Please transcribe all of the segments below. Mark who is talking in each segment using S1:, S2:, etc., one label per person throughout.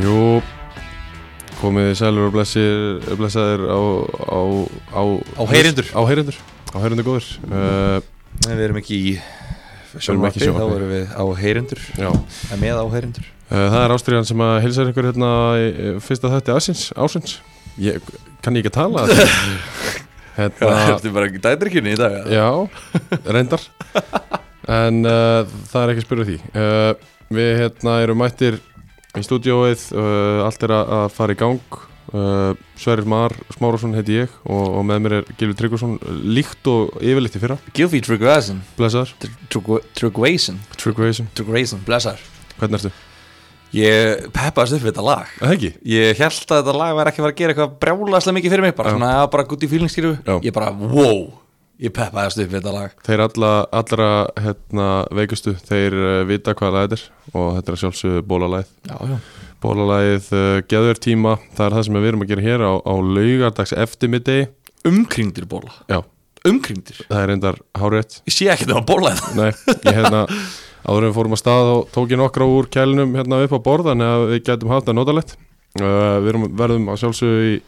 S1: Jú, komið sælur og blessir, blessaðir á, á, á,
S2: Á heyrendur.
S1: Á heyrendur, á heyrendur góður uh,
S2: Nei, við erum ekki
S1: erum ekki
S2: í
S1: í
S2: sjónvarpi, þá
S1: sjónvarpi.
S2: erum við á heyrendur,
S1: Já, uh,
S2: með á heyrendur.
S1: það er Ástriðan sem að hilsar ykkur hérna í eh, fyrsta þætti ásins, ásins. Ég, kann ég ekki tala? hérna,
S2: er bara dættirkjunni í dag.
S1: já, reyndar En uh, það er ekki að spyrja því uh, Við hérna erum mættir í stúdióið uh, Allt er að, að fara í gang uh, Sverrir Mar Smárásson heiti ég og, og með mér er Gilvi Tryggvason Líkt og yfirleitt í fyrra
S2: Gilfi Trugvason,
S1: Blessaður,
S2: Trugvason,
S1: Tryggvason,
S2: Trugvason, blessar.
S1: hvernig ertu?
S2: Ég peppaðist upp við þetta lag.
S1: Það ekki?
S2: Ég held að þetta lag væri ekki að fara að gera eitthvað brjálaslega mikið fyrir mig, bara
S1: Já.
S2: svona að bara gutt í fílingskýru.
S1: Já.
S2: Ég bara, wow, ég peppaðist upp við þetta lag.
S1: Þeir alla, allra hérna, veikustu, þeir uh, vita hvað lagið er og þetta er að sjálfsögðu bólalæð
S2: Já, já.
S1: Bólalæð, uh, geðver tíma, það er það sem við erum að gera hér á, á laugardags eftirmiddegi
S2: Umkringdir bóla,
S1: Já,
S2: umkringdir.
S1: það er reyndar hárétt
S2: Ég sé ekki það að bóla þetta.
S1: Nei, ég hérna áður en við fórum að stað og tók ég nokkra úr kælinum hérna upp á borðan eða við gætum haft það notalett uh, Við erum, verðum að sjálfsögðu í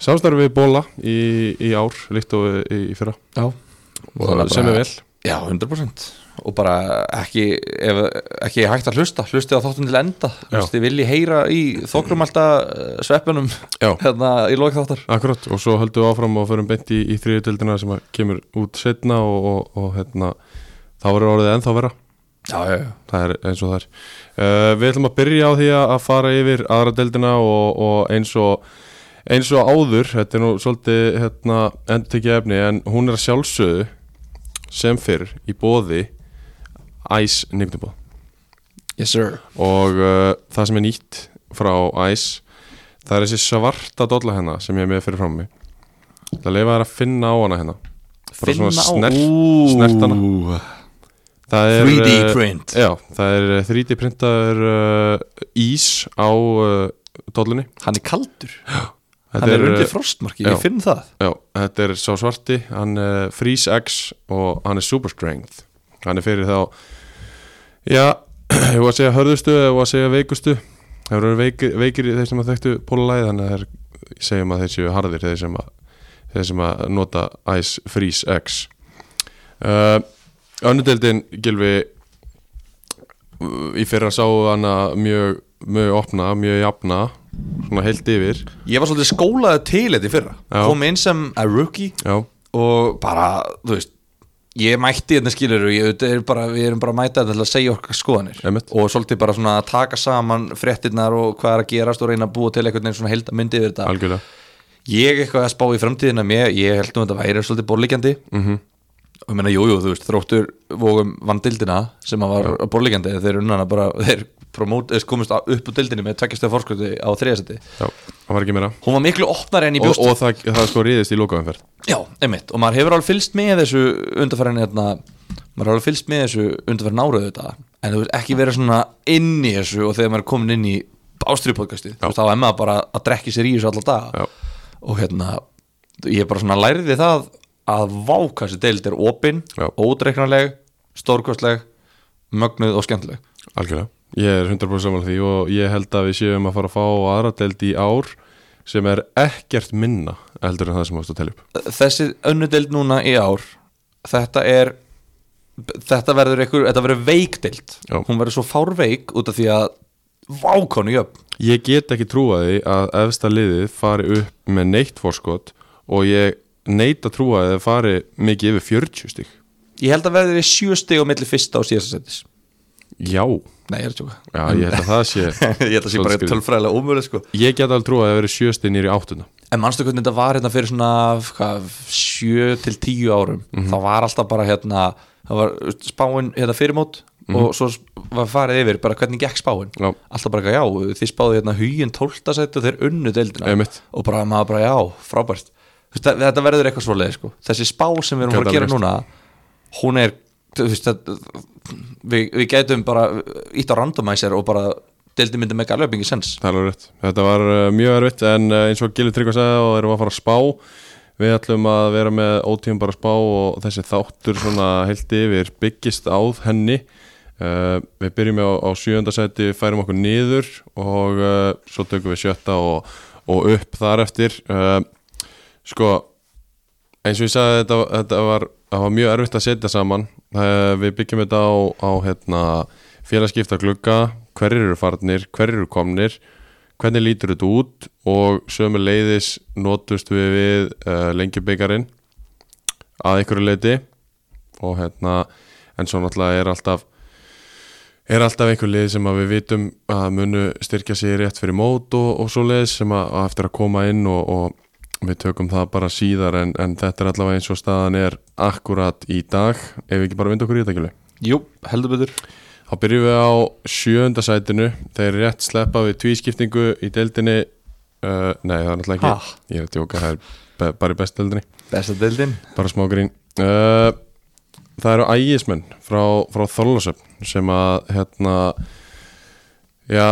S1: samstarfi við Bóla í, í ár, líkt og í, í fyrra
S2: Já.
S1: og sem er vel
S2: Já, 100% og bara ekki, ef, ekki hægt að hlusta hlustið á þáttun til enda
S1: Já.
S2: hlustið vilji heyra í þokrum alltaf eh, sveppunum
S1: Já.
S2: hérna í lók þáttar
S1: Akkurat, og svo höldum við áfram og förum beint í, í þriðutöldina sem að kemur út setna og, og, og hérna þá verður orðið ennþá vera
S2: Já, já, já
S1: það er eins og það er uh, við ætlum að byrja á því að að fara yfir aðra deildina og, og eins og eins og áður, þetta er nú svolítið hérna, endurtekið efni en hún er að sjálfsögðu sem fyrr í bóði Ice nýgnubóð
S2: Yes sir
S1: og uh, það sem er nýtt frá Ice það er þessi svarta dolla hennar sem ég er með fyrir fram mig það leifa þær að finna á hana hérna. hennar Bara svona snert- snertana. Það er,
S2: 3D
S1: eh,
S2: print.
S1: Já, það er eh, 3D printaður uh, ís á uh, dollunni
S2: Hann er kaldur,
S1: Þetta
S2: hann er,
S1: eh,
S2: undir frostmarki,
S1: já.
S2: ég finn það
S1: Já, þetta er sá svarti, hann er Freeze X og hann er Super Strength Hann er fyrir þá Já, ég var að segja hörðustu eða ég var að segja veikustu Það eru veikir, veikir í þeir sem að þekktu pólalæði þannig að þeir ég segjum að þeir séu harðir þeir sem að, þeir sem að nota Ice Freeze X uh, Önnudeldin gilfi í fyrra sáu hana mjög, mjög opna, mjög jafna svona heilt yfir
S2: Ég var svolítið skólaði til þetta í fyrra
S1: Já.
S2: kom inn sem a rookie
S1: Já,
S2: og bara, þú veist ég mætti þetta skilur og ég, er bara, við erum bara að mæta þetta til að segja okkar skoðanir
S1: Einmitt.
S2: og svolítið bara svona að taka saman fréttirnar og hvað er að gerast og reyna að búa til einhvern veginn svona held að myndi yfir þetta
S1: algjörlega
S2: ég eitthvað að spá í framtíðina mér, ég held nú að þetta væri svolítið borlíkjandi
S1: Mhm.
S2: -hmm. og ég meina jújú, þú veist, þróttur vógum vann dildina sem að var ja. borlíkjandi þeir unnana bara, þeir promót, þeir komist á- upp úr dildinni með tveggjastöð fórskötu á þriðasæti
S1: Já, það var ekki meira
S2: hún var miklu opnari enn í
S1: Og,
S2: bjóst
S1: og það, það sko rýðist í lokaumferð
S2: Já, einmitt, og maður hefur alveg fylst með þessu undarfærin hérna, maður hefur alveg fylst með þessu undarfærin áraðu þetta en þú veist ekki vera svona inn í þessu og þegar maður er komin inn í ástriðpodcasti þú veist þá er maður bara að drekki sér í þessu alla daga
S1: Já.
S2: og hérna ég er bara svona læriði það að vákassi deild er opin,
S1: Já.
S2: ódreiknarleg stórkostleg, mögnuð og skemmtileg
S1: Algjörlega Ég er 100% samanlega því og ég held að við séum að fara að fá aðra deild í ár sem er ekkert minna heldur en það sem ást að telja upp
S2: þessi önnu deild núna í ár þetta er þetta verður einhver, þetta verður veikdeild
S1: Já.
S2: hún verður svo fárveik út af því að vákonu jöfn
S1: Ég get ekki trúa því að efsta liðið fari upp með neitt fórskot og ég neita trúa því að það fari mikið yfir 40 stík
S2: ég held að verður í sjö stig á milli fyrsta og síðasta setis
S1: Já,
S2: nei, ég er að tjóka
S1: já ég held að það sé
S2: ég held að sé bara
S1: Svolítið skrítið.
S2: tölfræðilega ómöguleg sko
S1: Ég get alveg trúa því að það veri sjösti nýri áttuna
S2: en manstu hvernig þetta var hérna fyrir svona hvað, sjö til tíu árum
S1: Mhm.
S2: það var alltaf bara hérna það var spáin hérna fyrirmót og svo var farið yfir bara hvernig gekk spáin
S1: Mhm. Já.
S2: alltaf bara já, þið spáðu hérna hugin 12. sæti og þeir unnu deildina
S1: Einmitt.
S2: og bara maður bara já, frábært Þú veist, þetta verður eitthvað svoleið sko. þessi spá sem við erum að fara að gera
S1: Gæti alveg
S2: núna hún er þú veist, það, við, við gætum bara ítt á randomizer og bara deildin myndi með galöpingi sens
S1: Það er alveg rétt. Þetta var uh, mjög erfitt en uh, eins og Gilvi Tryggva sagði og erum að fara að spá við ætlum að vera með ótíum bara spá og þessi þáttur svona heilt yfir byggist á henni Uh, við byrjum á, á sjöunda seti, færum okkur niður og uh, svo tökum við sjötta og, og upp þar eftir uh, sko eins og ég sagði þetta, þetta var, það var mjög erfitt að setja saman uh, við byggjum þetta á, á hérna, félagskipta glugga hverjir eru farnir, hverjir eru komnir hvernig lítur þetta út og sömu leiðis notust við við uh, lengjubikarinn að einhverju leiti og hérna en svo náttúrulega er alltaf er alltaf einhver lið sem að við vitum að munu styrkja sig rétt fyrir mót og, og svo lið sem að, að eftir að koma inn og, og við tökum það bara síðar en, en þetta er allavega eins og staðan er akkurat í dag ef við ekki bara vind okkur í þetta kjölu
S2: Jú, heldur betur
S1: þá byrjum við á sjöunda sætinu þeir rétt sleppa við tvískiptingu í deildinni uh, nei það er náttúrulega ekki
S2: Ha?
S1: ég er að djóka það er be- bara í best deildinni
S2: Besta deildin
S1: bara smá grín uh, það eru ægismenn frá, frá Þorlásöfn sem að hérna já,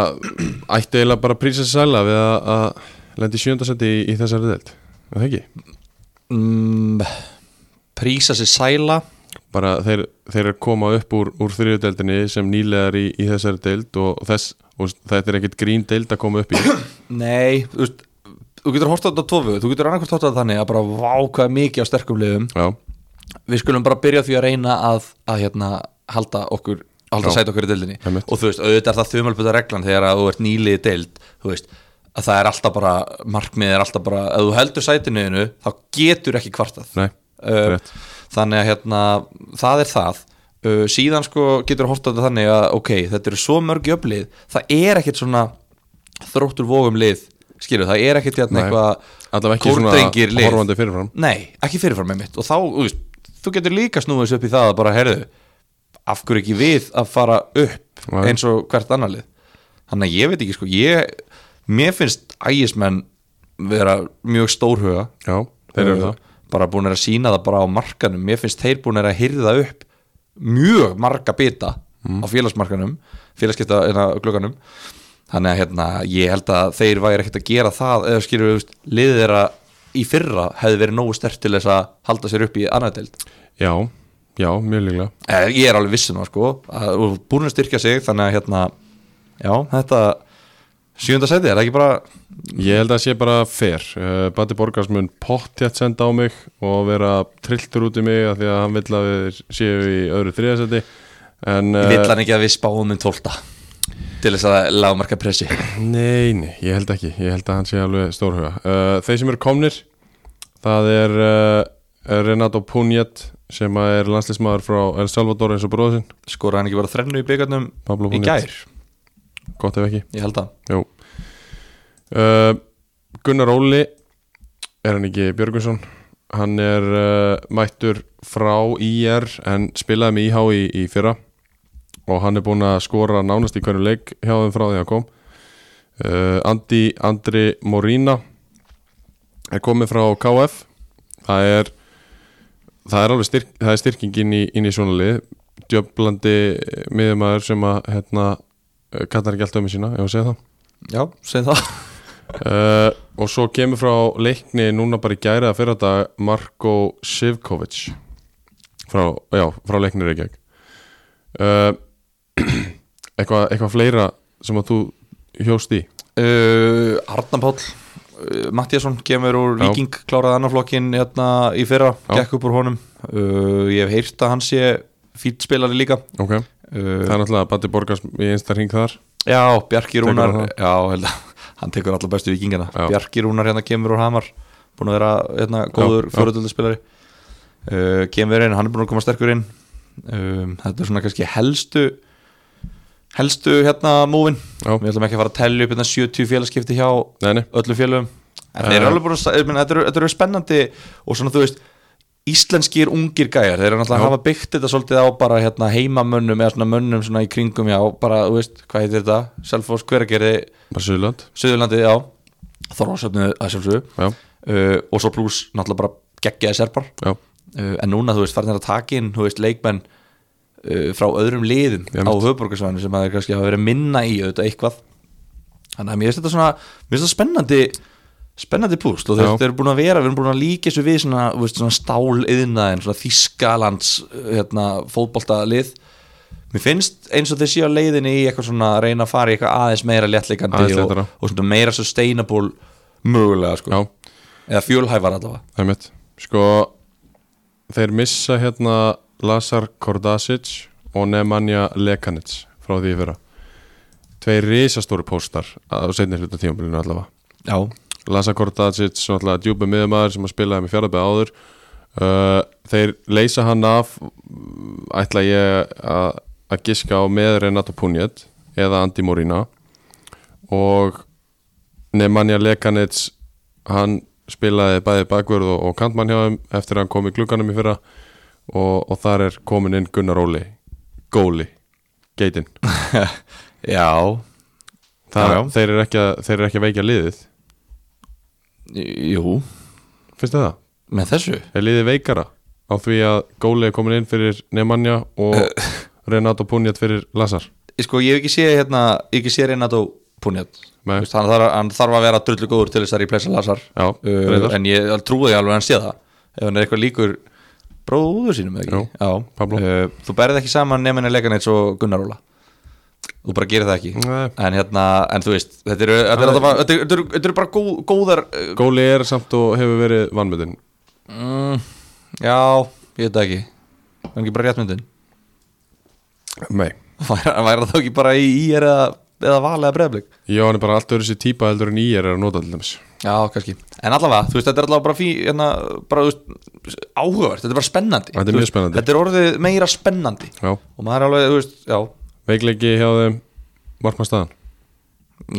S1: ætti eiginlega bara að prísa sér sæla við að, að lendi sjöndasendi í, í þessari deild er það ekki,
S2: mm, Prísa sér sæla
S1: bara þeir, þeir eru að koma upp úr, úr þriðudeldinni sem nýlegar í, í þessari deild og þess og þetta er ekkert grín deild að koma upp í
S2: Nei, þú veist Þú getur horft á þetta á tvo við, þú getur annarkvæmt horft á þetta þannig að bara vákaða mikið á sterkum liðum
S1: já,
S2: Við skulum bara byrja á því að reyna að, að hérna, halda okkur halda
S1: Já.
S2: sæti okkur í deildinni
S1: Einmitt.
S2: og þú veist, auðvitað er það þumalböta reglan þegar að þú ert nýlið í deild þú veist, að það er alltaf bara markmið er alltaf bara, ef þú heldur sætinuðinu þá getur ekki kvartað
S1: nei,
S2: uh,
S1: rétt
S2: þannig að hérna, það er það uh, síðan sko getur horft á þetta þannig að ok, þetta eru svo mörg jöfnlið það er ekkert svona þróttur vógum lið, skilur, það er ekkert hérna
S1: Nei. allavega
S2: eitthvað
S1: ekki
S2: kórdrengir
S1: svona
S2: lið
S1: horfandi fyrirfram
S2: nei, ekki fyrirfram með mitt og þá, þú veist, þú getur líka snúið þessu upp í það að bara, heyrðu, af hverju ekki við að fara upp
S1: Nei.
S2: eins og hvert annar lið þannig að ég veit ekki sko, ég mér finnst ægismenn vera mjög stórhuga
S1: já, þeir eru
S2: Uh,
S1: það
S2: bara búin að sína það bara á markanum mér finnst þeir búin að hyrða upp mjög marga bita
S1: Mm.
S2: á félagsmarkanum félagskipta hérna, glögganum þannig að hérna, ég held að þeir væri ekkert að gera það eða skilur við, liðið þeirra í fyrra hefði verið nógu stert til þess að halda sér upp í annað deild
S1: já, já, mjög líklega
S2: Eh, ég er alveg vissin á sko að- og búin að styrkja sig þannig að hérna, já, þetta sjönda seti, er það ekki bara
S1: Ég held að sé bara fair uh, Bati Borgars mun pottjætt senda á mig og vera trilltur út í mig af því að hann vill að við séu í öðru þriðasetti en
S2: uh,
S1: eh,
S2: villan ekki að við spáum um tólta til þess að lagmarka pressi
S1: Nei, nei, ég held ekki Ég held að hann sé alveg stórhuga uh, Þeir sem eru komnir Það er uh, Renato Punjet sem að er landslismæður frá El Salvador eins og bróðsinn
S2: skoraði hann ekki bara þrennu í byggarnum
S1: Pablo
S2: í
S1: Punjet,
S2: gær,
S1: gott ef ekki
S2: ég held að
S1: Jú uh, Gunnar Óli er hann ekki Björgunsson hann er uh, mættur frá IR en spilaði með IH í, í fyrra og hann er búinn að skora nánast í hverju leik hjá þeim frá því að kom uh, Andi Andri Morína er komið frá KF það er það er alveg styrk, það er styrking inn í, inn í svona lið djöflandi miðumæður sem að hérna, eh, kallar ekki allt ömmu sína, ef að segja það
S2: já, segð það
S1: Uh, og svo kemur frá leikni núna bara í gæri að fyrra dag Marko Sivkovic frá, já, frá leikni Reykjavík uh, eitthvað, eitthvað fleira sem að þú hjóst í
S2: uh, Arna Páll uh, Mattiasson kemur úr
S1: Já.
S2: Viking kláraði annar flokkin hérna í fyrra
S1: Já.
S2: gekk upp úr honum uh, ég hef heyrt að hann sé fýtt spilari líka
S1: ok,
S2: uh,
S1: það er náttúrulega Batti Borgars í einsta hring þar
S2: já, Bjarki
S1: Tekur
S2: Rúnar
S1: hann það?
S2: já, held að hann tekur allar bestu vikingana
S1: Já.
S2: Bjarki Rúnar hérna kemur úr Hamar búin að vera hérna góður
S1: já.
S2: fjóruðöldaspilari uh, kemur inn, hann er búin að koma sterkur inn um, þetta er svona kannski helstu helstu hérna múvin
S1: já,
S2: Við ætlum ekki að fara að tellja upp hérna 70 félagskipti hjá
S1: neini,
S2: öllum félagum
S1: Eh.
S2: En þeir eru alveg búin að, ég meina, þetta eru, þetta eru spennandi og svona þú veist Íslenskir ungir gæjar, þeir eru náttúrulega
S1: Já.
S2: að hafa byggt þetta svolítið á bara hérna heimamönnum eða svona mönnum svona í kringum já, bara, þú veist, hvað heitir þetta, Selfoss, Hveragerði,
S1: bara Suðland
S2: Suðurlandi, já, Þorvarsöfnu að sjálfsögðu
S1: já,
S2: uh, og svo pluss náttúrulega bara geggjaði serpar
S1: já,
S2: uh, en núna þú veist farin þér að taka inn þú veist leikmenn uh, frá öðrum liðum
S1: Ég
S2: á
S1: veit.
S2: höfborgarsvæðinu sem að þeir kannski hafa verið minna í auðvitað eitthvað þannig að mér finnst þetta svona mér finnst þetta spennandi spennandi púst og þeir,
S1: Já.
S2: þeir eru búin að vera við erum búin að líka þessu við svona, þú veist, svona stáliðnaðin svona þýskalands uh, hérna, fótboltalið mér finnst eins og þeir séu á leiðinni í eitthvað svona að reyna að fara í eitthvað aðeins meira léttleikandi
S1: Aðeins
S2: og,
S1: léttara.
S2: og svona meira sustainable mögulega sko
S1: Já,
S2: eða fjölhæfar allavega
S1: það er mitt Sko, þeir missa hérna Lazar Kordasic og Nemanja Lekanic frá því í fyrra Tveir risastóri póstar á seinni hluta tímabilinu allavega
S2: já,
S1: Lazar Kordasic, svona alltaf djúpa miðumæður sem að spilaði með fjárabæð áður uh, Þeir leysa hann af ætla ég að að giska á með Renato Punjet eða Andi Morina og Nemanja Lekanits hann spilaði bæði bakvörð og, og kantmann hjá þeim eftir að hann kom í glugganum í fyrra og, og þar er komin inn Gunnar Óli Góli, geitin
S2: já
S1: Það,
S2: Já, já.
S1: Þeir, eru ekki að, þeir eru ekki að veikja liðið
S2: jú,
S1: finnst þið það?
S2: með þessu
S1: Er liðið veikara á því að Góli er komin inn fyrir Nemanja og Renato Punjet fyrir Lazar
S2: Ég sko, ég hef ekki séð hérna, ég hef ekki séð Renato Punjat
S1: Nei.
S2: Vist, hann, þarf, hann þarf að vera drullu góður til þess að replacea Lazar
S1: Já,
S2: uh,
S1: reyndar.
S2: en ég trúi því alveg að hann sé það ef hann er eitthvað líkur bróður sínum eða
S1: Jú,
S2: ekki
S1: Pablo.
S2: uh, þú berð ekki saman nefnir Leganets og Gunnar Óla þú bara gerir það ekki
S1: Nei.
S2: en hérna, en þú veist þetta eru, þetta eru, alltaf- þetta eru, þetta eru, þetta eru bara góð, góðar uh,
S1: Góli er samt og hefur verið vannmöndin
S2: mm, já, ég veit það ekki hann ekki bara réttmyndin
S1: Nei
S2: væri væri það þá ekki bara í ír eða, eða val eða breyðblik
S1: Já, hann er bara allt öðru sér típa heldur en ég er að nota til dæmis
S2: Já, kannski, en allavega, þú veist, þetta er allavega bara, fí, hérna, bara þú veist, áhugavert, þetta er bara spennandi
S1: Þetta er
S2: Þú
S1: mjög
S2: veist,
S1: spennandi.
S2: Þetta er orðið meira spennandi
S1: Já,
S2: og maður er alveg, þú veist, já
S1: veikleiki hjá þeim Markmannstæðan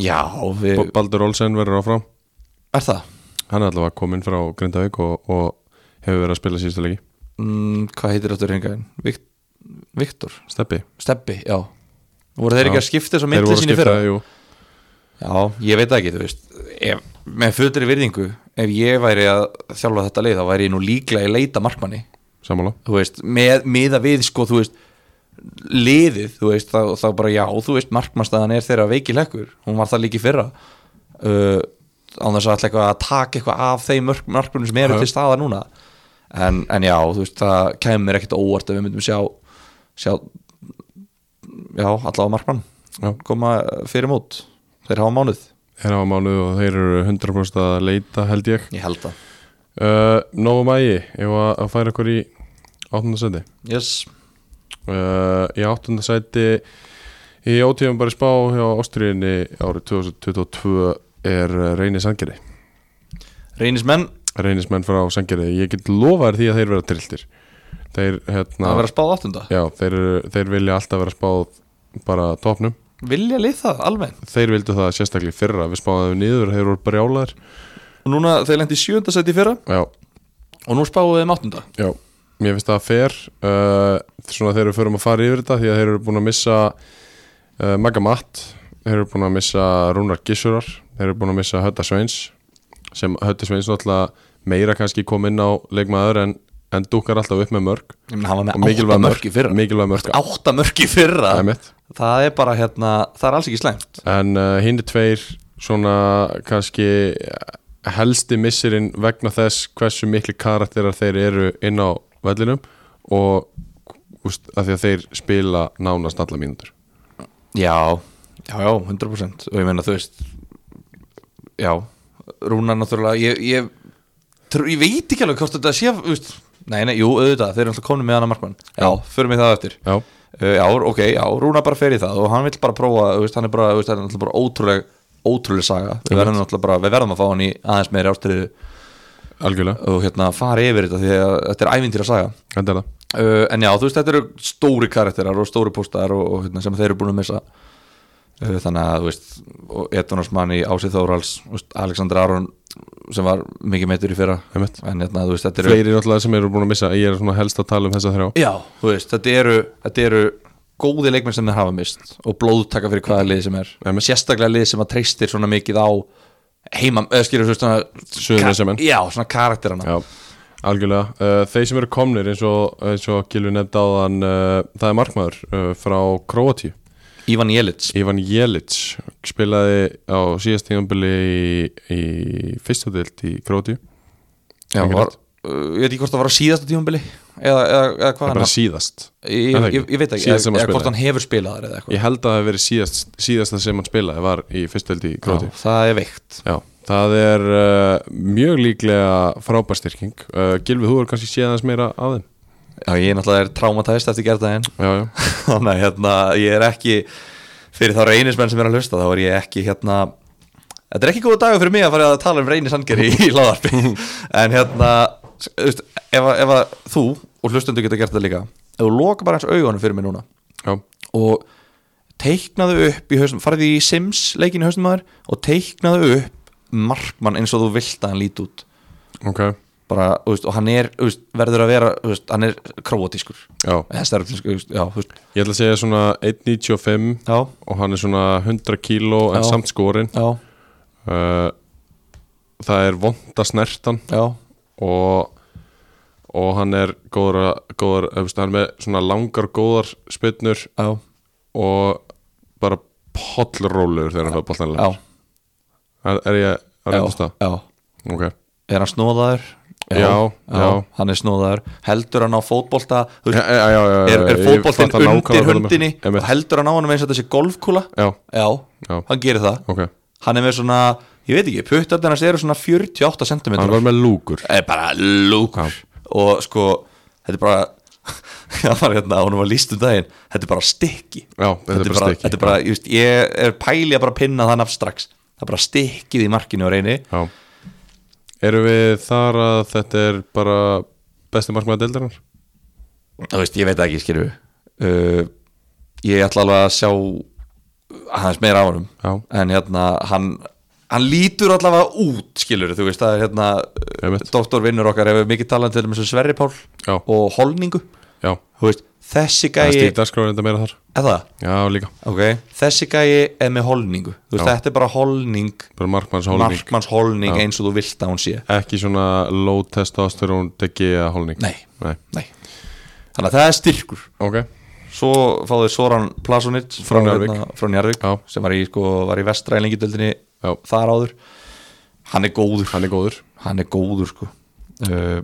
S2: Já, við,
S1: Baldur Olsen verður áfram
S2: er það?
S1: Hann er allavega kominn frá Grindavík og, og hefur verið að spila síðustu leiki
S2: Mm, hvað heitir þetta reyngaðin? Vikt, Viktor,
S1: Steppi
S2: Steppi, já Voru þeir
S1: Já.
S2: ekki að skipta þessu á
S1: Þeir
S2: myndli
S1: voru að
S2: sín í fyrra?
S1: skipta, jú.
S2: Já, ég veit það ekki, þú veist ef, Með fullri virðingu, ef ég væri að þjálfa þetta leið, þá væri ég nú líklega í leita markmanni
S1: Sammála
S2: þú veist, með, miða við sko, þú veist, liðið þú veist, þá, þá bara já, þú veist markmannstæðan er þeirra veiki lekkur, hún var það líki fyrra uh, án þess að alltaf eitthvað að taka eitthvað af þeim mörk, markmannum sem eru
S1: Já.
S2: til staðar núna en, en já, þú veist, það kemur mér ekkert á óvart að við myndum sjá sjá já, allavega markmann
S1: Já.
S2: koma fyrir mót, þeir hafa mánuð
S1: Þeir hafa mánuð og þeir eru 100% að leita held ég
S2: ég held það
S1: uh, Nóum ægi, ég var að færa okkur í 8. seti
S2: yes.
S1: uh, Í 8. seti Í ótíðum bara spá hjá Ástriðinni árið 2022 er uh, Reyni Sangeri
S2: reynismenn,
S1: Reynismenn frá Sangeri Ég get lofa þér því að þeir vera trilltir Þeir, hérna,
S2: það verður að spáða áttunda
S1: já, þeir, eru- þeir vilja alltaf vera spáð bara topnum
S2: vilja lið það alveg
S1: þeir vildu það sérstaklega í fyrra við spáðum niður, þeir voru brjálaðir
S2: og núna þeir lendi sjöndasæti fyrra
S1: já,
S2: og nú spáum við þeim áttunda
S1: já, mér finnst það fair uh, svona þeir eru förum að fara yfir þetta því að þeir eru búin að missa uh, Magga Matt, þeir eru búin að missa Rúnar Gissurar, þeir eru búin að missa Hötta Sveins, sem Hötta Sveins náttúrulega meira kannski kom inn á leikmaður en, en dúkar alltaf upp með mörg
S2: Ég meina, hann var
S1: og
S2: með átta
S1: mikilvæg
S2: mörg
S1: mörg
S2: í fyrra
S1: mikilvæg mörg,
S2: átta mörg í fyrra
S1: það er mitt
S2: það er bara hérna, það er alls ekki slæmt
S1: En uh, hinn er tveir svona kannski uh, helsti missirinn vegna þess hversu miklu karakterar þeir eru inn á vellinum og úst, að því að þeir spila nánast alla mínútur.
S2: já, já, já, 100% og ég meina þú veist já, Rúnar náttúrulega ég, ég, trú, ég veit ekki alveg hvort þetta sé þú veist, nei, nei, jú, auðvitað, þeir eru alltaf komin með hana markmann já, förum við það eftir
S1: Já,
S2: Uh, já, ok, já, Rúna bara fer í það og hann vill bara prófa, þú veist, hann er bara, þú veist, hann er náttúrulega bara ótrúleg, ótrúleg saga við verðum náttúrulega bara, við verðum að fá hann í aðeins meiri ástriðu
S1: algjörlega.
S2: og hérna fara yfir þetta því að þetta er ævintýra saga
S1: Þetta er það.
S2: uh, en já, þú veist, þetta eru stóri karakterar og stóri póstaðar og, og hérna, sem þeir eru búin að missa uh, þannig að, þú veist, Edvanarsmann í Ásið Þórals, þú veist, Alexander Aron sem var mikið meitur í fyrra
S1: Einmitt.
S2: en hérna, þú veist, þetta eru
S1: Fleiri náttúrulega sem eru búin að missa. Ég er svona helst að tala um þessa þrjá.
S2: Já, þú veist, þetta eru, þetta eru góði leikmenn sem þeir hafa mist og blóðtaka fyrir hvaða liði sem er
S1: Einmitt.
S2: sérstaklega liði sem að treystir svona mikið á heimam, eða skilur þú veist svona
S1: Suðurnesjamenn.
S2: Ka- Já, svona karakterana
S1: Já, algjörlega. Uh, þeir sem eru komnir eins og, eins og Gilvi nefndi áðan, uh, það er markmaður uh, frá Króatíu.
S2: Ivan Jelits
S1: Ivan Jelic spilaði á síðast tíðanbili í, í fyrsta dild í Króti
S2: Já, var, uh, ég veit ekki hvort það var á síðasta tímabili eða, eða, eða hvað
S1: bara
S2: hann
S1: síðast
S2: ég,
S1: er það
S2: ég,
S1: ekki?
S2: ég veit ekki,
S1: Síðast sem
S2: eða,
S1: hann
S2: eða
S1: spilaði.
S2: hvort hann hefur spilað þar eða eitthvað
S1: Ég held að það hef verið síðast, síðasta sem hann spilaði var í fyrstöldi í Króti
S2: Já, það er veikt
S1: Já, það er uh, mjög líklega frábærstyrking uh, Gilvi, þú er kannski séð aðeins meira af þeim
S2: Já, ég náttúrulega er traumatæst eftir gerðaðinn
S1: Já, já,
S2: þannig að hérna, ég er ekki fyrir þá reynismenn sem er að hlusta þá er ég ekki hérna þetta er ekki góða dagur fyrir mig að fara að tala um reynisangeri í láðarpi en hérna, þú veist, ef, að- ef að þú og hlustundu getur gert það líka ef þú loka bara hans augunum fyrir mig núna
S1: já,
S2: og teiknaðu upp í hausnum, farði í Sims leikin í hausnum maður og teiknaðu upp markmann eins og þú vilt að hann líti út
S1: ok
S2: bara, þú veist, og hann er, þú veist, verður að vera þú veist, hann er króatískur
S1: Já,
S2: þessar, já, þú veist,
S1: ég ætla að segja svona 1.95
S2: já,
S1: og hann er svona 100 kíló en
S2: Já.
S1: samt skorinn
S2: já,
S1: uh, Það er vond að snert hann
S2: já
S1: og, og hann er góður, að- góður eh, veist, hann er með svona langar góðar spynnur
S2: já,
S1: og bara pollrólur þegar hann fæði
S2: já,
S1: boltanlega Er er ég að reyndast
S2: já,
S1: það?
S2: já
S1: Ok,
S2: er hann snóðaður?
S1: Já, já.
S2: hann er snóðaður, heldur hann á fótbolta þú
S1: já,
S2: veist,
S1: já, já, já,
S2: er, er
S1: ég fatta
S2: fótboltin
S1: nákvæmlega
S2: undir
S1: hvað þú meinar.
S2: höndinni
S1: Einmitt.
S2: og heldur hann á hann eins og þetta sé golfkúla
S1: Já,
S2: já,
S1: já,
S2: hann gerir það
S1: ok
S2: hann er með svona, ég veit ekki, puttarnir hans eru svona 48 cm
S1: Hann var með lúkur
S2: er bara lúkur og sko, þetta er bara hann var hérna, hún var líst um daginn þetta er bara stykki
S1: Já, þetta er bara
S2: þetta
S1: stykki
S2: er bara ég, veist, ég er pæli að bara pinna þann af strax það er bara stykkið í markinu og reyni
S1: Já Erum við þar að þetta er bara besti markmaða deildarinnar?
S2: þú veist, ég veit það ekki, skilju uh, ég ætla alveg að sjá hans meira á honum
S1: Já.
S2: en hérna, hann hann lítur allavega út, skilur þú veist, það er hérna
S1: Einmitt.
S2: doktorvinnur okkar hefur mikið talað til um þessu Sverri Pál
S1: Já.
S2: og Holningu
S1: Já,
S2: þú veist, þessi
S1: það er
S2: gæi
S1: stík dagskráin þetta meira þar
S2: eða,
S1: Já, líka,
S2: ok, þessi gæi er með holningu, þú veist,
S1: Já.
S2: þetta er bara holning,
S1: bara markmannshólning
S2: markmanns holning
S1: Já.
S2: eins og þú vilt að hún sé
S1: Ekki svona low testosterone DGA hólning
S2: nei,
S1: Nei,
S2: nei þannig að það er styrkur
S1: ok
S2: svo fáðu Soran Plasunic frá,
S1: Frá Njarðvík.
S2: hérna- frá Njarvík
S1: Já.
S2: sem var í, sko, var í vestra í lengjadöldinni
S1: Já.
S2: þar áður hann er góður,
S1: Hann er góður Eh,
S2: hann er góður sko. uh,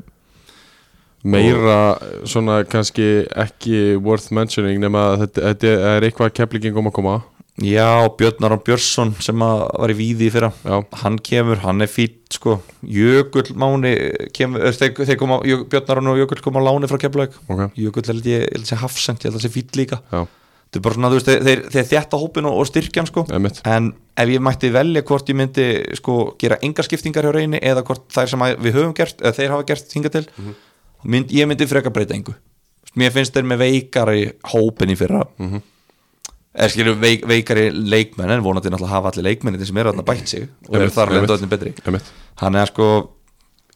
S1: Meira svona kannski ekki worth mentioning nema að þetta, þetta er eitthvað keflingin kom að koma
S2: já, Björn Aron Björnsson sem að var í víði í fyrra
S1: Já,
S2: hann kemur, hann er fýtt sko. Jökull Máni kemur, eh, þeir, þeir koma, Jö- Björn Aron og Jökull koma á láni frá Keflavík
S1: ok
S2: Jökull held ég, held ég hafsend, ég held að sé fýtt líka
S1: Já,
S2: þetta er bara svona, þú veist, þeir, þeir, þeir þjætta hópin og, og styrkjan sko.
S1: emitt
S2: en ef ég mætti velja hvort ég myndi sko, gera enga skiptingar hjá reyni eða hvort þær sem að við höfum gert eða þeir hafa gert hinga til
S1: Mhm.
S2: mynd, ég myndi frekar breyta engu Þú veist, mér finnst þeir með veikari hópin í fyrra
S1: Mhm.
S2: eða skilur veik, veikari leikmenn en vonandi náttúrulega hafa allir leikmenn sem eru þarna bætt sig og eru
S1: Einmitt,
S2: þar
S1: einmitt.
S2: alveg dóttin betri
S1: Emitt
S2: hann er sko,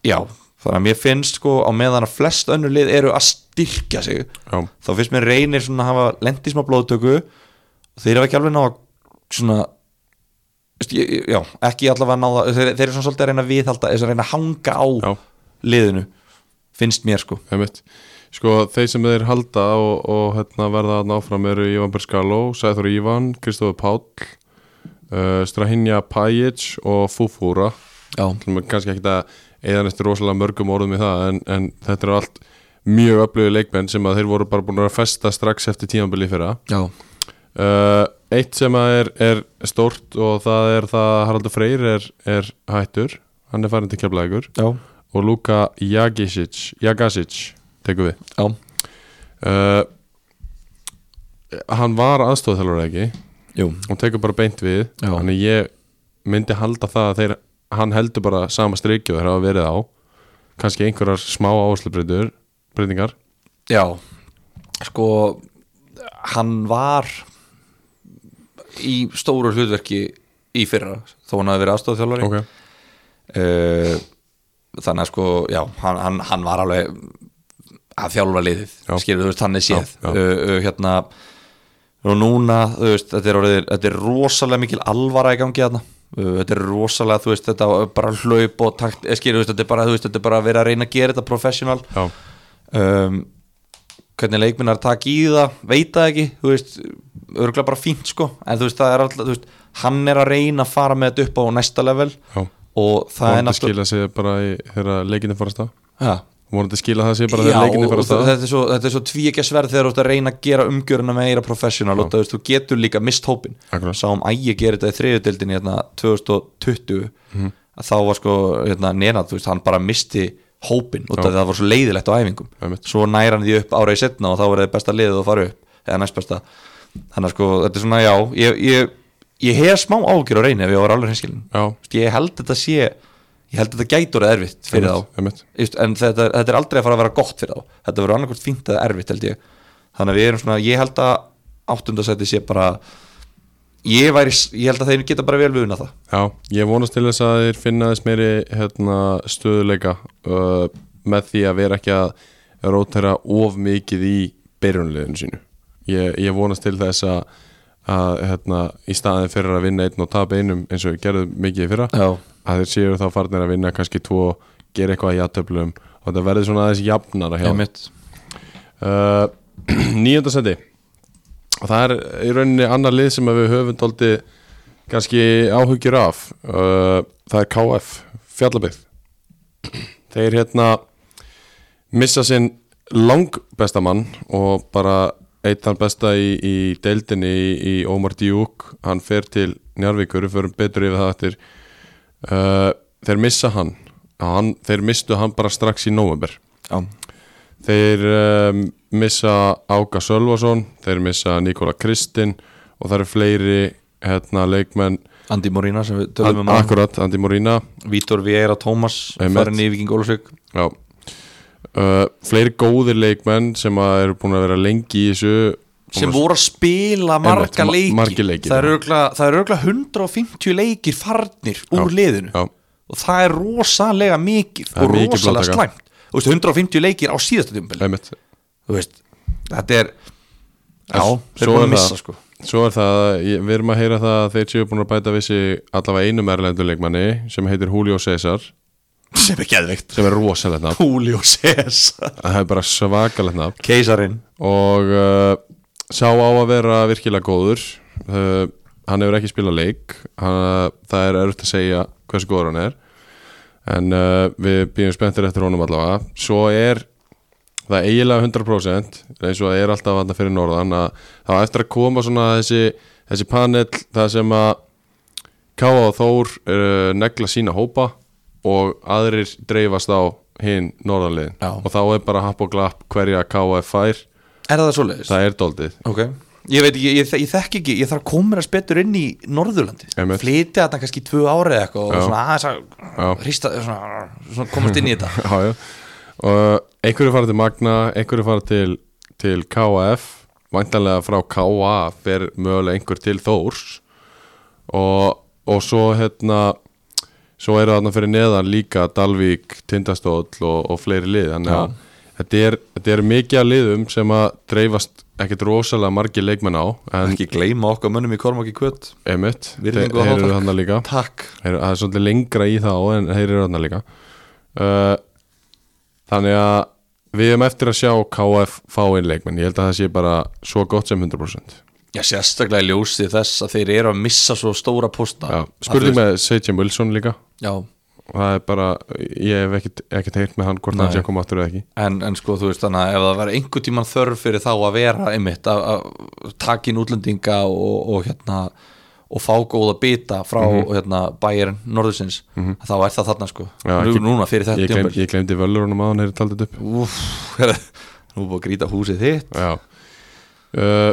S2: já þannig að mér finnst sko á meðan að flest önnur lið eru að styrkja sig
S1: Já,
S2: þá finnst mér reynir svona að hafa lendi smá blóðtöku og þeir hafa ekki alveg náða svona veist, ég- ég- já, ekki allavega náða þeir, þeir eru svona svolítið að reyna að viðhalda þess að reyna að hanga á
S1: já
S2: liðinu finnst mér sko
S1: Einmitt. Sko, þeir sem þeir halda og, og hérna, verða að náfram eru Ivan Berskaló, Sæþur Ívan, Kristofur Páll, uh, Strahinja Pajic og Fufúra.
S2: já,
S1: Ætlum við Kannski ekki að eða næstu rosalega mörgum orðum í það, en, en þetta eru allt mjög öflugir leikmenn sem að þeir voru bara búin að festa strax eftir tímanbili fyrra.
S2: já,
S1: Uh, eitt sem að er, er stórt og það er það að Haraldur Freyr er, er hættur, hann er farin til keflaðegur
S2: já,
S1: og Luka Jagasic, Jagasic tekur við.
S2: já,
S1: uh, hann var aðstofþjálfur eða ekki
S2: jú,
S1: og tekur bara beint við
S2: Já.
S1: þannig ég myndi halda það að þeir, hann heldur bara sama strikju þegar hafa verið á kannski einhverjar smá áherslubreytur breytingar
S2: já sko hann var í stóru hlutverki í fyrra þó hann hafi verið aðstofþjálfari
S1: ok,
S2: Eh, þannig að sko, já, hann, hann, hann var alveg að þjálfa liðið
S1: Já.
S2: skilur þú veist, hann er séð
S1: Já, já.
S2: Uh, uh, hérna og núna, þú veist, þetta er, orðið, þetta er rosalega mikil alvara í gangi þarna uh, þetta er rosalega, þú veist, þetta var bara hlaup og takt, eh, skilur þú veist, þetta er bara, þú veist, þetta er bara að vera að reyna að gera þetta professional
S1: já,
S2: um, hvernig leikminnar takk í það, veit það ekki þú veist, örgulega bara fínt sko en þú veist, það er alltaf, þú veist, hann er að reyna að fara með þetta upp á næsta level
S1: já
S2: og það er
S1: hann
S2: náttúrulega
S1: skilja sig bara í, þegar leikinni farast á
S2: Já,
S1: vonandi skila það sér bara
S2: Já,
S1: þegar leikinni fara
S2: og
S1: að stað
S2: þetta er svo, þetta er svo tvíekjasverð þegar þú ert að reyna að gera umgjöruna meira professional og þú veist, þú getur líka mist hópin
S1: Akkurat.
S2: sáum ægi gerir þetta í þriðudeldin hérna 2020
S1: Mhm.
S2: að þá var sko, hérna, Nenad, þú veist, hann bara misti hópin út af því að það var svo leiðilegt á æfingum,
S1: Einmitt.
S2: svo næra hann því upp ára í setna og þá verður þið besta liðið að fara upp eða næst besta, þannig að sko þetta er svona, já, ég, ég, ég hef smá ágjör á reyni ef ég var alveg hinskilin
S1: Já,
S2: ég held þetta sé ég held þetta gætur eða erfitt fyrir þá
S1: einmitt,
S2: Just, en þetta, þetta er aldrei að fara að vera gott fyrir þá þetta verður annarkvort fínt eða erfitt held ég þannig að við erum svona, ég held að áttundasæti sé bara ég, væri, ég held að þeir geta bara vel við unna það
S1: já, ég vonast til þess að þeir finna þess meiri hérna, stöðuleika uh, með því að vera ekki að rótera of mikið í byrjunliðinu sínu ég, ég vonast til þess að, að hérna, í staðin fyrir að vinna einn og tapa einum eins og við gerðum mikið í fyrra
S2: já,
S1: að þeir séu þá farnir að vinna kannski tvo, gera eitthvað í játtöflum og þetta verður svona aðeins jafnara hjá þeim.
S2: einmitt
S1: uh, nýjönda seti og það er í rauninni annar lið sem að við höfum tóldi kannski áhugjur af uh, það er KF Fjallabygg þeir hérna missa sinn lang besta mann og bara eitt þann besta í, í deildinni í, í Omar Díuk hann fer til Njarvíkur, við förum betur yfir það eftir uh, þeir missa hann, hann þeir mistu hann bara strax í nóvember
S2: já,
S1: Þeir um, missa Áka Sölvason, þeir missa Nikola Kristinn og það eru fleiri hérna, leikmenn
S2: Andi Morína sem við
S1: An
S2: tölum um hann
S1: akkurat, Andi Morína
S2: Vítor Vieira Tómas,
S1: Einmitt.
S2: farin í Viking Ólusvík
S1: já. Uh, fleiri góðir leikmenn sem að eru búin að vera lengi í þessu
S2: sem voru að spila marga
S1: Einmitt, ma-
S2: leiki
S1: margir leikir.
S2: það er örugglega- það er örgla 150 leikir farnir úr liðinu
S1: já,
S2: og það er rosalega mikið
S1: Það er
S2: og
S1: mikið
S2: rosalega
S1: blóðtaka.
S2: slæmt Þú veist, 150 leikir á síðasta tjumbel
S1: einmitt
S2: þú veist, þetta er
S1: En
S2: já, þeir
S1: svo
S2: eru búin
S1: er
S2: að missa
S1: það-
S2: sko
S1: Svo er það, að ég- við erum að heyra það að þeir séu búin að bæta vissi allavega einum erlenduleikmanni sem heitir Julio César
S2: sem er geðveikt,
S1: sem er rosalegt nafn
S2: Púli og César
S1: það er bara svakalegt nafn
S2: keisarin,
S1: og uh, sá á að vera virkilega góður uh, hann hefur ekki spilað leik hann, eh, það er erfitt að segja hversu góður hann er en uh, við býðum spenntir eftir honum allavega svo er það er eiginlega 100% eins og það er alltaf vanda fyrir norðan að það á eftir að koma svona þessi, þessi panel það sem að Káa og Þór uh, negla sína hópa og aðrir dreifast á hinn norðanliðin
S2: Já.
S1: og þá er bara happ og glapp hverja Káa fær
S2: er það svoleiðis?
S1: Það er doldið
S2: ok, ég veit ekki, ég, þek- ég þekki ekki ég þarf að koma mér að spettur inn í Norðurlandi
S1: Einmitt.
S2: flytja þarna kannski tvö ári eða eitthvað
S1: Já.
S2: og svona aðeins að
S1: Já.
S2: hrista, svona, svona komast inn í þetta
S1: Já, já Og einhverju fara til Magna, einhverju fara til, til KF Væntanlega frá KA fer mögulega einhver til Þórs Og, og svo hérna Svo eru þarna fyrir neðan líka Dalvík, Tindastóll og, og fleiri lið Þannig að þetta er, þetta er mikið af liðum sem að dreifast ekkert rosalega margir leikmenn á En
S2: ekki gleyma okkar mönnum í Kormáki Kvöt
S1: emitt, þeir
S2: Virðingu og
S1: þeir eru
S2: hátak.
S1: þarna líka
S2: takk,
S1: Þeir, það er svolítið lengra í þá en þeir eru þarna líka uh, Þannig að við erum eftir að sjá KF fá inn leikmenn Ég held að það sé bara svo gott sem 100%
S2: já sérstaklega í ljósi þess að þeir eru að missa svo stóra posta
S1: Já,
S2: Að þú
S1: Spurning með Seitjum Wilson líka
S2: Já,
S1: Og Það er bara, ég hef ekkert, ekkert heyrt með hann hvort hann sé að koma aftur eða ekki
S2: en, en sko þú veist þannig að ef það var einhvern tíman þörf fyrir þá að vera einmitt að, að taka inn útlendinga og, og hérna og fá góða bita frá
S1: Mhm.
S2: hérna, bæjarinn norðursins þá er það þarna sko
S1: Já,
S2: Nú,
S1: ekki-
S2: núna fyrir þetta
S1: Ég,
S2: tjömbil
S1: gleym, ég glemdi völur honum að hann hefur taldið upp
S2: Úf, nú er búið að grýta húsið þitt
S1: Já uh,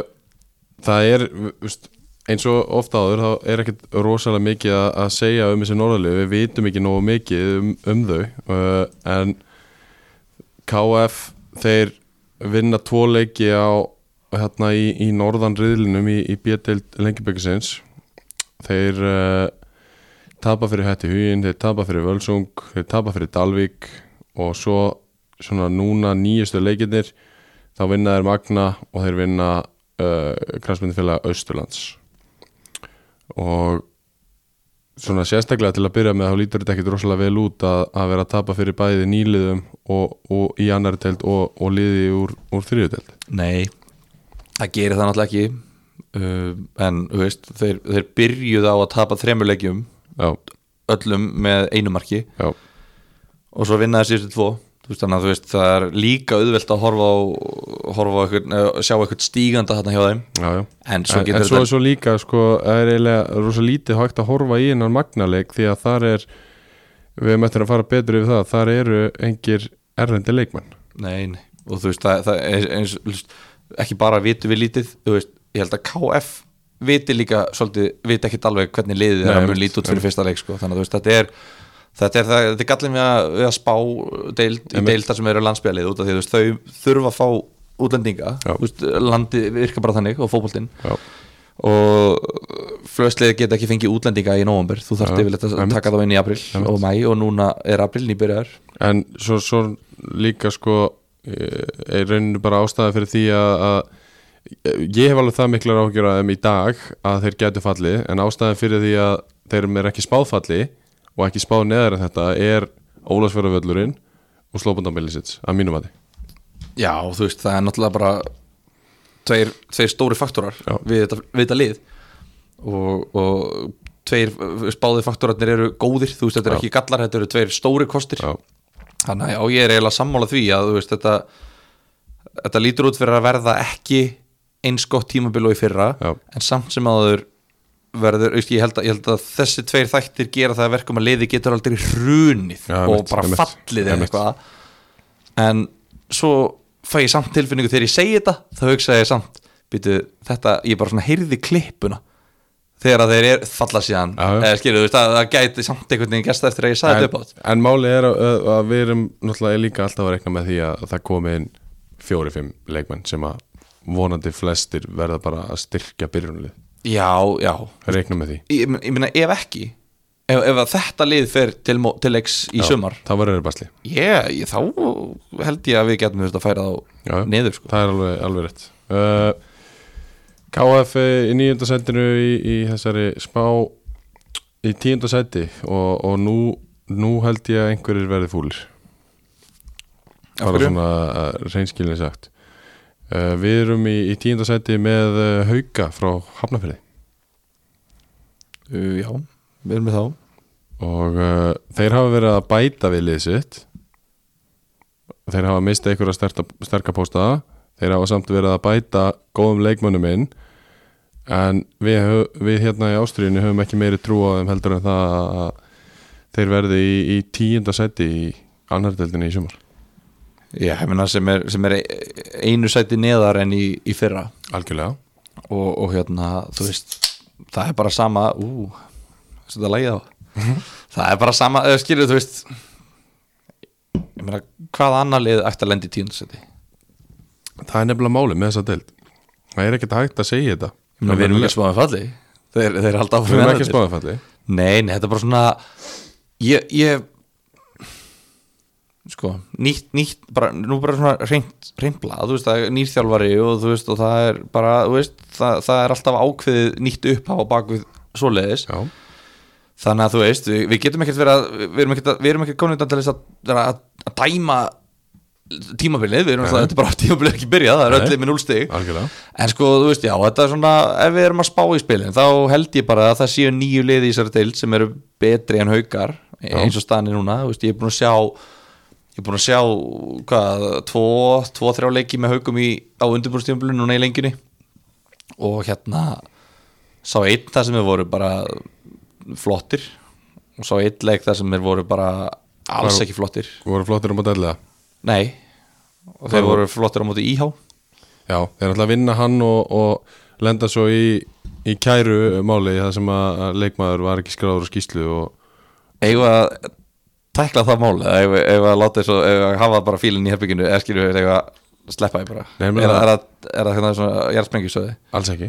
S1: Það er, veist, eins og ofta áður þá er ekkert rosalega mikið að, að segja um þessi norðalegu, við vitum ekki nógu mikið um, um þau uh, en KF þeir vinna tvo leiki á hérna í, í norðan riðlinum í, í B-deild lengjubökkusins þeir uh, tapa fyrir hætti hugin, þeir tapa fyrir Völsung þeir tapa fyrir Dalvík og svo svona núna nýjustu leikinir þá vinna þeir Magna og þeir vinna uh, kransmyndifélag Austurlands og svona sérstaklega til að byrja með þá lítur þetta ekkit rosalega vel út að, að vera að tapa fyrir bæði nýliðum og, og í annar telt og, og liði úr, úr þriðutelt
S2: Nei, það gerir það náttúrulega ekki uh, en þú veist þeir, þeir byrjuð á að tapa þremulegjum
S1: já,
S2: öllum með einu marki
S1: já,
S2: og svo vinnaði síðustu tvo Þú veist, þannig að þú veist, það er líka auðvelt að horfa á, horfa á einhvern, eh, sjá eitthvað stíganda þarna hjá þeim
S1: já, já.
S2: en svo
S1: en,
S2: getur
S1: en svo,
S2: þetta
S1: svo líka sko, er eiginlega rosa lítið hægt að horfa í hennar magnaleik því að þar er við möttum að fara betur yfir það þar eru engir erlendi leikmenn
S2: Nei, nei, og þú veist, það, það er eins, þú veist, ekki bara vitum við lítið þú veist, ég held að KF viti líka, svolítið, viti ekkit alveg hvernig liðið
S1: Nei,
S2: er að
S1: einmitt,
S2: mun lítið út fyrir fyrsta leik sko. þannig að þú veist, þetta er þetta er, það, þetta er gallin við að, við að spá deild, í
S1: Einmitt.
S2: deildar sem eru landsbyrjalið út af því að þú veist, þau þurfa að fá útlendinga
S1: Já.
S2: Þú veist, landið virka bara þannig og fótboltinn
S1: já,
S2: og flöstlið geta ekki fengið útlendinga í nóvambur, þú þarft
S1: Já,
S2: yfirleitt að
S1: einmitt.
S2: taka þá inn í april og mæ og núna er april nýbyrjar
S1: en svo, svo líka sko eh, er rauninu bara ástæði fyrir því að, að ég hef alveg það miklar áhyggjur af þeim í dag að þeir getu fallið en ástæðan fyrir því að þeir eru ekki spáfalli og ekki spáð neðar en þetta er Ólasfjörðavöllurinn og Slóbundambilisits að mínum að
S2: Já, þú veist, það er náttúrulega bara tveir, tveir stóri faktorar
S1: Já.
S2: við þetta, við þetta lið og, og tveir spáði faktorarnir eru góðir þú veist, þetta
S1: Já.
S2: eru ekki gallar, þetta eru tveir stóri kostir
S1: já,
S2: þannig að já, ég er eiginlega sammála því að þú veist, þetta þetta lítur út fyrir að verða ekki eins gott tímabil og í fyrra
S1: Já.
S2: en samt sem áður verður, þú veist, ég, held að, ég held að þessi tveir þættir gera það að verkum að liði getur aldrei hrunið
S1: Já,
S2: og
S1: einmitt,
S2: bara
S1: einmitt,
S2: fallið eða
S1: einmitt.
S2: eitthvað en svo fæ ég samt tilfinningu þegar ég segi þetta þá hugsa ég samt, býtu, þetta ég bara svona heyrði klippuna þegar að þeir er, falla síðan
S1: Já, já.
S2: eða skilur, þú veist, að það gæti samt einhvern veginn gesta eftir að ég sagði þetta upp átt
S1: en, en málið er að, að- að við erum náttúrulega líka alltaf að rekna með því að það komi inn fjóri-fimm leikmenn sem að vonandi flestir verða bara að styrkja byrjunlið,
S2: Já, já,
S1: rekna með því
S2: ég, ég meina ef ekki ef, ef að þetta lið fer til, mó- til leiks í
S1: Já,
S2: sumar
S1: það verður basli,
S2: yeah, ég, þá held ég að við getum þetta að færa þá
S1: Já, já.
S2: niður sko.
S1: það er alveg, alveg rétt uh, KF er í nýjöndasættinu í, í þessari spá í tíundasætti og, og nú, nú held ég að einhverjir verði fúlir
S2: Af
S1: bara
S2: hverju?
S1: svona uh, reynskilin sagt uh, við erum í, í tíundasætti með uh, Hauka frá Hafnafyrði
S2: Uh, Já, við erum við þá
S1: og uh, þeir hafa verið að bæta við liðið sitt þeir hafa mistað einhverja sterta, sterka pósta þeir hafa samt verið að bæta góðum leikmönnum inn en við, hö- við hérna í Ástriðinu höfum ekki meiri trú á þeim heldur en það að þeir verði í, í tíunda seti í annardeldinu í sumar
S2: Já, ég meina sem er, sem er e, einu sæti neðar en í, í fyrra
S1: algjörlega
S2: og, og hérna, þú veist það er bara sama ú, þessu þetta lægið á Mhm. það er bara sama, eða skilur þú veist ég meina hvað annar lið ætti að lenda í tíundsæti
S1: það er nefnilega máli með þessa deld það er ekkert hægt að segja þetta
S2: Ná, við erum ekki að um spáðum falli þeir, þeir halda áfram
S1: við erum
S2: með
S1: ekki
S2: þetta.
S1: spáðanfalli
S2: Nei, nei, þetta er bara svona ég, ég sko, nýtt, nýtt bara, nú bara svona reynt, reyntbla þú veist, það er nýr þjálfari og þú veist og það er bara, þú veist, það, það er alltaf ákveðið nýtt upphá á bakvið svoleiðis,
S1: já,
S2: þannig að þú veist við, við getum ekkert verið að, við erum ekkert að- við erum ekkert komin þetta til þess að, vera að, að dæma tímabilið, við erum alltaf, þetta er bara tímabilið ekki byrjað, það er
S1: Nei.
S2: öll með núlstig
S1: algjörlega
S2: En sko, þú veist, já, þetta er svona ef við erum að spá í spilin, þá held ég bara að það séu nýju liði í þessari deild sem eru betri en haukar, eins og staðan er núna þú veist, ég er búin að sjá ég er búin að sjá, hvað, tvo tvo, þrjá leiki með haukum í, á undirbúrstjöfnblun núna í lengjunni og hérna sá einn það sem við voru bara flottir og sá einn leik það sem við voru bara alls
S1: Hvar-
S2: ekki flottir,
S1: voru flottir um að delda
S2: nei og þeir voru flottir á móti íhá
S1: Já, þeir ætla að vinna hann og, og lenda svo í, í kæru máli það sem að að leikmaður var ekki skráður á skýslu og
S2: eigum við að tækla það mál eða eigum við- eigum við að láta þessu eigum við að hafa bara fílinn í herbygginu eða skilju við eigum við að sleppa því bara
S1: Nei, ég meina-
S2: er, það- er, það- er það hérna svona jarðsprengjusöði
S1: alls ekki.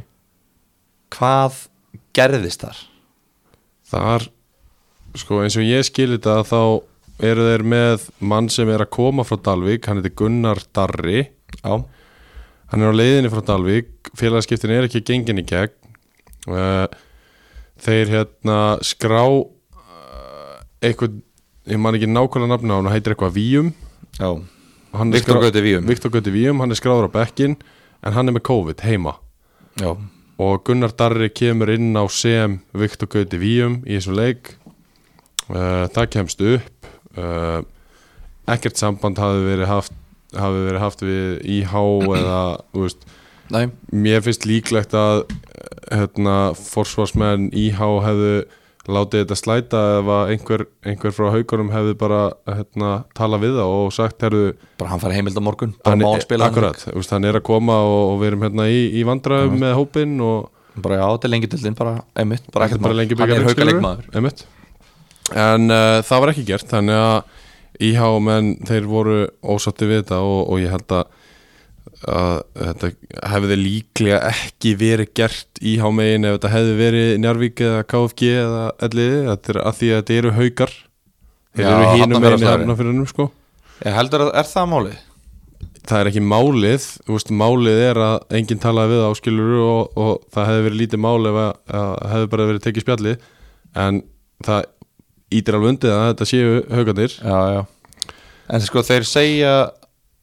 S2: hvað gerðist þar?
S1: Þar, sko eins og ég skil þetta þá eru þeir með mann sem er að koma frá Dalvík, hann heitir Gunnar Darri,
S2: Já,
S1: hann er á leiðinni frá Dalvík, félagaskiptin er ekki gengin í gegn. Eh, Þeir hérna skrá eh, eitthvað, ég man ekki nákvæmlega nafna á hann, hann heitir eitthvað Víum.
S2: já.
S1: Hann er
S2: Viktor
S1: skrá-
S2: Gauti Víum
S1: Viktor Gauti Víum, hann er skráður á bekkin en hann er með COVID heima
S2: já.
S1: og Gunnar Darri kemur inn á sem Viktor Eh, Gauti Víum í þessum leik uh, það kemst upp uh, ekkert samband hafi verið haft hafi verið haft við IH eða, þú veist,
S2: Nei,
S1: mér finnst líklegt að hérna, forsvarsmenn IH hefðu látið þetta slæta ef að einhver, einhver frá haugunum hefðu bara hérna, tala við það og sagt herðu,
S2: bara hann fari heimild á morgun bara
S1: hann,
S2: má hann spila hann
S1: akkurat, úst, hann er að koma og, og við erum hérna í, í vandræðum með hópinn og
S2: bara já, þetta er lengi dildin, bara einmitt bara
S1: Þetta
S2: ekkert
S1: er bara
S2: mál.
S1: lengi
S2: hann er
S1: bikarinn, skilurðu?
S2: haukaleikmaður
S1: Einmitt. en uh, það var ekki gert þannig að IH menn þeir voru ósatti við þetta og, og ég held að, að þetta hefði líklega ekki verið gert IH megin ef þetta hefði verið Njarvík eða KFG eða elliði, þetta er að því að þetta eru haukar þeir
S2: Já,
S1: eru hínum megin
S2: Hafnarfjarðar.
S1: hafnafyrinum sko
S2: ég heldur að er það máli
S1: það er ekki málið þú veist, málið er að enginn talaði við áskilur og, og það hefði verið lítið mál ef að, að hefði bara verið tekið spjalli en það ítir alveg undið að þetta séu haugandir
S2: já, já. en sko þeir segja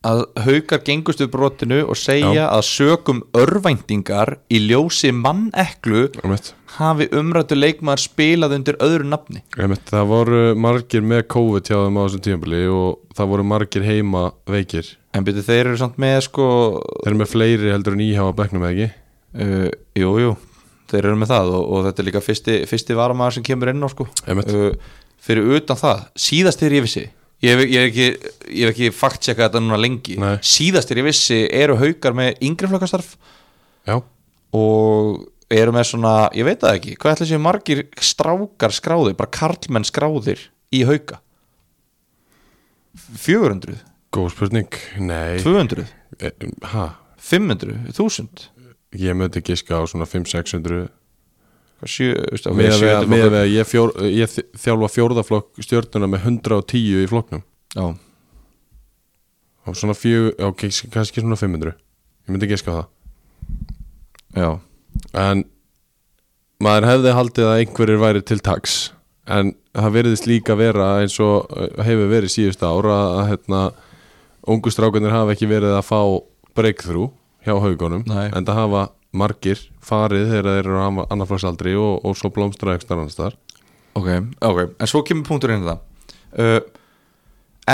S2: að haukar gengust við brotinu og segja
S1: Já.
S2: að sökum örvæntingar í ljósi manneklu
S1: einmitt,
S2: hafi umrættu leikmaður spilað undir öðru nafni
S1: einmitt, það voru margir með COVID hjá þeim á þessum tímabili og það voru margir heima veikir
S2: en byrju þeir eru samt með sko
S1: þeir eru með fleiri heldur en íhá að bekknum eða ekki
S2: uh, jú, jú, þeir eru með það og, og þetta er líka fyrsti, fyrsti varamaður sem kemur inn á sko
S1: Einmitt.
S2: uh, fyrir utan það, síðast þegar ég vissi ég hef, ég hef ekki, ég hef ekki faktsekað þetta núna lengi,
S1: Nei.
S2: síðast þegar ég vissi eru haukar með yngri flokkastarf
S1: já,
S2: og eru með svona, ég veit það ekki hvað ætla séu margir strákar skráðir bara karlmenn skráðir í hauka 400
S1: góð spurning nei,
S2: 200,
S1: e, ha,
S2: 500, 1000
S1: ég mötti giska á svona 5-600
S2: hvað sjö, veist, ok,
S1: með
S2: sjö-
S1: að, með að ég, fjór, ég þj- þjálfa fjórðaflokk stjórnuna með 110 í flokknum
S2: Já,
S1: og svona fjög, ok, s- kannski svona 500 ég myndi ekki ská
S2: já,
S1: það en maður hefði haldið að einhverjir væri til taks en það verðist líka vera eins og eh, hefur verið síðust ára að hérna, ungu strákunir hafa ekki verið að fá breakthrough hjá haugunum
S2: Nei.
S1: en það hafa margir farið þegar þeir eru á annarflagsaldri og, og svo blómstra ekstra annars þar
S2: ok, ok En svo kemur punkturinn í það uh,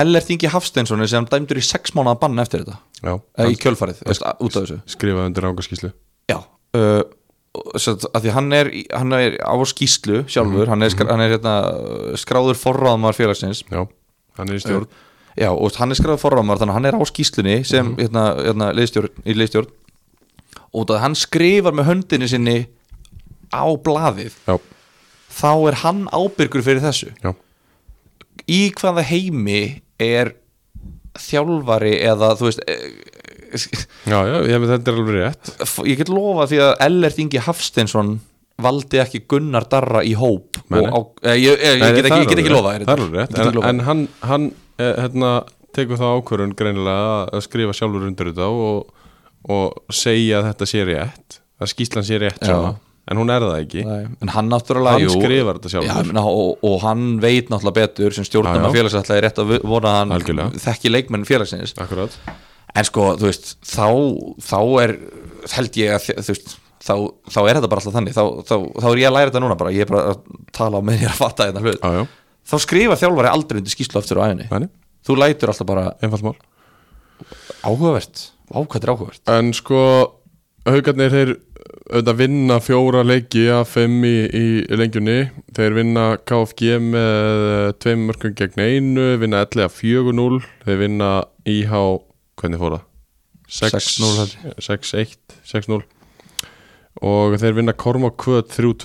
S2: Eller Þingi Hafsteinsson er sem dæmdur í sex mánuða bann eftir þetta
S1: Já,
S2: eh,
S1: hann
S2: Í kjölfarið, veist, að- út af þessu
S1: skrifaði undir ángaskíslu
S2: Já uh, satt, að Því hann er, í- hann er á skýslu sjálfur Hann er, skra, hann er hérna, uh, skráður forráðumar félagsins
S1: Já, hann er í stjórn
S2: Já, og hann er skráður forráðumar Þannig að hann er á skýslunni sem hérna, hérna, leiðstjórn, í leiðstjórn Út af að hann skrifar með höndinu sinni á blaðið
S1: Já,
S2: þá er hann ábyrgur fyrir þessu
S1: já,
S2: í hvaða heimi er þjálfari eða þú veist eh,
S1: já, já ég með þetta er alveg rétt
S2: f- ég get lofa því að Ellert Ingi Hafsteinsson valdi ekki Gunnar Darra í hóp
S1: Nei, nei.
S2: og á, eh, ég, ég, ég,
S1: Nei,
S2: get
S1: það
S2: ekki,
S1: er alveg
S2: ég get ekki lofa
S1: rétt, Það er alveg rétt, en, en hann, hann eh, hérna, tekur þá ákvörun greinilega að- að skrifa sjálfur undir þetta og, og segja að þetta sé rétt að skýslan sé rétt
S2: Já.
S1: svona en hún er það ekki
S2: en, en hann náttúrulega
S1: Hann
S2: jú,
S1: skrifar þetta sjálfur.
S2: já, ég meina, og, og hann veit náttúrulega betur sem stjórnum
S1: Já,
S2: að
S1: já.
S2: félags ætlaði rétt að vona að hann
S1: Algjörlega.
S2: þekki leikmenn félagsins
S1: Akkurat
S2: en sko, þú veist, þá þá er, held ég að þú veist, þá, þá er þetta bara alltaf þannig þá, þá, þá er ég að læra þetta núna bara ég er bara að tala á með ég að fatta þetta hlut
S1: Já, já,
S2: þá skrifa þjálfari aldrei undir skýslu aftur á æfinni
S1: þannig,
S2: þú lætur alltaf bara
S1: einfalt mál
S2: áhugavert ákvæmt er áhugavert
S1: En sko, haugarnir þeir auðvitað vinna fjóra leiki af fimm í, í lengjunni þeir vinna KFG með eh, tveim mörgum gegn einu vinna E 11 4-0 þeir vinna IH, hvernig fór það? 6-0 held ég. 6-1, 6-0 og þeir vinna Korma Kvöt 3-2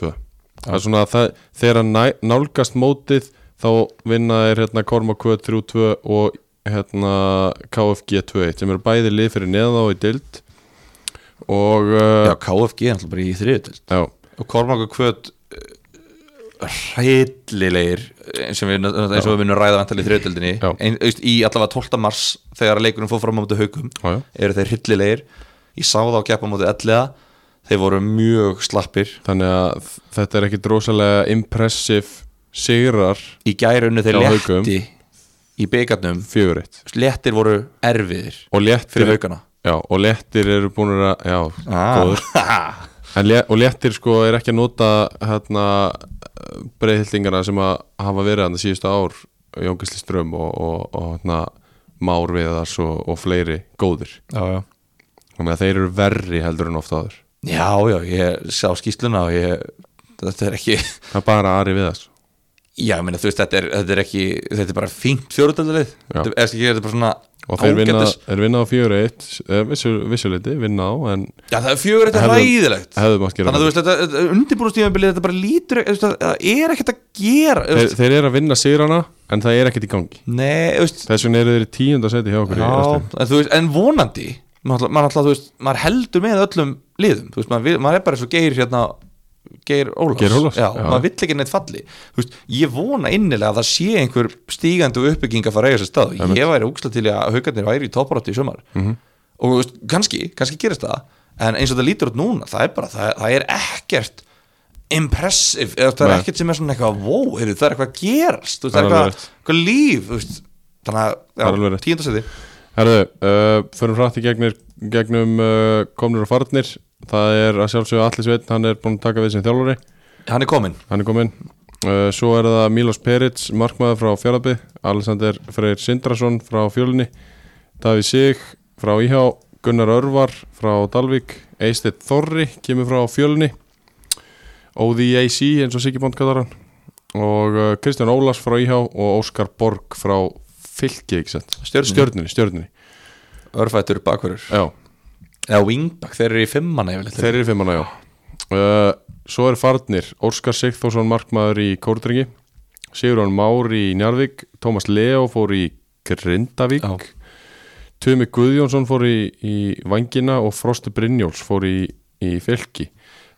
S1: það er svona að það, þegar að næ, nálgast mótið þá vinna þeir hérna Korma Kvöt 3-2 og hérna KFG 2-1 sem eru bæði lið fyrir neðan þá í dild og uh,
S2: já, KFG er alltaf bara í þriðutild
S1: já,
S2: og Kormakur Kvöt hreitlilegir eh, eins og við eins og við munum ræða vantalið í þriðutildinni
S1: Já.
S2: Ein- þú veist, í allavega 12. mars þegar leikunum fór fram á mútu haugum
S1: já, já.
S2: eru þeir hryllilegir ég sá það á keppa mótið ellega þeir voru mjög slappir
S1: þannig að þetta er ekkit rosalega impressive sigrar
S2: í gærunni þeir
S1: Já,
S2: létti
S1: Haukum.
S2: í byggarnum
S1: fjöguritt
S2: léttir voru erfiðir
S1: og léttir,
S2: fyrir haugana
S1: já, og léttir eru búin að já, góður
S2: ah.
S1: En lé, og léttir sko er ekki að nota hérna, breyðhildingarna sem að hafa verið hann síðustu ár Jón Gísli Ström og, og, og hérna, Már Viðars og, og fleiri góðir
S2: já, já
S1: þannig að þeir eru verri heldur en ofta áður
S2: Já, já, ég sá skýsluna og ég þetta er ekki,
S1: það er bara Ari Viðars
S2: já, ég meina þú veist þetta er, þetta er ekki, þetta er bara fínt fjóruðaldalið,
S1: Já.
S2: þetta er ekki, þetta er bara svona
S1: og þeir vinna,
S2: ágætis-
S1: er vinna á 4-1 vissu, vissuleiti, vinna á en
S2: Já, það er fjögur, þetta er
S1: Hefðu-
S2: ræðilegt
S1: hefðu mátt gera
S2: Þannig að þú veist, þetta- þetta undirbúrustíðanbilið, þetta bara lítur þú veist, það það er ekkert að gera þú
S1: þeir,
S2: veist.
S1: þeir eru að vinna sýrana en það er ekkert í gangi
S2: Nei, þú veist
S1: þess vegna eru þeir í tíunda seti hjá okkur í
S2: Já,
S1: efstu.
S2: en, þú veist, en vonandi maður alltaf, maður, alltaf, þú veist, maður heldur með öllum liðum, þú veist, maður, vil- maður er bara eins og geir hérna, geir Ólafs,
S1: Geir Ólafs,
S2: já,
S1: já.
S2: maður vill ekki neitt falli þú veist, ég vona innilega að það sé einhver stígandi og uppbygging að fara að eiga sér stað ég væri úksla til í að haugarnir væri í topparáttu í sumar
S1: Mhm.
S2: -hmm. og þú veist, kannski, kannski gerist það en eins og það lítur út núna, það er bara það, það er ekkert impressive, eða það er
S1: Nei.
S2: ekkert sem er svona eitthvað wow, heyrðu, það er eitthvað að gerast þú veist, það
S1: Það er
S2: er
S1: alveg
S2: eitthvað, eitthvað líf þú veist, þannig
S1: Það er alveg
S2: að, já,
S1: rétt.
S2: tíundasetti
S1: Herðu, uh, förum hrætt í gegnir, gegnum uh, komnur og farnir það er að sjálfsögja Alli Sveinn hann er búin að taka við sem þjálfari
S2: hann er komin
S1: hann er kominn uh, svo er það Milos Perits, markmaður frá Fjallabbi Alexander Freyr Sindrason frá Fjölni Davíð Sig frá Íhá, Gunnar Örvar frá Dalvík, Eistit Þorri kemur frá Fjölni Óði AC eins og Siggi Bond kallar hann og uh, Kristján Ólars frá Íhá og Óskar Borg frá Fylki, ekki sett?
S2: Stjörnunni.
S1: Stjörnunni, stjörnunni.
S2: Mm. örfættur bakverður
S1: Já,
S2: eða wingback, þeir eru í fimmana yfirleitt
S1: þeir eru fimmana, já uh, Svo er farnir Óskar Sigþórsson markmaður í Kórdringi Sigurðan Már í Njarvík Tómas Leo fór í Grindavík
S2: Já.
S1: Tumi Guðjónsson fór í, í Vangina og Frosti Brynjóls fór í, í Fylki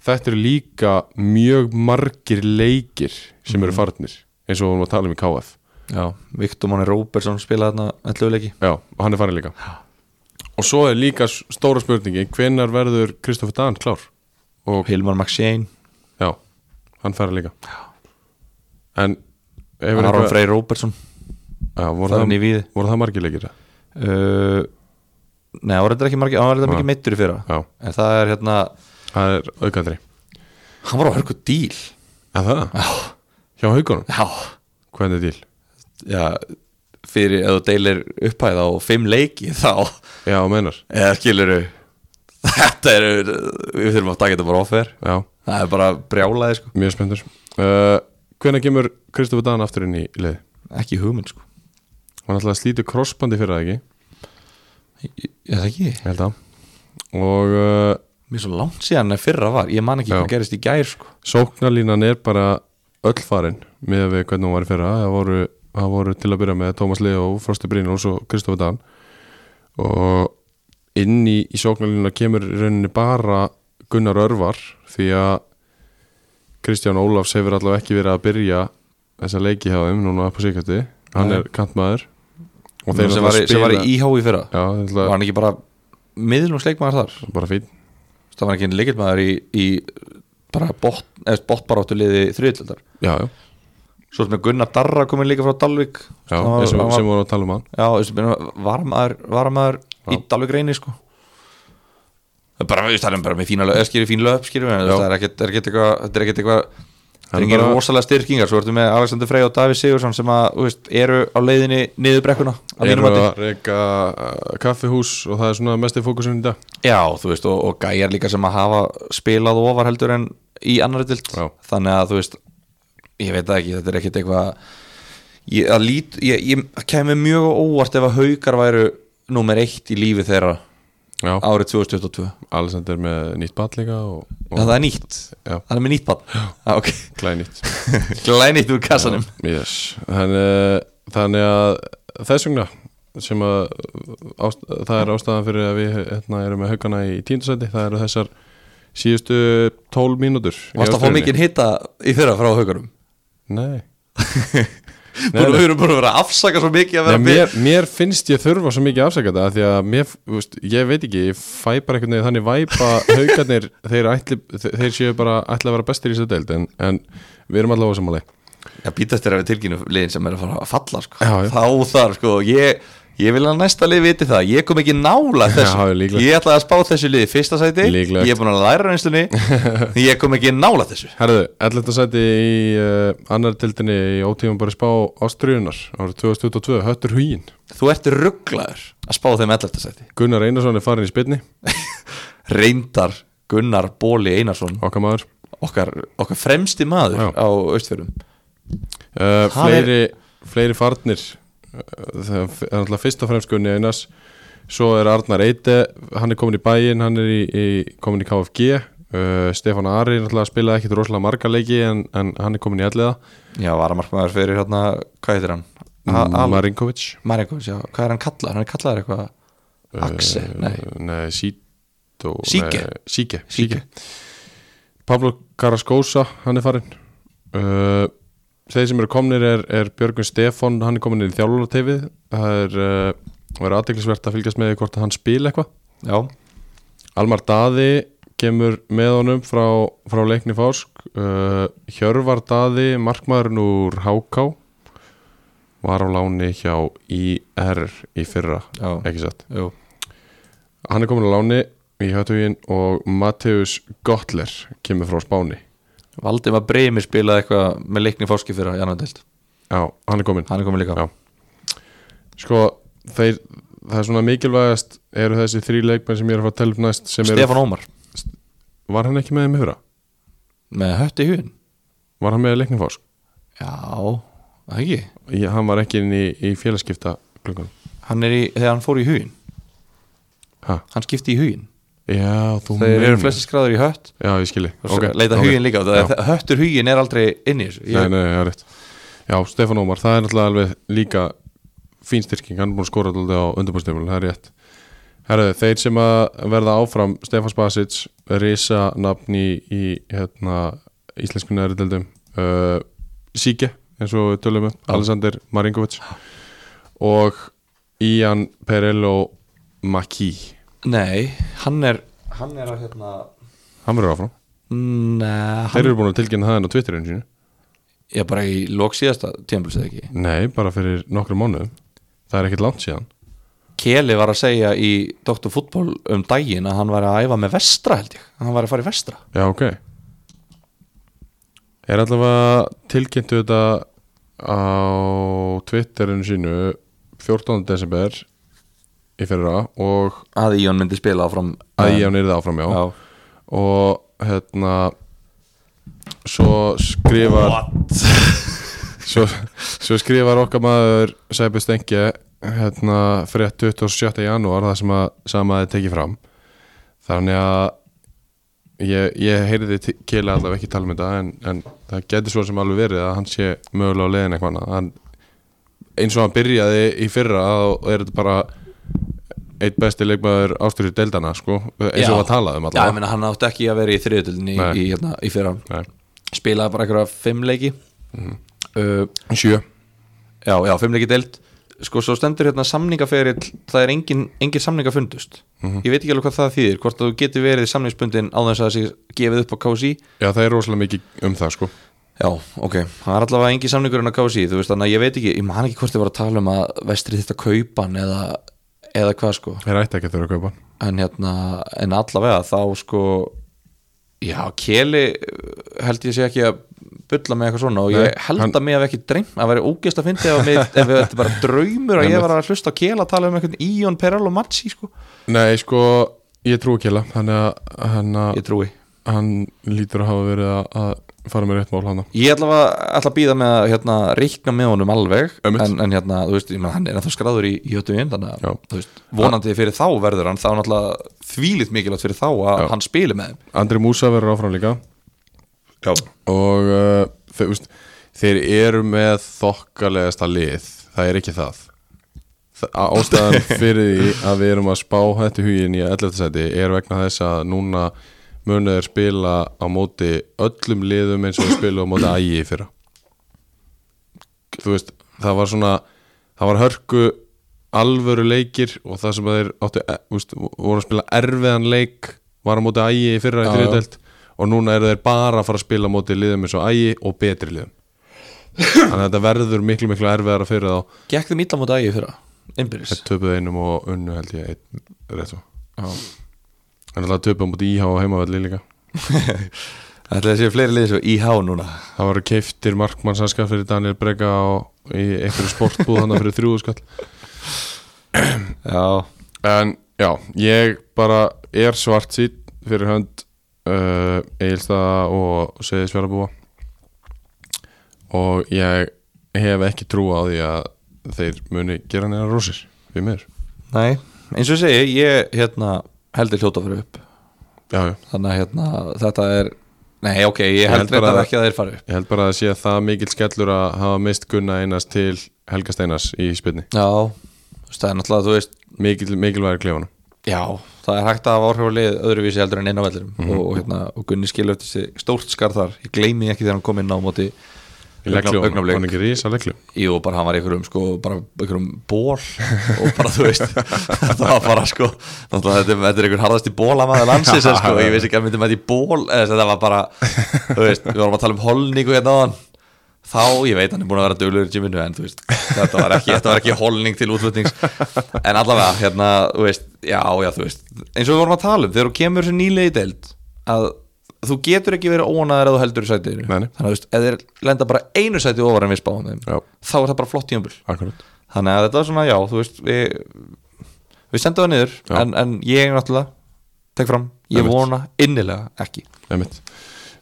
S1: Þetta eru líka mjög margir leikir sem eru farnir eins og við vorum að tala um í KF
S2: já, Viktor Máni Róbersson spilaði þarna ætluleiki
S1: Já, og hann er farin líka Og svo er líka s- stóra spurningi hvenar verður Kristoffer Dan klár? Og
S2: og Hilmar Maxein,
S1: Já, hann færa líka En hefur
S2: Aron
S1: eitthvað-
S2: Frey Róbersson
S1: Já, voru
S2: það er hann í
S1: það,
S2: víði
S1: voru það margilegir
S2: uh, nei, hann var þetta ekki margir hann var þetta mikið meittur í fyrra
S1: Já,
S2: en það er hérna,
S1: það er aukandri
S2: hann var á hörku díl
S1: En það? Já Hjá haugunum,
S2: já,
S1: hvernig er til?
S2: já fyrir ef þú deilir upphæða á fimm leiki þá,
S1: Já, meinar
S2: eða skilur þetta eru við þurfum að taka þetta bara offer
S1: Já,
S2: það er bara brjálaði sko,
S1: mjög spenntur uh, Hvenær kemur Kristofur Dan aftur inn í lið?
S2: ekki hugmynd sko
S1: Hann ætlaði að slíti krossbandi fyrir það ekki
S2: ég, ég, það ekki
S1: Ég held að Og uh,
S2: Mér er svo langt síðan að fyrra var Ég man ekki
S1: Já.
S2: hvað gerist í gær sko.
S1: sóknarlínan er bara öll farin með við hvernig hún var í fyrra það voru, það voru til að byrja með Tómas Leo, Frosti Brynjóls og Kristofur Dan og inn í, í sóknarlínuna kemur í rauninni bara Gunnar Örvar því að Kristján Ólafs hefur allavega ekki verið að byrja þessa leiki hjá þeim núna på síkvæsti hann
S2: Nei.
S1: er kantmaður og
S2: sem, var, í- sem var í IH í fyrra
S1: já, þeir
S2: Var
S1: ætla,
S2: hann ekki bara miðlum sleikmaður þar
S1: bara fín
S2: Það var ekki leikilmaður í, í bara bótt, bóttbaráttu liði þriðlöldar
S1: já, já,
S2: Svo sem er Gunnar Darra komin líka frá Dalvik
S1: já,
S2: Hann var,
S1: eins og
S2: hann
S1: sem voru að tala um hann
S2: var, já, sem, var, maður, var maður í
S1: Já.
S2: Dalvik reyni sko Það er bara, veist, það er bara með fína lög skýri, fín lög skýri, en,
S1: Já.
S2: það er ekkert er ekkert eitthvað þetta er ekkert eitthvað það
S1: Hann
S2: er engin
S1: bara-
S2: rosalega styrkingar, svo ertu með Alexander Frey og Davíð Sigursson sem að, þú veist, eru á leiðinni niður brekkuna að
S1: er
S2: mínum mati.
S1: að reyka kaffihús og það er svona mest í fókusun í dag
S2: Já, þú veist, og, og gæjar líka sem að hafa spilað ofar heldur en í annari dild
S1: Já.
S2: þannig að þú veist ég veit það ekki, þetta er ekkert eitthvað ég, að lít, ég, ég kemur mjög á óvart ef að haukar væru númer eitt í lífi þeirra
S1: Já,
S2: árið 2022
S1: Alexander með nýtt bat líka og, og
S2: Já, það er nýtt,
S1: Já.
S2: það er með nýtt bann ah, okay.
S1: glænýtt
S2: glænýtt úr kassanum
S1: yes. þannig, uh, þannig að þess vegna sem að uh, ást, það er ástæðan fyrir að við hérna, erum með haugana í tíndasæti það eru þessar síðustu tól mínútur í
S2: Varst að fá
S1: Ástralíu.
S2: mikinn hitta í fyrra frá haukarum
S1: Nei, Nei,
S2: Þú
S1: nei.
S2: eru bara að vera að afsaka svo mikið
S1: Nei
S2: að vera
S1: mér, mér finnst ég þurfa svo mikið afsakað það því að mér, þú veist, ég veit ekki ég fæ bara einhvern veginn þannig væpa haugarnir þeir, ætli, þeir séu bara ætla að vera bestir í þessu deild en, en við erum allavega samanlega
S2: Já, býtast þér að við tilkynum liðin sem er að fara að falla sko.
S1: Já, já.
S2: þá þar sko, ég, Ég vil að næsta lið viti það, ég kom ekki nála
S1: Já,
S2: þessu
S1: líklegt.
S2: Ég ætlaði að spá þessu liði í fyrsta sæti
S1: Líklegt.
S2: Ég er búin að læra reynslunni Ég kom ekki nála þessu
S1: Herðu, 11. sæti í uh, annar tildinni í ótífum bara spá Ástriðunar árið 2022, Höttur Huyin
S2: Þú ert rugglaður að spá þeim 11. sæti
S1: Gunnar Einarsson er farin í spilni,
S2: Reyndar Gunnar Bóli Einarsson
S1: okkar maður
S2: Okkar, okkar fremsti maður
S1: Já.
S2: á Östfjörðum
S1: uh,
S2: Það er-
S1: fleiri, fleiri farnir uh, það er það er náttúrulega fyrst og fremst Gunni Einars svo er Arnar Eite, hann er komin í bæinn hann er í, í, komin í KFG uh, Stefán Ari náttúrulega spilaði ekkit rosalega marga leiki en, en hann er komin í alliða
S2: Já, varamarkmaður fyrir hérna, hvað heitir hann?
S1: Mm.
S2: Ha- Al-
S1: Marinkovic
S2: Marinkovic, já, hvað er hann kallar? Hann er kallar eitthvað
S1: Eh,
S2: Axel, nei,
S1: Uh, Nei, Sító
S2: Síke.
S1: nei, Síke,
S2: Síke.
S1: Síke. Pablo Karaskósa, hann er farinn uh, Þeir sem eru komnir er, er Björgun Stefán, hann er komin inn í þjálfurartefið Það er uh, verið aðdeglisvert að fylgjast með því hvort að hann spila eitthvað
S2: Já,
S1: Almar Daði kemur með honum frá, frá leikni Fásk uh, Hjörvar Daði, markmaðurinn úr Háká var á láni hjá IR í fyrra,
S2: já,
S1: ekki satt
S2: jú
S1: Hann er komin á láni í hötugin og Matthews Gottler kemur frá Spáni.
S2: Valdimar Breimi spilaði eitthvað með leikni fórski fyrir að Janandelt
S1: Já, hann er komin.
S2: Hann er komið líka
S1: Já. Sko, þeir, það er svona mikilvægast eru þessi þrý leikmenn sem ég er að fara að tella upp næst sem eru,
S2: Stefán Ómar
S1: var hann ekki með þeim yfirra?
S2: með hött í hugin
S1: Var hann með leikningfásk?
S2: Já, það ekki
S1: Ég, hann var ekki inn í, í félagskipta klukkan.
S2: Hann er í, þegar hann fór í hugin
S1: Ha?
S2: Hann skipti í hugin
S1: Já, þú
S2: Þeir eru
S1: meinar.
S2: flesti skráður í hött
S1: Já, ég skilji.
S2: og okay. leita okay. hugin líka á
S1: Já.
S2: það. Höttur hugin er aldrei inn í þessu
S1: Nei,
S2: Ég,
S1: nei, það er rétt. Já, Stefán Ómar, það er náttúrulega alveg líka fín styrking, hann er búin að skora alltaf á undirbúrstiflun, það er rétt. Herðu, þeir sem að verða áfram, Stefán Spasic, risa nafn í, í hérna, íslensku næriðeldum, uh, Síke, eins og við tölum um, Alexander Marinkovic og Ian Perello Maki,
S2: nei hann er Hann er að hérna
S1: hann verður áfram.
S2: Nei,
S1: Þeir
S2: hann
S1: eru búin að tilkynna það en á Twitterinu sínu.
S2: Ég bara í lók síðasta tímpuls eða ekki
S1: Nei, bara fyrir nokkrum mánuðum. Það er ekkert langt síðan.
S2: Keli var að segja í Dr. Fútbol um daginn að hann var að æfa með vestra held ég Hann var að fara í vestra
S1: Já, ok Er allavega tilkynntu þetta á Twitterinu sínu 14. desember í fyrra og
S2: að Íon myndi spila áfram
S1: að ég hann yrði áfram já,
S2: Já.
S1: og hérna svo skrifar svo, svo skrifar okkar maður Sæpi Stengje hérna frétt 27. janúar það sem að samaði tekið fram þannig að ég, ég heyrði til- Kela allavega ekki tala um þetta en, en það getur svo sem alveg verið að hann sé mögulega á leiðin eitthvað annað. hann, eins og hann byrjaði í fyrra þá er þetta bara eitt besti leikmaður ásturðu deildana sko, eins og
S2: Já.
S1: var talað um
S2: Já, ég
S1: allavega
S2: meina hann átti ekki að vera í þriðutöldinni
S1: Nei.
S2: í, hérna, í fyrra
S1: Nei.
S2: Spilaði bara einhverja fimm leiki uh,
S1: sjö
S2: Já, já, fimm leiki deild Sko, svo stendur hérna samningaferill Það er engin, engin samninga fundust Ég veit ekki alveg hvað það þýðir Hvort að þú getur verið samningsbundin á þess að það sé gefið upp á KSI
S1: Já, það er rosalega mikið um það sko
S2: Já, ok, það er allavega engin samningurinn á KSI Þú veist, þannig að ég veit ekki, ég man ekki hvort þið var að tala um að vestri þetta kaupan eða, eða hvað sko
S1: Þeir ætti ekki að þurfa að kaupa hann
S2: en hérna, en allavega þá sko já, Keli uh, held ég sé ekki að bulla með eitthvað svona og ég
S1: Nei,
S2: held
S1: hann-
S2: að mig hef ekki dreym að vera ógeist að fyndi ef að mig- ef þetta er bara draumur að ég var að hlusta á Kela að tala um einhvern Íon Perel og Matsi sko,
S1: Nei, sko, ég trúi ekki heila Þannig að hann, að-
S2: ég trúi
S1: hann lítur að hafa verið að, að fara með rétt mál hann
S2: ég ætla að, ætla að býða með að hérna, reikna með honum alveg
S1: Einmitt.
S2: en, en hérna, þú veist, ég menn, hann er ennþá skráður í, í höttu inn, þannig
S1: Já.
S2: að, þú veist, vonandi fyrir þá verður hann, þá er náttúrulega þvílitt mikilvægt fyrir þá að
S1: Já.
S2: hann spili með þeim
S1: Andri Músa verður áfram líka
S2: já,
S1: Og uh, þeir, veist, þeir eru með þokkalegasta lið Það er ekki það Þa- Ástæðan fyrir því að við erum að spá hættu hugin í 11. seti er vegna þess að núna munu þeir spila á móti öllum liðum eins og þeir spila á móti ægi í fyrra þú veist, það var svona það var hörku alvöru leikir og það sem að þeir áttu, e, úst, voru að spila erfiðan leik var á móti ægi í fyrra í
S2: Já, já.
S1: þriðdelt og núna eru þeir bara að fara að spila á móti liðum eins og ægi og betri liðum þannig að þetta verður miklu miklu erfiðara fyrir þá
S2: gekk þeim illa mútið ægi fyrra einbyrðis
S1: töpuð einum og unnu held ég einn, rétt svo
S2: Já.
S1: en alltaf töpuð mútið íhá og heimavalli líka
S2: Ætli það séu fleiri liðið svo IH núna
S1: það var keiftir markmannsanska fyrir Daniel Brega og í einhverju sportbúð hann fyrir þrjúðu skall
S2: Já,
S1: en já, ég bara er svart sítt fyrir hönd uh, Egilstaða og Seðisfjörðabúa og ég hef ekki trú á því að þeir muni gera neina rósir við mér
S2: nei, eins og ég segi ég hérna heldur hljóta að fara upp
S1: já, já.
S2: þannig að hérna þetta er nei ok, ég held
S1: held bara
S2: reyndar
S1: að-
S2: ekki að þeir fara upp
S1: ég held bara að sé að það mikill skellur að hafa mist Gunna Einars til Helga Steinars í spilni
S2: Já, þú veist það er náttúrulega þú veist,
S1: mikill, mikilvægur klefanum
S2: já, það er hægt að hafa áhrifalið öðruvísi heldur en inn á vellurum
S1: Mhm.
S2: og, og hérna, og Gunni skilur eftir sig stórt skar þar ég gleymi ekki þegar hann kom inn á móti
S1: í legkljóðum,
S2: Augnablik.
S1: hann er ekki rísa legkljóðum
S2: Jú, bara hann var í einhverjum sko, bara einhverjum ból og bara þú veist það var bara sko, náttúrulega þetta, er- þetta er einhver harðasti bólamaður landsins en, sko, ég veist ekki að myndi mæti í ból eða þetta var bara, þú veist, við vorum að tala um holningu hérna á hann, þá ég veit hann er búin að vera dölur í gyminu en þú veist þetta var ekki, þetta var ekki holning til útflutnings en allavega, hérna, þú veist já, já, þú veist, eins og við vorum að tala um þegar þú kemur þessu nýlega í deild að þú getur ekki verið óanaður að þú heldur í sætiðinu,
S1: Nei, nei.
S2: þannig að þú veist, eða þeir lenda bara einu sæti ofar en við spáum þeim
S1: já,
S2: þá er það bara flott tímabil
S1: akkurat
S2: þannig að þetta var svona, já, þú veist við, við sendum það niður
S1: Já.
S2: en, en ég náttúrulega, tek fram ég
S1: Einmitt.
S2: vona innilega ekki
S1: Einmitt.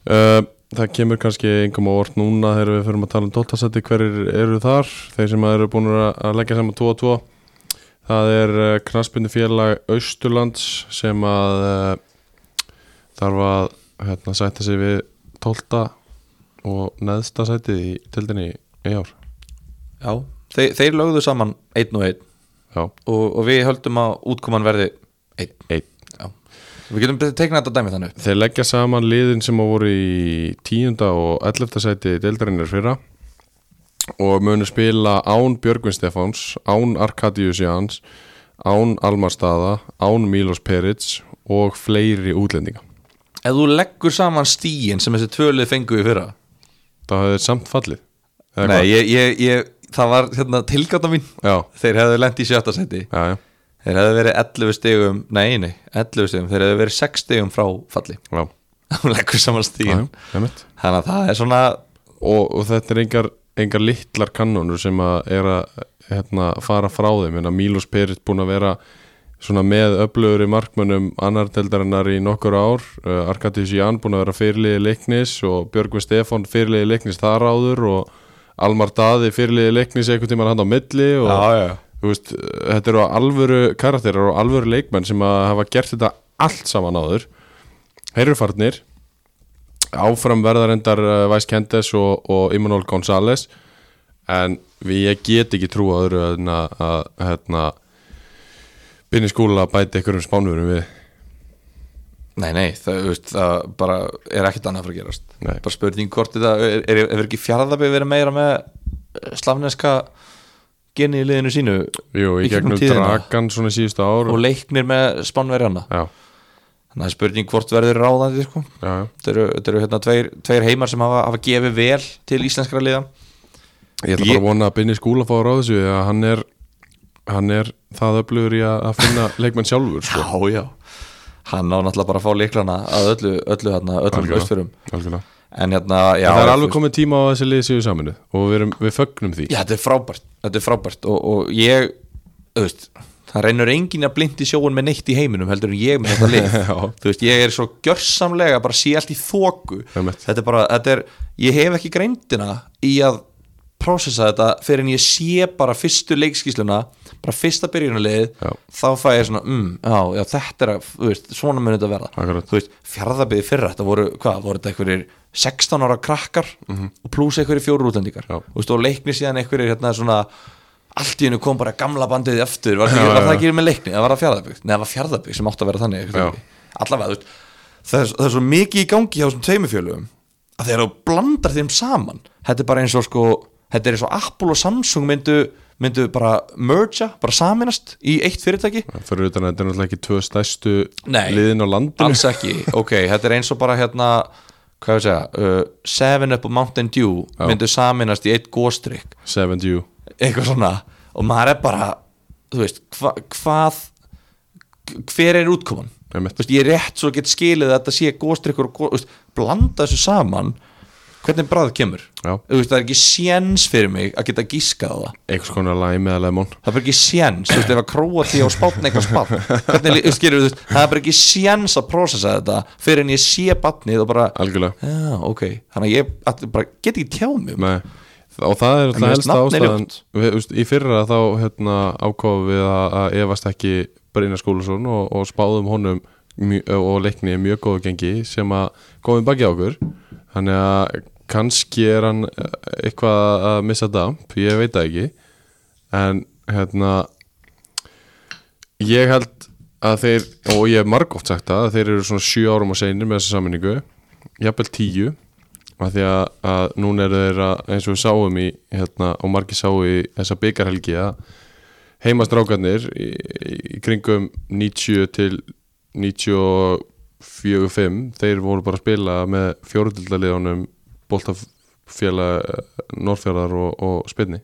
S1: Uh, það kemur kannski einhverjum á orð núna þegar við förum að tala um 12. seti hverjir eru þar, þeir sem eru búin að að leggja saman 2 og 2 það er uh, knaspindu félag Austurlands sem að uh, þarf að hérna, sætta sig við 12. og neðsta setið í tildinni í ár
S2: já. Þe, þeir lögðu saman einn og einn
S1: Já,
S2: og, og við höldum að útkoman verði einn
S1: einn
S2: já. við getum teiknað þetta dæmi þannig upp
S1: Þeir leggja saman liðin sem að voru í tíunda og 11. sæti deildarinnir fyrra og munu spila án Björgvin Stefáns, án Arkadius Jans, án Almarstaða, án Milos Perits og fleiri útlendinga.
S2: ef þú leggur saman stíin sem þessi tvölið fengu í fyrra
S1: Það hefði samt fallið. Eða
S2: nei,
S1: hvað?
S2: ég, ég, ég, það var hérna, tilgata mín
S1: Já,
S2: þeir hefðu lent í sjötta seti
S1: já, já.
S2: þeir hefðu verið 11 stigum, nei, nei 11 stigum, þeir hefðu verið 6 stigum frá falli
S1: já.
S2: hún leggur saman
S1: Já,
S2: stíðin
S1: já, einmitt.
S2: þannig að það er svona
S1: og, og þetta er engar, engar litlar kannonur sem að er að hérna, fara frá þeim en að Milos Perit búin að vera svona með öflugri markmönnum annarteldarinnar í nokkur ár uh, Arkadís Ján búin að vera fyrirliði leiknis og Björgvin Stefán fyrirliði leiknis þar áður og Almar Daði fyrirliði leiknis einhvern tímann hann á milli og
S2: já, já.
S1: þú veist, þetta eru alvöru karakterar og alvöru leikmenn sem að hafa gert þetta allt saman áður heyrjufarnir áfram verða reyndar uh, Væs Kendes og, og Immanuel González en við ég get ekki trú á öðru en að, að hérna Binni skúla bæti einhverjum spánverum við
S2: nei, nei, það, þú veist, það bara er ekkert annað fyrir að gerast
S1: Nei.
S2: bara spurning um hvort þetta er, er, er, er ekki fjárðabæði verið meira með eh, slavneska geni í liðinu sínu
S1: Jú, í
S2: Í gegnum
S1: gegnum
S2: tíðina.
S1: dragan svona síðustu ár
S2: og leiknir með spánverjana
S1: Já,
S2: þannig að það er spurning hvort verður ráðandi sko.
S1: já, já
S2: þetta eru, þetta eru hérna, tveir, tveir heimar sem hafa, hafa gefið vel til íslenskra liða
S1: Ég ætla bara að vona að Binni skúla fá ráð þessu því að hann er, hann er það öflugur í að að finna leikmenn sjálfur sko.
S2: já, já hann á náttúrulega bara að fá líklana að öllu, öllu, hérna, öllum
S1: Algjörlega.
S2: austfyrum
S1: Algjörlega
S2: en hérna, já,
S1: það er
S2: þú
S1: alveg
S2: veist-
S1: komið tíma á að þessi lið séu saminu og við, erum, við fögnum því
S2: Já, þetta er frábært, þetta er frábært og, og ég, þú veist það reynur engin að blindi sjóun með neitt í heiminum heldur en ég með þetta lið
S1: Já.
S2: þú veist, ég er svo gjörsamlega bara sé allt í þóku
S1: Einmitt.
S2: þetta er bara, þetta er, ég hef ekki greindina í að prósessa þetta fyrir en ég sé bara fyrstu leikskísluna bara fyrsta byrjunarlið
S1: Já.
S2: þá fæ ég svona, mm, já, já, þetta er að, þú veist, svona mun þetta verða
S1: Akkurat.
S2: þú veist, fjarðabíði fyrra, þetta voru, hvað, voru þetta einhverjir 16 ára krakkar og pluss einhverjir fjóru útlendingar
S1: Mhm. Já.
S2: Þú veist, og leikni síðan einhverjir hérna svona allt í hennu kom bara gamla bandið eftir var,
S1: Já,
S2: var það
S1: já.
S2: ekki með leikni, það var það fjarðabíð neða, það var fjarðabíð sem átti að vera þannig
S1: Já.
S2: einhvern veginn. allavega, þú veist það er, það er svo mikið í gangi hjá þessum tveimur fjölugum að þegar þú blandar þeim saman þetta er bara eins og sko þetta er eins og Apple og Samsung myndu myndu bara mergea, bara saminast í eitt fyrirtæki
S1: fyrir utan að þetta er náttúrulega ekki tvö stærstu
S2: Nei.
S1: liðin á landinu
S2: alls ekki, ok, þetta er eins og bara hérna hvað ég að segja, uh, Seven Up og Mountain Dew myndu saminast í eitt góstrykk
S1: 70
S2: eitthvað svona, og maður er bara þú veist, hva, hvað hver er útkoman
S1: Einmitt.
S2: veist, ég er rétt svo að get skilið að þetta sé góstrykkur og gó, þú veist, blanda þessu saman hvernig bræð kemur
S1: Já.
S2: Þú veist, það er ekki séns fyrir mig að geta gískað á það
S1: einhvers konar lime eða lemon
S2: það er bara ekki séns, þú veist, ef að króa því á spátn eitthvað spátn, hvernig lí- skilur þú veist, það er bara ekki séns að prósessa þetta fyrir en ég sé batnið og bara
S1: algjörlega
S2: já, ok, þannig að ég að, bara get ekki tjá mig um
S1: Nei. og það er
S2: mér
S1: það
S2: finnst
S1: helsta
S2: nafnið
S1: ástæðan
S2: ljótt.
S1: við, þú veist, í fyrra þá hérna, ákofum við að, að efast ekki Brynja Skúlason og, og spáðum honum mjö, og leikni mjög góðu gengi sem að komið baki á okkur þannig að kannski er hann eh, eitthvað að missa damp ég veit það ekki en hérna ég held að þeir og ég hef margótt sagt það að þeir eru svona 7 árum á seinir með þessa sammenningu jafnvel 10 af því að, að núna eru þeir að eins og við sáum í hérna, og margir sáu í þessa byggarhelgi að heimastrákarnir í, í kringum 90 til 94-5 þeir voru bara að spila með fjórutildaliðunum boltafélag Norrfjörðar og, og Spinni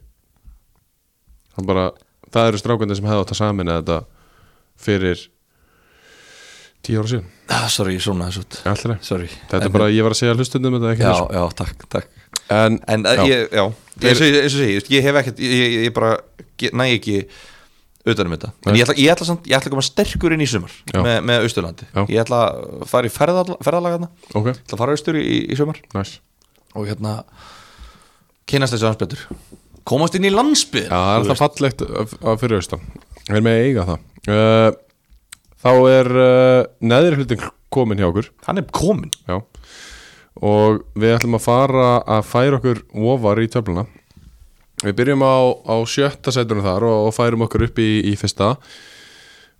S1: það, bara, það eru strákarnir sem hefði átt að samina þetta fyrir 10 ára síðan
S2: ah, sorry, ég svona þessu út
S1: Allra.
S2: sorry,
S1: þetta
S2: En-
S1: er bara, ég var að segja hlustundum þetta ekki
S2: já,
S1: þessu.
S2: já, takk, takk
S1: en,
S2: en já.
S1: já.
S2: ég, já, eins og ég, eins og ég, segi, ég hef ekkert ég, ég, ég bara get- næ ekki utanum þetta, en
S1: Nei.
S2: ég ætla, ég ætla, samt, ég ætla að koma sterkur inn í sumar
S1: Já.
S2: með, með Austurlandi,
S1: Já.
S2: ég ætla að fara í ferðal, ferðalagana, ég
S1: ok,
S2: ætla að fara austur í, í sumar
S1: næs
S2: og hérna kynast þessu hans betur komast inn í landsbyð
S1: Já, það er alltaf fallegt af af fyrir austan Er með að eiga það uh, Þá er uh, neðri hlutin komin hjá okkur
S2: hann er komin
S1: Já Og við ætlum að fara að færa okkur ofar í töfluna Við byrjum á, á sjötta sætunum þar og, og færum okkur upp í, í fyrsta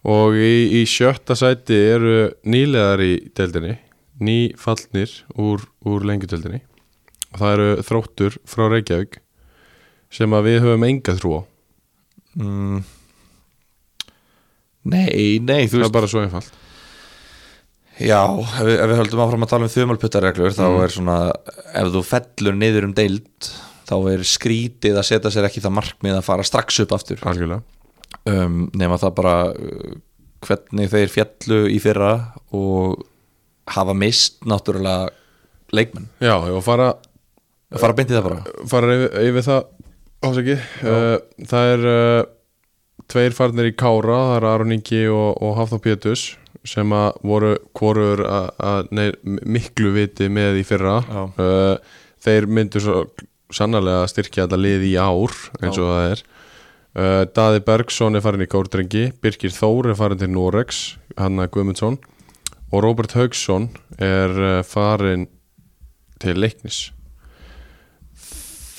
S1: Og í, í sjötta sæti eru nýlegar í deildinni Nýfallnir úr, úr lengjudeildinni Og það eru þróttur frá Reykjavík sem að við höfum enga trú á
S2: mm. nei, nei, þú
S1: Það er
S2: veist
S1: bara svo einfalt
S2: já, ef við, ef við höldum áfram að tala um þumalputtareglur þá er svona, ef þú fellur niður um deild þá er skrítið að setja sér ekki það markmið að fara strax upp aftur
S1: Algjörlega
S2: um, nema það bara uh, hvernig þeir fjallu í fyrra og hafa mist náttúrulega leikmenn,
S1: Já, og fara,
S2: að fara beint í það bara
S1: fara yfir, yfir það ásaki uh, Það er uh, tveir farnir í Kára það er Aron Ingi og, og Hafþór Pétus sem að voru hvorur að- að nei, miklu viti með í fyrra
S2: Já.
S1: uh, Þeir myndu svo sannarlega að styrkja þetta lið í ár eins og það er uh, Daði Bergsson er farin í Kárdrengi Birgir Þór er farin til Norex Hanna Guðmundsson og Robert Haugsson er uh, farin til leiknis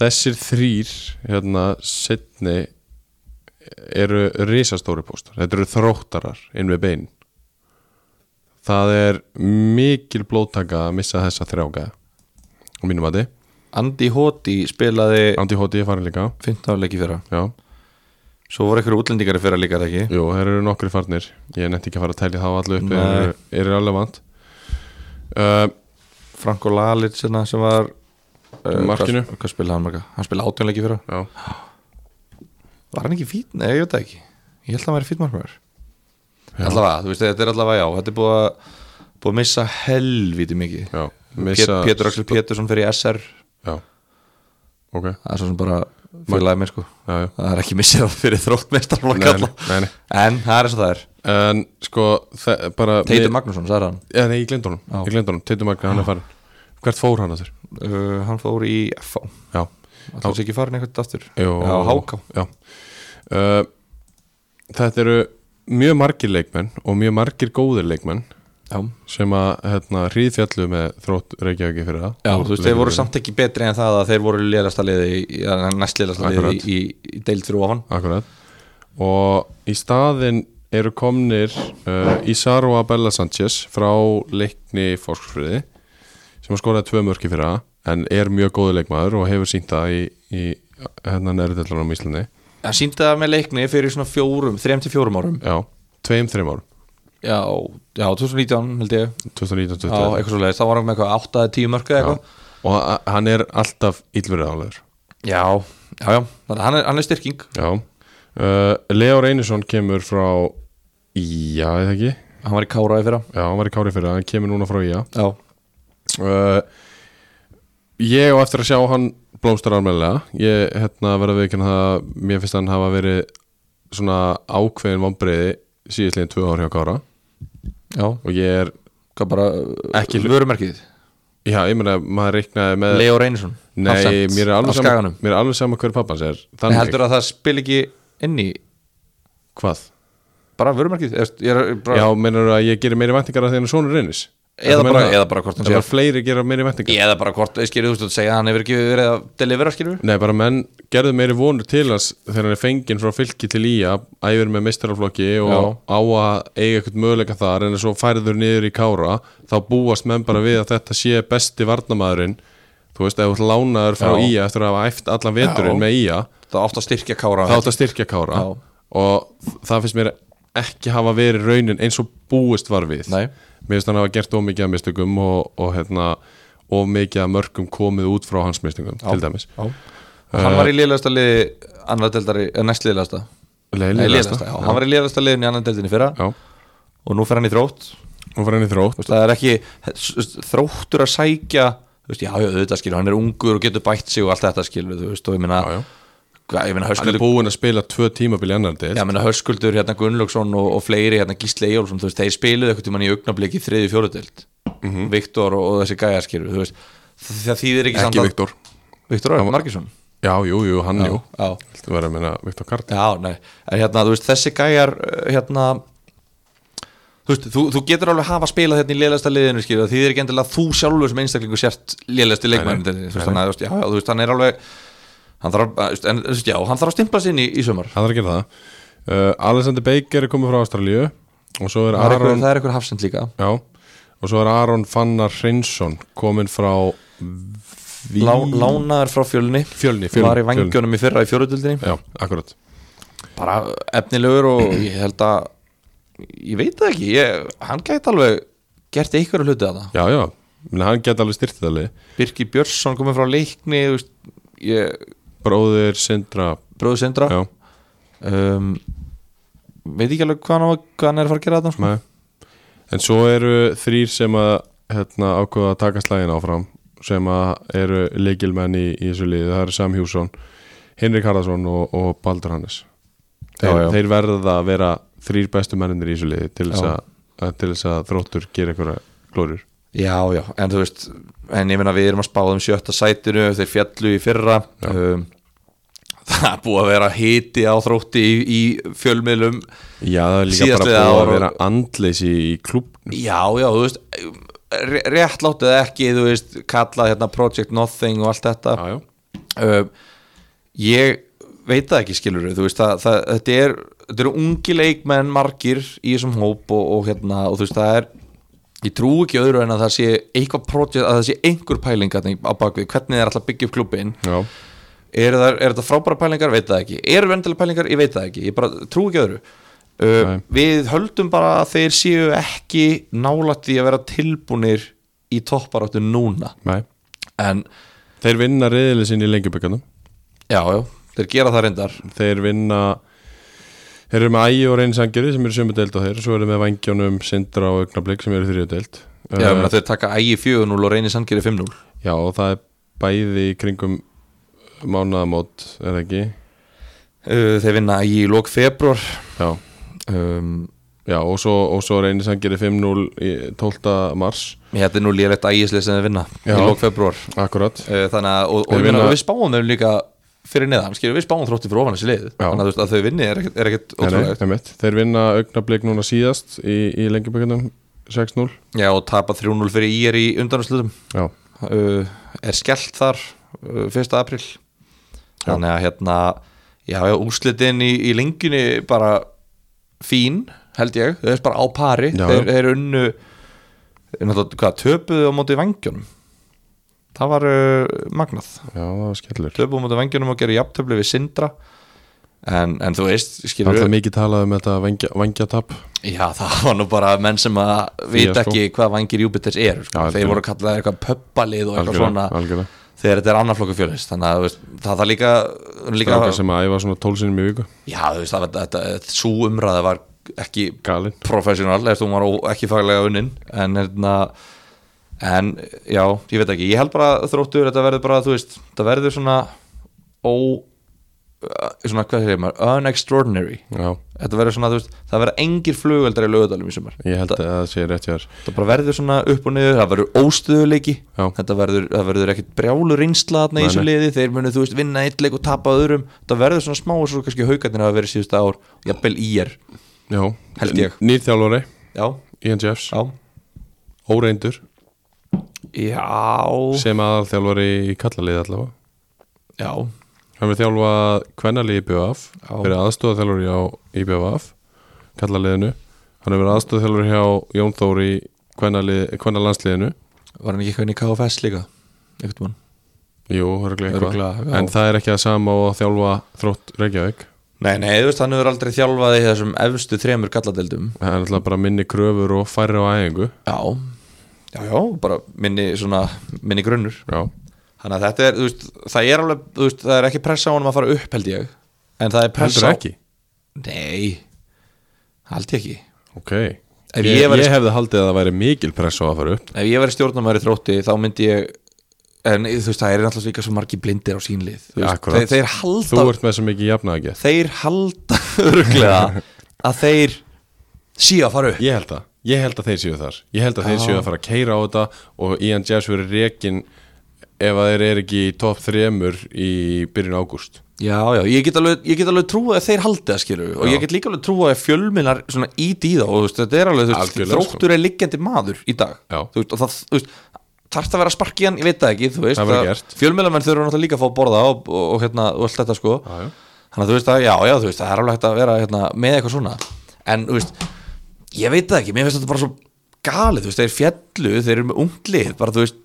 S1: þessir þrýr hérna setni eru risastóri póstar þetta eru þróttarar inn við bein það er mikil blóttaka að missa þessa þrjáka á mínum að þið
S2: Andy Hoti spilaði
S1: Andi Hóti er farin líka
S2: 15 leiki fyrra
S1: já,
S2: svo voru einhverju útlendingar í fyrra líka er það ekki
S1: Jú, þeir eru nokkri farnir Ég nefndi ekki að fara að telja þá allu upp
S2: Nei.
S1: þeir eru, eru relevant uh,
S2: Franko Lalic hérna, sem var uh,
S1: Markinu.
S2: hvað, hvað spilaði hann marga? hann spilaði 18 leiki fyrra
S1: Já,
S2: var hann ekki fít? Nei, ég veit það ekki ég held að hann væri fít markmaður
S1: Já.
S2: allavega, þú veist, þetta er allavega já þetta er búið að, búið að missa helviti mikið
S1: já
S2: Pét,
S1: missa-
S2: Pétur Axel Pétursson fyrir SR
S1: Já, ok
S2: það er svo sem bara félagið mér sko
S1: já, já.
S2: það er ekki missið hann fyrir
S1: Nei,
S2: þróttmeistarflokk
S1: nei,
S2: alla.
S1: nei, nei.
S2: en það er eins og það er
S1: En sko, þe- bara
S2: Teitur Magnússon, sagði hann
S1: Já, nei, ég glemt honum,
S2: Já.
S1: ég glemt honum, Teitur Magna, hann er farin Hvert fór hann að þér?
S2: uh, hann fór í FH
S1: Já,
S2: Það sé ekki farin eitthvað aftur
S1: Jú,
S2: Já, Háká
S1: Já uh, Þetta eru mjög margir leikmenn og mjög margir góðir leikmenn
S2: Já,
S1: sem að hérna, hríðfjallu með þrótt Reykjavík fyrir það
S2: já þú veist, þeir voru samt ekki betri en það að þeir voru lélasta liði í- eða næst lélasta liði
S1: Akkurat.
S2: í, í, í deild fyrir ofan
S1: Akkurat Og í staðinn eru komnir uh, Isaro Abella Sanchez frá leikni Fórsfriði sem að skoraði tvö mörki fyrir það en er mjög góðu leikmaður og hefur sínt það í, í hérna, hennan erðellanum í Íslandi
S2: Það síndi það með leikni fyrir svona fjórum, þrem til fjórum árum
S1: Já, tveim, þreim árum
S2: Já, já 2019 held ég Já,
S1: 2019
S2: eitthvað svo leiðist, það var hann með eitthvað 8 eða 10 mörka eitthvað
S1: Og a- hann er alltaf ílverið álegur
S2: Já, já, já, þannig að hann er, hann er styrking
S1: Já uh, Leo Reynisson kemur frá Ía, eða ekki
S2: Hann var í Káraði fyrra
S1: Já, hann var í Kári fyrir það, hann kemur núna frá Ía
S2: Já,
S1: uh, Ég á eftir að sjá hann blómstar almennilega Ég hérna, verða við ekki það Mér finnst hann hafa verið svona ákveðin vombriði síðastliðin tvö ár hjá Kára
S2: já,
S1: og ég er,
S2: hvað bara
S1: Ekki hlu-
S2: vörumerkið,
S1: já, ég meina maður reiknaði með
S2: Leo Reynisson
S1: Nei, mér er, alveg sama,
S2: saman
S1: mér er alveg sama hver pappans er
S2: En
S1: Þannig,
S2: heldur að það spil ekki inn í
S1: hvað?
S2: bara vörumerkið Eða, ég er bara,
S1: Já, meinar að ég gerir meiri væntingar að því hann er sonur reynis
S2: eða, bara, eða bara hvort hann
S1: Það
S2: sé
S1: var fleiri gera meiri væntingar
S2: eða bara hvort, skilur þú veist að segja að hann hefur ekki verið að delivera skilur
S1: Nei, bara menn gerðu meiri vonur til hans þegar hann er fenginn frá fylki til ía æfir með meistaraflokki og
S2: Já.
S1: á að eiga eitthvað möguleika þar en svo færður niður í kára þá búast menn bara við að þetta sé besti varnamaðurinn þú veist, ef þú ert lánaður frá
S2: Já.
S1: ía eftir að hafa æft allan veturinn með ía
S2: það átt að styrkja kára
S1: þá átt að styrkja kára
S2: Já.
S1: og það finnst mér ekki hafa verið raunin eins og búist var við
S2: Nei.
S1: mér finnst hann hafa gert ómikið af mistökum og, og hérna og mikið af mörgum komið út frá hans mistökum til dæmis
S2: hann var í liðlegasta liði annar deildari, eða næst liðlegasta Nei, liðlegasta, já, hann var í liðlegasta liðin í annar deildinni fyrra
S1: Já,
S2: og nú fer hann í þrótt
S1: hún var henni þrótt
S2: það er ekki þróttur að sækja þú veist, já, já, auðvitað skilur, hann er ungur og getur bætt sig og allt þetta skilur, þú veist, og ég meina
S1: Já, já.
S2: hvað, ég meina
S1: Hann er
S2: höskuldur
S1: búinn að spila tvö tímabil í annar del
S2: Já, meina, Hörskuldur, hérna Gunnlaugsson og, og fleiri, hérna Gísli Eyjólfsson, þú veist, þeir spiluðu eitthvað tímann í augnabliki þriði fjóruðdelt mm -hmm. Viktor og, og þessi gæjaskýru, þú veist það þýðir ekki, samt
S1: Mhm. Ekki
S2: að-
S1: Viktor
S2: Viktor Örn Markinsson
S1: Já, jú, jú, hann, jú
S2: já,
S1: Þú verður að minna Viktor Karl
S2: já, nei, en hérna, þú veist, þessi gæjar uh, hérna þú veist, þú, þú getur alveg hafa spilað hérna í lélægsta liðinu, skilja, því þið er ekki endilega þú sjálfur sem einstaklingur sért lélægsti leikmæðin þú veist, þannig að, þú veist, já, já, þú veist, hann er alveg hann þarf, að- þú veist, en, þú veist, já, hann þarf að stimpla sér inn í, í sumar,
S1: Hann er að gera það uh, Alexander Baker er komið frá Ástralíu Og svo er
S2: það er
S1: Aron
S2: eitthvað, það er eitthvað hafsend líka
S1: Já, og svo er Aron Fannar Hreinsson kominn frá Ví...
S2: Lá, lánaður frá fjölni
S1: Fjölni, fjölni
S2: var í
S1: Fjölni.
S2: vangjónum í fyrra í fjóruðildinni
S1: Já, akkurat
S2: bara efnilegur og ég held að ég veit það ekki, ég, hann gæti alveg gert einhverju hluti að það
S1: Já, já, menn hann geta alveg styrtið alveg
S2: Birki Björnsson komið frá leikni þú veist, ég,
S1: Bróðir Sindra
S2: bróðu Sindra
S1: Já,
S2: um, veit ekki alveg hvað hann, á- hvað hann er að fara að gera þetta sko.
S1: með En svo eru þrýr sem að hérna, ákveða að taka slægin áfram sem að eru leikilmenn í, í þessu liði, það eru Sam Hjússon Henrik Harðarsson og, og Baldur Hannes
S2: Já,
S1: þeir,
S2: já.
S1: þeir verða að vera þrýr bestu menninir í þessu liði til þess
S2: Já.
S1: að, að- til þess að þróttur gera einhverja glórir
S2: já, já, en þú veist en ég meina við erum að spáða um sjötta sætinu þeir fjallu í fyrra um, það er búið að vera hiti á þrótti í, í fjölmiðlum
S1: Já, það er líka
S2: Síðastliðið
S1: bara búið
S2: ár
S1: að
S2: og-
S1: vera andleysi í klubnum
S2: já, já, þú veist ré- réttlátt eða ekki, þú veist kallað hérna Project Nothing og allt þetta
S1: Já, já,
S2: uh, ég veit það ekki skilur þú veist það, það, þetta, er, þetta eru ungi leikmenn margir í þessum hóp og, og hérna og þú veist það er ég trú ekki öðru en að það sé eitthvað project, að það sé einhver pæling þarna í- á bakvið, hvernig það er alltaf byggja upp klubbin
S1: já,
S2: er, það, er þetta frábæra pælingar, veit það ekki eru vendilega pælingar, ég veit það ekki, ég bara trú ekki öðru uh,
S1: Nei.
S2: við höldum bara að þeir séu ekki nálægt því að vera tilbúnir í topparáttu núna
S1: nei
S2: en
S1: Þeir vinna reyðileg sinni í lengjubökkunum
S2: já, já, þeir gera það reyndar
S1: þeir vinna þeir eru með ægi og reynsangjöri sem eru sömu deild á þeir svo eru með vangjónum, sindra og augnablík sem eru þriðju deild
S2: Já,
S1: Eh,
S2: uh, þeir taka ægi 4-0 og reynir sangeri 5-0
S1: já og það er bæði í kringum mánaðamót er það ekki
S2: uh, Þeir vinna ægi í lók februar
S1: já,
S2: um,
S1: já og svo, og svo reynisangjöri 5-0 í 12. mars
S2: Þetta er nú lélegt ægislega sem þeir vinna
S1: Já.
S2: í lók februar
S1: akkurat
S2: uh, Þannig að, og, og,
S1: Þeir
S2: ég meina,
S1: vinna-
S2: og við spáum þeim líka fyrir neðan, skilur við spáum þrótti fyrir ofan þessi lið
S1: Já.
S2: Þannig að, þú veist, að þau vinni er ekkert, er ekkert
S1: Nei, nei,
S2: ótrúlegt
S1: einmitt. þeir vinna augnablík núna síðast í, í lengjubökkunum 6-0
S2: Já, og tapa 3-0 fyrir IR í undanúrslutum
S1: já,
S2: uh, Er skellt þar uh, 1. april
S1: Já.
S2: Þannig að hérna Já, já, úrslitin í, í lengjunni bara fín, held ég Þau er bara á pari,
S1: Já,
S2: þeir,
S1: já.
S2: þeir unnu náttúrulega, hvað, töpuðu á móti vangjónum það var uh, magnað
S1: já það var skellur
S2: töpuðu á móti vangjónum og gerðu jafntöflu við Sindra en, en þú veist,
S1: Það
S2: skilur
S1: er mikið talað um þetta vangja- vangjatap
S2: já, það var nú bara menn sem að vita
S1: Fíaskó.
S2: ekki hvað vangir Júpiters er
S1: Já,
S2: sko. þeir
S1: algjörlega.
S2: voru kallaðið eitthvað pöppalið og eitthvað
S1: Algjörlega,
S2: svona
S1: algjörlega.
S2: þegar þetta er annarflokku fjölis þannig að þú veist, það þarf líka, líka
S1: Strákar sem að æfa svona tólsinum í viku
S2: já, þú veist, það var þetta, svo umræða var ekki
S1: Galinn
S2: professional, eftir hún var ó- ekki faglega unnin en hérna en já, ég veit ekki, ég held bara að þróttur, þetta verður bara, þú veist það verður svona ó svona, hvað segir maður, unextraordinary
S1: Já,
S2: þetta verður svona, þú veist, það verður engir flugveldar í lögadalum í sumar
S1: ég held að það sé rétt hjá þér
S2: það bara verður svona upp og niður, það verður óstöðuleiki
S1: Já.
S2: þetta verður, það verður ekkit brjálu reynsla þarna í
S1: Nei,
S2: þessu
S1: nei.
S2: liði, þeir munu þú veist vinna eitt leik og tapa öðrum, það verður svona smá og svo kannski haugarnir hafa verið síðustu ár, jafnvel í er
S1: Já,
S2: Held ég.
S1: Nýr þjálfari,
S2: já,
S1: Ian Jeffs,
S2: já,
S1: óreindur
S2: já
S1: sem aðal þjálfari í kallalið allavega
S2: já,
S1: Hann við þjálfa kvennalið í BVF
S2: Já.
S1: verið aðstóða þjálfari á í BVF kallaliðinu Hann hefur verið aðstóða þjálfari hjá Jón Þór í kvennalið- kvennalandsliðinu
S2: var hann ekki eitthvað inn í KFS líka eitthvað mann
S1: Jú, örglega
S2: Örugglega,
S1: eitthvað
S2: já.
S1: En það er ekki að sama og að þjálfa þrótt Reykjavík
S2: Nei, nei, þú veist, hann hefur aldrei þjálfað í þessum efstu þremur galladeldum
S1: Það er alltaf bara minni kröfur og færri á æfingu
S2: Já, já, já, bara minni, svona, minni grunnur
S1: Já,
S2: Þannig að þetta er, þú veist, það er alveg, þú veist, það er ekki pressa á honum að fara upp held ég En það er pressa
S1: heldur
S2: á
S1: ekki
S2: Nei, held ég ekki
S1: Ok,
S2: Ef
S1: ég,
S2: ég
S1: ég,
S2: væri-
S1: hefði haldið að það væri mikil press á að fara upp
S2: Ef ég verið stjórnumæri þrótti, þá myndi ég En þú veist, það er náttúrulega líka svo margi blindir á sínlið þú
S1: Ja,
S2: veist,
S1: akkúrat.
S2: þeir, þeir
S1: Þú
S2: halda,
S1: ert með svo mikið jafnaðagjæð
S2: þeir halda örglega að þeir síða að fara upp
S1: Ég held það, ég held að þeir séu þar Ég held að þeir séu að fara að keira á þetta og Ian Jeffs verið rekin ef að þeir eru ekki í topp þremur í byrjun ágúst
S2: Já, já, ég get alveg, ég get alveg trúið að þeir haldi það skilur og
S1: Já.
S2: ég get líka alveg trúið að fjölminar svona íti í það og þú veist, þetta er alveg, þú veist,
S1: Algjörlega, sko.
S2: þróttur er liggjandi maður í dag,
S1: Já.
S2: þú veist, og það, þú veist þarft að vera að sparki hann, ég veit það ekki, þú veist
S1: Það verður gert.
S2: fjölmiðlamenn þurfa náttúrulega líka að fá að borða og, og, og hérna, og allt þetta sko
S1: Já, já.
S2: þannig að þú veist að, já, já, þú veist, það er alveg hægt að vera hérna, með eitthvað svona, en þú veist ég veit það ekki, mér finnst þetta bara svo galið, þú veist, þeir fjallu, þeir eru með unglið, bara þú veist,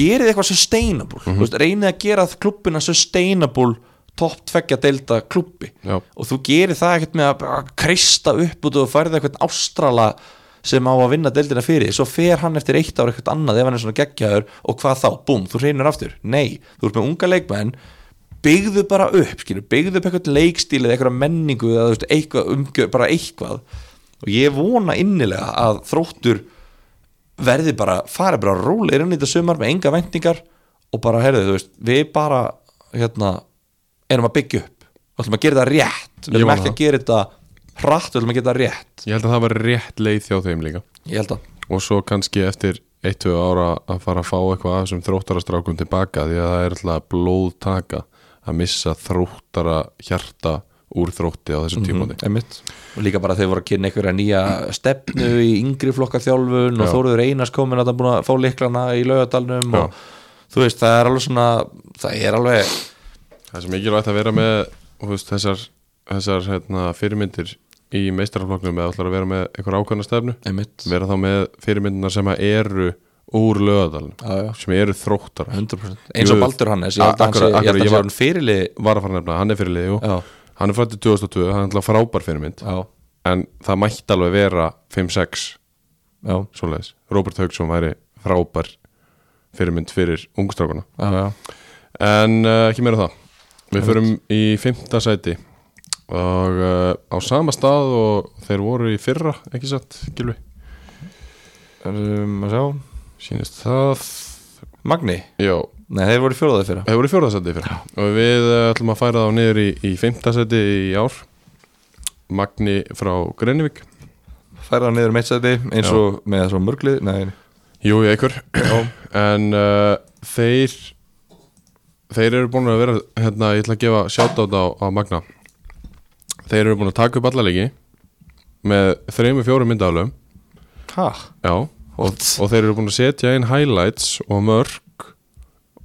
S2: gerið eitthvað sustainable,
S1: Mhm.
S2: þú veist, reynið að gera klubbina sustainable topp tveggja deilda klubbi
S1: Já.
S2: og þú gerir það ekkert með að bara kreista upp út og færði eitthvað ástrala sem á að vinna deildina fyrir því, svo fer hann eftir eitt ár eitthvað annað ef hann er svona geggjaður og hvað þá, búm, þú reynir aftur nei, þú ert með unga leikmenn byggðu bara upp, skilur, byggðu upp eitthvað leikstíli eða eitthvað menningu eða þú veist, eitthvað umgjör, bara eitthvað og ég vona innilega að þróttur verði bara, fari bara rólegir inn í þetta sumar með enga vendingar og bara, heyrðu, þú veist, við bara hérna, erum að byggja upp og ætlum að gera þetta rétt við
S1: Ég
S2: ætlum
S1: vona
S2: ekki
S1: það.
S2: að gera þetta hratt, við ætlum að gera þetta rétt
S1: Ég held að það var rétt leið hjá þeim líka
S2: ég held að,
S1: og svo kannski eftir 1-2 ára að fara að fá eitthvað af þessum þróttarastrákum tilbaka því að það er alltaf blóðtaka að missa þróttara hjarta úr þrótti á þessum tímóti
S2: einmitt og líka bara þeir voru að kynna einhverja nýja stefnu í yngri flokkarþjálfun og
S1: Já.
S2: Þóruður Einars komin að það búin að fá liklana í laugadalnum
S1: Já.
S2: og þú veist, það er alveg svona það er alveg,
S1: Það er svo mikilvægt að vera með þú veist, þessar, þessar hérna, fyrirmyndir í meistarafloknum eða ætlar að vera með einhver ákvæmna stefnu
S2: einmitt
S1: vera þá með fyrirmyndinar sem að eru úr lögadalinn
S2: Já, já.
S1: sem eru þróttara
S2: 100% eins og
S1: Jú,
S2: Baldur Hannes, ég held að hann
S1: akkurat-
S2: sé
S1: akkurat,
S2: ég held að hann
S1: ég
S2: sé
S1: var-
S2: hann fyrirli
S1: var að fara að nefna, hann er fyrirlið jú.
S2: Já.
S1: hann er fættið 2002, hann er alltaf frábær fyrirmynd
S2: já,
S1: en það mætti alveg vera 5-6
S2: já,
S1: svoleiðis, Robert Hauksson væri frábær fyrirmynd fyrir ungstrákuna
S2: já, já.
S1: en uh, ekki meira það við förum í fimmta sæti og uh, á sama stað og þeir voru í fyrra ekki satt, Gilvi
S2: Um, að sjá.
S1: sínist það,
S2: Magni,
S1: já
S2: nei þeir voru fjóraðið fyrir
S1: þeir voru í fjórða sæti í fyrra og við uh, ætlum að færa þá niður í, í fimmta sæti í ár Magni frá Grenivík
S2: færa hann niður um eitt sæti eins
S1: Já.
S2: og með svo mörglið nei,
S1: Jú, ég ekkur En uh, þeir Þeir eru búin að vera hérna, Ég ætla að gefa sjátátt á, á Magna Þeir eru búin að taka upp allalegi Með þreymu fjórum myndaflum
S2: ha,
S1: Já og,
S2: What?
S1: og þeir eru búin að setja inn highlights Og mörg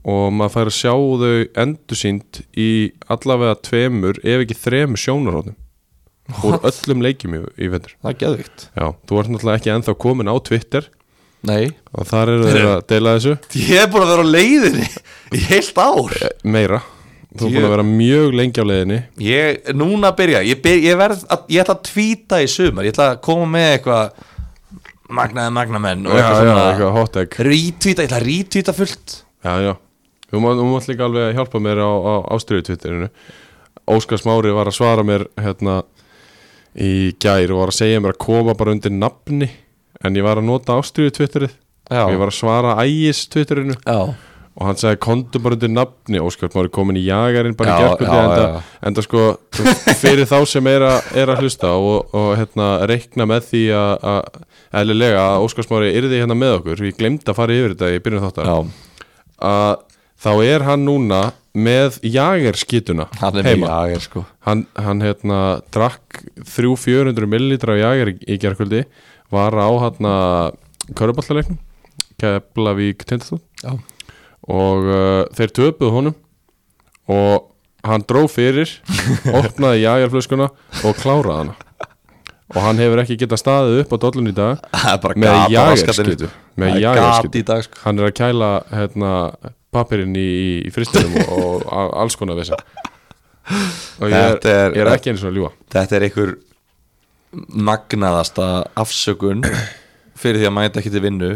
S1: Og maður fær að sjá þau endursýnd Í allavega tveimur Ef ekki þremur sjónaróðum Úr öllum leikjum í, í vendur
S2: það er geðvikt
S1: Já, þú ert náttúrulega ekki ennþá komin á Twitter
S2: nei,
S1: Og þar eru þeir að deila þessu
S2: ég er búin að vera á leiðinni í heilt ár
S1: Eh, meira þú er
S2: Ég-
S1: búin að vera mjög lengi á leiðinni
S2: ég, núna byrja, ég, byr, ég verð að, ég ætla að tvíta í sumar, ég ætla að koma með eitthvað magnaði magnamenn og
S1: já, já,
S2: eitthvað
S1: eitthvað hot egg
S2: svona rítvíta, ég ætla að rítvíta fullt
S1: já, já. Þú mátt um líka alveg að hjálpa mér á, á ástriðu Twitterinu Óskars Mári var að svara mér hérna í gær og var að segja mér að koma bara undir nafni en ég var að nota ástriðu Twitterið
S2: Já.
S1: og ég var að svara ægis Twitterinu
S2: Já,
S1: og hann sagði kontum bara undir nafni Óskars Mári komin í jagarinn bara
S2: Já,
S1: í gerkvöldi
S2: já,
S1: en,
S2: já.
S1: en það sko þú veist, fyrir þá sem er, a, er að hlusta og, og hérna reikna með því að- að eðlilega að Óskars Mári yrði hérna með okkur ég glemd að fara yfir þetta í byrjun þáttar
S2: já,
S1: að þá er hann núna með jagerskituna
S2: hann er mjög
S1: heima
S2: jager sko
S1: hann, hann hérna drakk 300-400 millilitra af jager í, í gerkvöldi var á hérna köruballarleiknum Keflavík Tindastól
S2: Já,
S1: og uh, þeir töpuðu honum og hann dró fyrir opnaði jagerflöskuna og kláraði hana og hann hefur ekki getað staðið upp á dollun í dag
S2: það er bara
S1: með
S2: gat á raskatinni.
S1: jagerskitu
S2: Það
S1: með
S2: er
S1: jagerskitu
S2: gat í dag sko
S1: hann er að kæla hérna, pappirinn í, í fristinum og, og a- alls konar vesa og ég er,
S2: Þetta er-
S1: ég er ekki eins og að ljúa
S2: Þetta er einhver magnaðasta afsökun fyrir því að mæta ekki til vinnu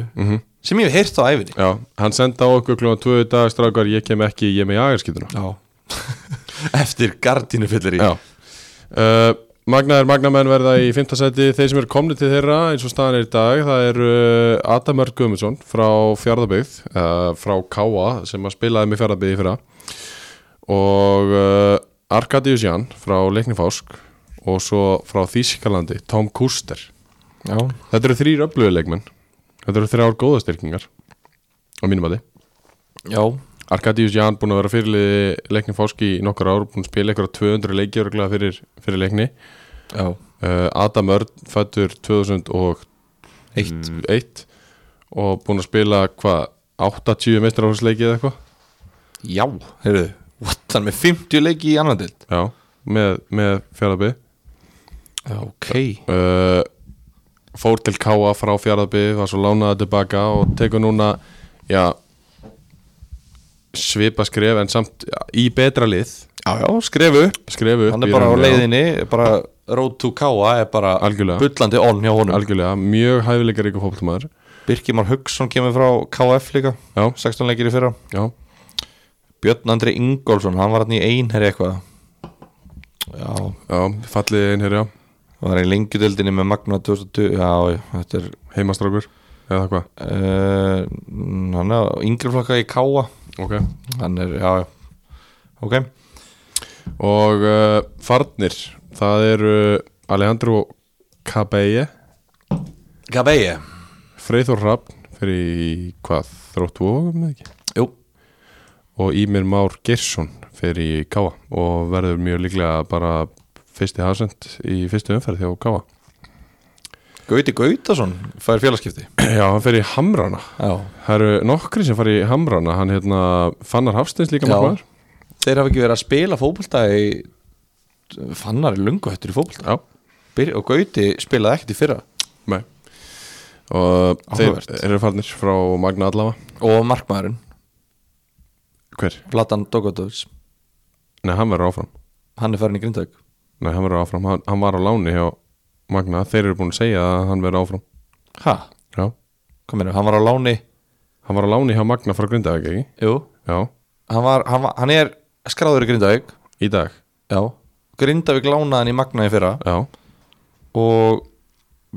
S2: sem ég hef heyrt á æfinni
S1: Já, hann senda á okkur klúan tvö í dag strákar, ég kem ekki, ég er með jagerskiptuna
S2: Já Eftir gardínu fyllir í
S1: Já uh, Magnaðir magnamenn verða í fimmta sæti þeir sem eru komni til þeirra eins og staðan er í dag það eru uh, Adam Örk Guðmundsson frá Fjárðabyggð uh, frá Káa sem að spilaði með Fjárðabyggð í fyrra og uh, Arkadius Jan frá Leiknifásk og svo frá Þískalandi Tom Kuster
S2: Já.
S1: Þetta eru þrýr öfluguleikmenn Þetta eru þrjár góðastyrkingar á mínum að þið
S2: Já.
S1: Arkadius Jan búin að vera fyrirliði leikni fáski í nokkur ár, búin að spila eitthvað 200 leiki örugglega fyrir, fyrir leikni
S2: Já.
S1: uh, Adam Örn fættur 2001 Mm.
S2: Eitt
S1: og búin að spila hvað 80 meistráðsleiki eða eitthvað
S2: Já Heyrðu What? Hann er með 50 leiki í annan dild
S1: já, með, með fjaraðbyð
S2: Já, ok
S1: uh, fór til Káa frá fjaraðbyð, var svo lánaði tilbaka og tekur núna já, svipa skref en samt já, í betra lið
S2: Já, já, skrefu
S1: skrefu upp
S2: Hann er
S1: í
S2: bara á
S1: rauninni, já.
S2: leiðinni bara Road to Káa er bara
S1: Algjörlega.
S2: bullandi onn hjá honum
S1: Algjörlega, mjög hæfileikar ykkur fótboltamæður
S2: Birkimar Hugson kemur frá KF líka
S1: Já,
S2: 16 leikir í fyrra
S1: já,
S2: Björn Andri Ingólfsson, hann var hann í einherri eitthvað Já,
S1: já, fallið einn hér, já
S2: hann var í lengjudeldinni með Magna 2020 Já, þetta er
S1: Heimastrákur, eða hvað
S2: uh, Hann er á yngri flokka í Káa
S1: Ok
S2: Hann er, já, já Ok,
S1: Og uh, farnir, það eru Alejandro Cabeye
S2: Gabeye
S1: Freyþór Hrafn fyrir í hvað, þróttvogum eða ekki
S2: Jú,
S1: Og Ímir Már Geirsson fyrir í Káa Og verður mjög líklega bara fyrsti hafsend í fyrstu umferð hjá Káa
S2: Gauti Gautason fær félagskipti
S1: Já, hann fyrir í Hamrana
S2: Já,
S1: Það eru nokkri sem fari í Hamrana Hann hérna, Fannar Hafsteins líka
S2: Já.
S1: markmaður
S2: þeir hafa ekki verið að spila fótbolta í Fannar er lungu hættur í fótbolta
S1: Já,
S2: Byr- Og Gauti spilaði ekkert í fyrra
S1: Nei Og
S2: Áhugavert.
S1: þeir eru farnir frá Magna Allava
S2: Og markmaðurinn,
S1: Hver?
S2: Vladan Dogotovs
S1: Nei, hann verður áfram
S2: Hann er farin í Grindavík
S1: Nei, hann verður áfram Hann, hann var á láni hjá Magna Þeir eru búin að segja að hann verður áfram
S2: Ha,
S1: Já
S2: hvað meina, hann var á láni
S1: Hann var á láni hjá Magna frá Grindavík, ekki?
S2: Jú,
S1: Já
S2: hann, var, hann, var, hann er skráður í Grindavík
S1: Í dag
S2: Já Grindavík lánaði hann í Magnaði fyrra
S1: Já
S2: og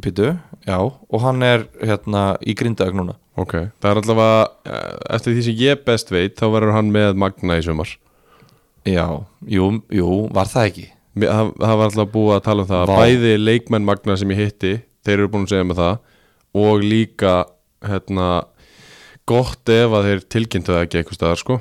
S2: Pítu, já og hann er hérna í Grindavík núna
S1: Ok Það er allavega eh, Eftir því sem ég best veit Þá verður hann með Magna í sumar
S2: Já, jú, jú, var það ekki
S1: Mér- Það, það var allavega búið að tala um það
S2: Vá.
S1: Bæði leikmenn Magna sem ég hitti Þeir eru búin að segja með það Og líka hérna, Gott ef að þeir tilkynntu það ekki eitthvað staðar sko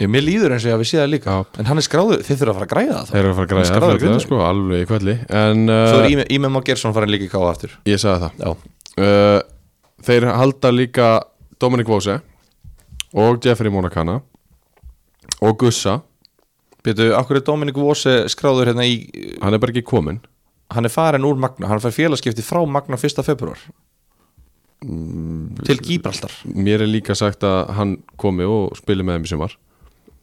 S2: Ég, mér líður eins og ég hafi séð það líka En hann er skráður, þið þurfa að fara að græða það
S1: Þeir eru að fara að græða
S2: Skráður
S1: það
S2: Grindavík.
S1: sko, alveg í kvelli En
S2: Svo
S1: uh,
S2: er Íme, Íme Má Gersson farin líka í káa aftur
S1: ég sagði
S2: Já,
S1: það uh, Þeir halda líka Dominic Vose Og Jeffrey Monacana Og Gussa,
S2: Pítu, akkur er Dominik Vose skráður hérna í
S1: hann er bara ekki komin
S2: Hann er farin úr Magna, hann fær félagskipti frá Magna 1. februar Til Gíbraldar
S1: Mér er líka sagt að hann komi og spili með þeim í sumar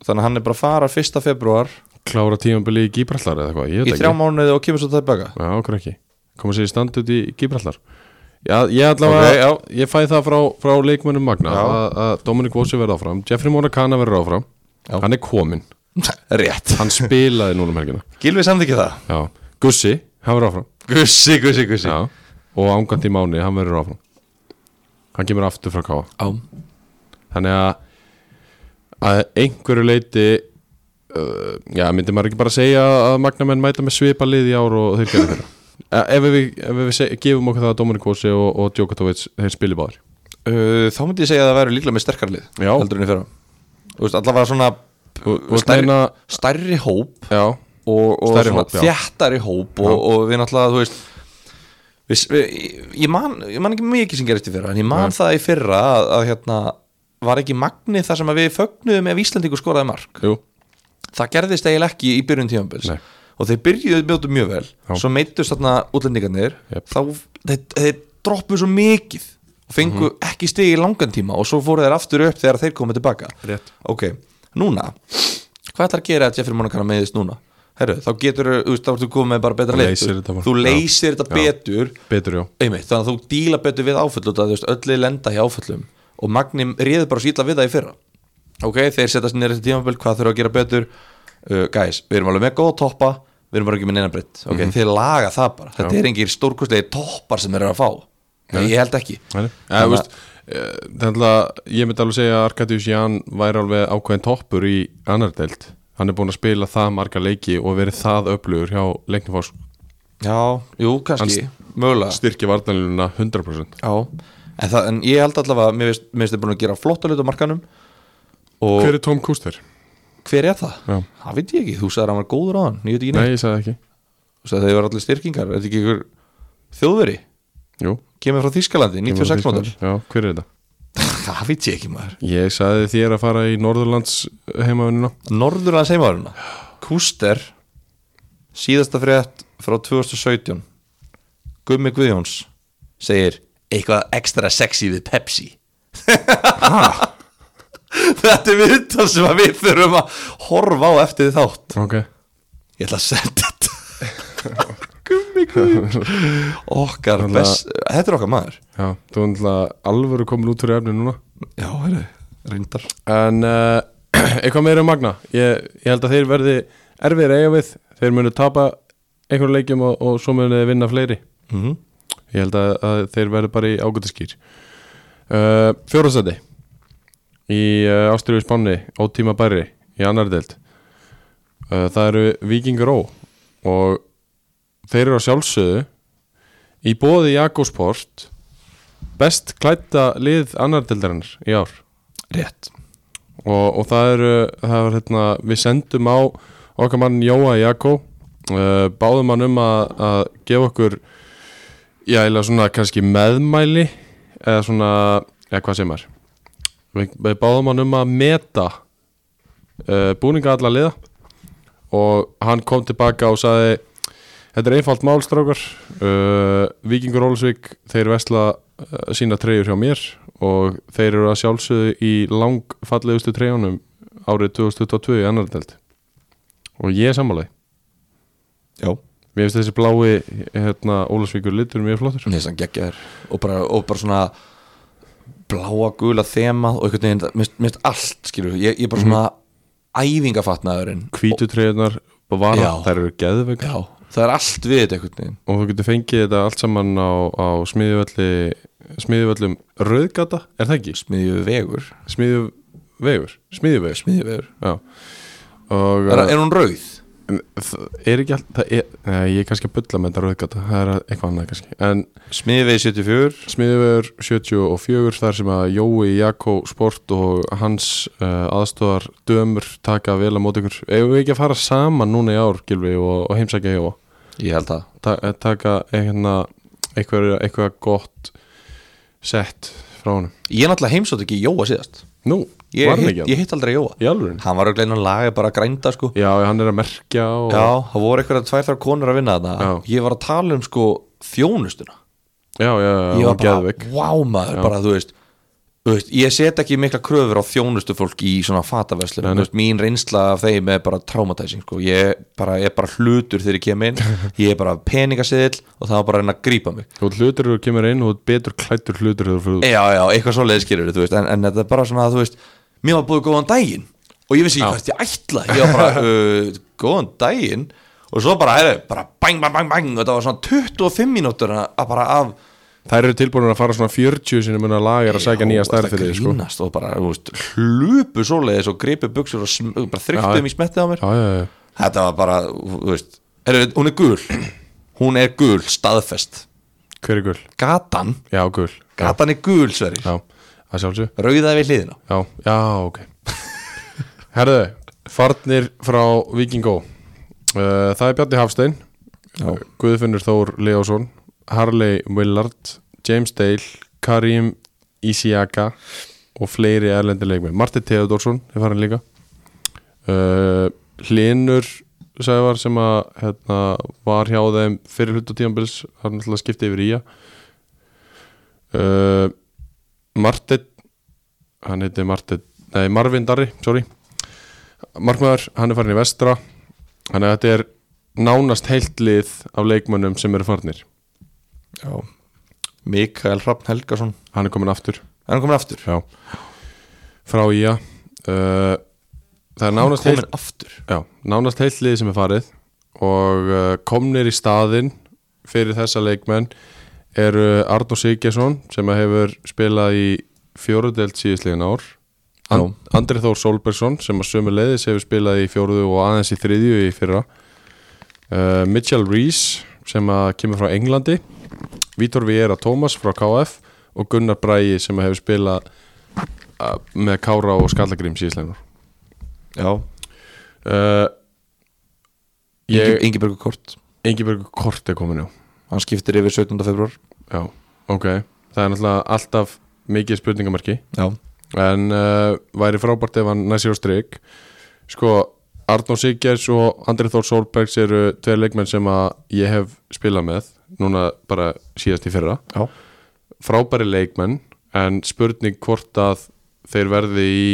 S2: Þannig að hann er bara að fara 1. februar
S1: Klára tímanbili í Gíbrallar eða eitthvað, ég
S2: í
S1: veit
S2: þrjá
S1: ekki
S2: mánuði og kemur svo tilbaka
S1: Já, okkur ekki Koma sér í stand út í Gíbrallar Já, ég allavega,
S2: Ok, já.
S1: ég fæ það frá, frá leikmönnum Magna
S2: Já.
S1: að, að Dominic Vossi verða áfram Jeffrey Monacana verður áfram
S2: Já.
S1: hann er kominn,
S2: Rétt
S1: hann spilaði núna um helgina
S2: Gilvi samþykja það
S1: Já. Gussi, hann verður áfram
S2: Gussi, gussi, gussi
S1: Já. og ángandi mánu, hann verður áfram hann kemur aftur frá Káa
S2: Já.
S1: þannig að að einhverju leiti uh, já, myndi maður ekki bara segja að Magnamenn mæta með svipa lið í ár og þeir gerðu þeirra Eh, ef við, ef við seg, gefum okkur það að Dominic Kossi og, og Djokotovic, þeir spili báðir
S2: Uh, Þá myndi ég segja að það væri líklega með sterkar lið
S1: Já.
S2: Heldur en í fyrra Þú veist, allavega svona
S1: Þú- þú veist
S2: stærri,
S1: meina
S2: stærri hóp
S1: já,
S2: og, og
S1: Stærri
S2: svona
S1: hóp, já.
S2: þjættari hóp og, og við náttúrulega, þú veist við, við, ég, man, ég man ekki mikið sem gerist í fyrra en ég man það í fyrra að, að hérna var ekki magni þar sem að við fögnuðum ef Íslandingur skoraði mark
S1: jú,
S2: það gerðist eiginlega ekki í byrjun tímanbils
S1: Nei.
S2: og þeir byrjuðu mjótu mjög vel svo meittust þarna útlendingarnir
S1: Jep.
S2: þá þeir, þeir droppuðu svo mikið og fengu
S1: Mhm.
S2: ekki stig í langan tíma og svo fóru þeir aftur upp þegar þeir komið tilbaka
S1: Rétt.
S2: ok, núna hvað ætlar að gera að Jeffrey Monacana meiðist núna Herru, þá getur, þú veist, þá ertu komið með bara betra
S1: Leysir
S2: leik, þú-
S1: þetta bara.
S2: þú leysir þetta
S1: Já.
S2: betur
S1: betur já
S2: einmitt, þannig að þú díla betur við áföll og það veist, öllu lenda í áföllum og Magni réði bara sýtla við það í fyrra ok, þeir setjast nýra til tímafél hvað þurfa að gera betur uh, guys, við erum alveg með góð toppa við erum bara ekki með neina breytt ok, þeir laga það bara, þetta
S1: Mhm. Já.
S2: er engir stórkostlega toppar sem þeir eru að fá ég held ekki
S1: Þannig
S2: Þannig að-
S1: að eh, Þannig að ég myndi alveg segja að Arkadius Ján væri alveg ákveðin toppur í annar deild Hann er búin að spila það marga leiki og verið það öflugur hjá leiknifás
S2: já, jú, kannski, mögulega
S1: styrki vartanlununa 100%
S2: já, en, það, en ég held allavega mér finnst- mér finnst þeir búin að gera flotta hlut á markanum og
S1: Hver
S2: hver,
S1: er Tom Kuster?
S2: er það?
S1: Já.
S2: það veit ég ekki, þú sagðir að hann var góður á hann ég veit ekki neitt.
S1: Nei, ég sagði ekki
S2: Þú veist að þeir eru allir styrkingar Þetta er ekki ykkur þjóðveri
S1: Jú,
S2: Kemur frá Þískalandi, 96 mótur
S1: Já, hver er þetta?
S2: Það veit ég ekki maður
S1: Ég sagði þér að fara í Norðurlands eh, heimavinnuna
S2: Norðurlands heimaðurina Kúster Síðasta frétt frá 2017 Gummi Guðjóns Segir eitthvað ekstra sexy við Pepsi Þetta er viðtal sem að við þurfum að horfa á eftir þátt
S1: Ok
S2: Ég ætla að senda þetta Gummi Guðjóns Okkar best Þetta er okkar maður
S1: Já, þú er náttúrulega alvöru komin út fyrir efni núna
S2: Já, heyrðu, reyndar
S1: En uh, eitthvað meira um Magna ég, ég held að þeir verði erfiðir að eiga við Þeir munu tapa einhverju leikjum og, og svo munu þeir vinna fleiri
S2: mm -hmm.
S1: Ég held að, að þeir verði bara í ágætiskýr uh, Fjórastæti Í uh, Ástriðu Spáni Ótíma Bæri Í annar deild uh, Það eru Víkingur Ó Og þeir eru á sjálfsögðu Í bóði Jakobsport Best klætta lið annar deildarinnar í ár
S2: Rétt
S1: og, og það eru það var, hérna, við sendum á okkar mann Jóa Jakó uh, báðum hann um að, að gefa okkur já, eða svona kannski meðmæli eða svona, eða hvað sem er við, við báðum hann um að meta uh, búninga alla liða og hann kom tilbaka og sagði þetta er einfalt málstrákar uh, Víkingur Ólsvík, þeir vesla uh, sína treyjur hjá mér og þeir eru að sjálfsögðu í langfallegustu treyjunum árið 2022 í annar delt og ég er sammálaði
S2: Já
S1: mér finnst þessi blái hérna, Ólsvíkur litur mjög flottur
S2: Mér finnst hann geggjaður og bara, og bara svona bláa gula þemað og einhvern veginn, mér finnst- mér finnst allt skilur við. ég, ég er
S1: Mhm.
S2: bara svona æfingafatnaðurinn
S1: hvítu treyjunar, bara
S2: Já.
S1: þær eru geðveik
S2: Já, það er allt við þetta einhvern veginn
S1: og þú getur fengið þetta allt saman á, á smiðjuvölli smiðjuvöllum Rauðgata, er það ekki?
S2: Smiðju vegur
S1: Smiðjuvegur, smiðjuvegur
S2: Smiðju vegur
S1: Já Og
S2: er, er hún rauð?
S1: það er ekki alltaf það er, nei, Ég er kannski að bulla með þetta rauðgata Það er eitthvað annað kannski En
S2: Smiðju vegi 74
S1: Smiðuvegur 74 þar sem að Jói, Jakko, Sport og hans uh, aðstofar dömur taka vel á móti ykkur Ef við ekki að fara saman núna í ár Gilvi og, og heimsækja Jóa
S2: Ég held það
S1: Ta eh, taka einhverna, eitthvað, eitthvað gott sett frá honum
S2: Ég náttúrulega heimsótt ekki Jóa síðast
S1: Nú,
S2: Ég,
S1: var hann
S2: hitt,
S1: ekki
S2: ég hitt aldrei Jóa
S1: Í alvöru?
S2: Hann var auðvitað innan lagi bara að grænda sko
S1: Já, hann er að merkja og
S2: Já, það voru eitthvað tvær þar konur að vinna þarna
S1: Já.
S2: Ég var að tala um sko þjónustuna
S1: já, já, já
S2: Ég var
S1: hún
S2: bara,
S1: geðveik
S2: vá maður, bara þú veist þú veist, ég set ekki mikla kröfur á þjónustu fólk í svona fataverslun Þú veist, mín reynsla af þeim er bara traumatizing sko. ég bara, er bara hlutur þegar ég kem inn ég er bara peningasiðil og það var bara að reyna að grípa mig
S1: Þú ert hlutur þegar þú kemur inn og þú ert betur klættur hlutur þegar þú fyrir út
S2: já, já, eitthvað svo leiðskýrur veist, en, en þetta er bara svona að þú veist mér var búið góðan daginn og ég vissi ekki hvað ég ætla ég var bara, uh, góðan daginn og svo bara, heyrðu, bara bang, bang, bang, bang og það var svona 25 mínútur að að bara af
S1: Þær eru tilbúin að fara svona 40 sinni mun að laga að sækja nýja stærð fyrir þig
S2: sko.
S1: sko.
S2: grínast og bara þú veist, hlupu svoleiðis og gripu buksur og sm-
S1: Já,
S2: bara
S1: já.
S2: þryktum í smettið á mér
S1: Já, já, já,
S2: þetta var bara, þú veist er, hún er gul, hún er gul staðfest,
S1: hver er gul?
S2: gatan
S1: Já, gul Já,
S2: gatan er gul, Sverri,
S1: já. að sjálfsög
S2: rauðaði við hliðina
S1: Já, já, ok Herðu, farnir frá Víkingó Uh, Það er Bjarni Hafstein Guðfinnur Þór Leósson Harley Willard James Dale, Karim Isiaka og fleiri erlendir leikmenn Marti Theodorsson er farin líka uh, Hlinur Sævar sem að hérna, var hjá þeim fyrir hlutu tíambils hann ætlaði að skipta yfir í að uh, Martin hann heiti Martin, nei Marvin Darri sorry, Markmaður hann er farin í vestra þannig að þetta er nánast heilt lið af leikmönnum sem eru farnir
S2: já. Mikael Hrafn Helgason
S1: hann er komin aftur
S2: er hann komin aftur?
S1: já. frá IA uh, það er
S2: Hann
S1: nánast heilt,
S2: komin aftur
S1: já, nánast heilt lið sem er farið og uh, komnir í staðinn fyrir þessa leikmenn eru Arnó Siggesson sem að hefur spilað í fjórudelt síðislegin ár And, Andri Þór Solbergsson sem að sömu leiðis hefur spilað í fjóruðu og aðeins í þriðju í fyrra uh, Mitchell Rees sem að kemur frá Englandi Vítor Viera Thomas frá KF og Gunnar Bræi sem að hefur spilað uh, með Kára og Skallagrím síðisleginar
S2: já,
S1: uh,
S2: ég...
S1: ég,
S2: Ingebergur Kort
S1: Ingeberg Kort er komin já
S2: hann skiptir yfir 17. februar
S1: Já, ok Það er náttúrulega alltaf mikið spurningamarki
S2: já,
S1: En uh, væri frábært ef hann næsir á strik Sko, Arnó Siggjars og Andri Þór Solbergs eru tveir leikmenn sem að ég hef spilað með Núna bara síðast í fyrra
S2: já.
S1: Frábæri leikmenn En spurning hvort að þeir verði í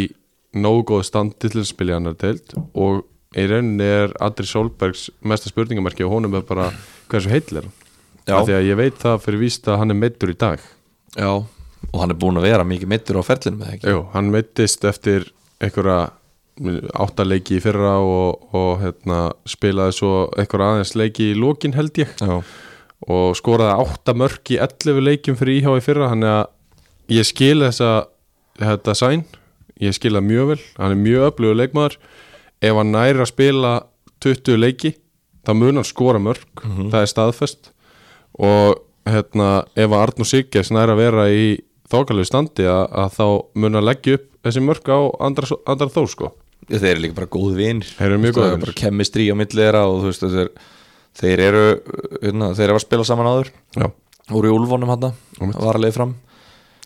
S1: nógu góð stand til að spila í annar deild og í rauninni er Andri Solbergs mesta spurningamarki og honum er bara hversu heill er hann
S2: Já.
S1: af því að ég veit það fyrir víst að hann er meittur í dag
S2: já. og hann er búin að vera mikið mittur á ferlinum eða ekki?
S1: Jú, hann meittist eftir einhverja áttaleiki í fyrra og, og hérna, spilaði svo einhverja aðeins leiki í lokin held ég
S2: já,
S1: og skoraði átta mörk í 11 leikjum fyrir íhá í fyrra þannig að ég skil þessa þetta sæn, ég skil það mjög vel hann er mjög öflugur leikmaður ef hann næri að spila 20 leiki þá mun hann skora mörk það er staðfest og hérna, ef að Arnur Sigges næri að vera í þókalegu standi að, að þá mun hann leggja upp þessi mörk á andra, andra þó sko
S2: Já, þeir eru líka bara góð vinir
S1: Þeir eru mjög
S2: Þú veist,
S1: góðir
S2: það er
S1: vinir.
S2: bara kemistri á milli þeirra og þú veist þeir, þeir eru hérna, þeir eru að spila saman áður
S1: Já.
S2: úr í Ulfónum hann varlega fram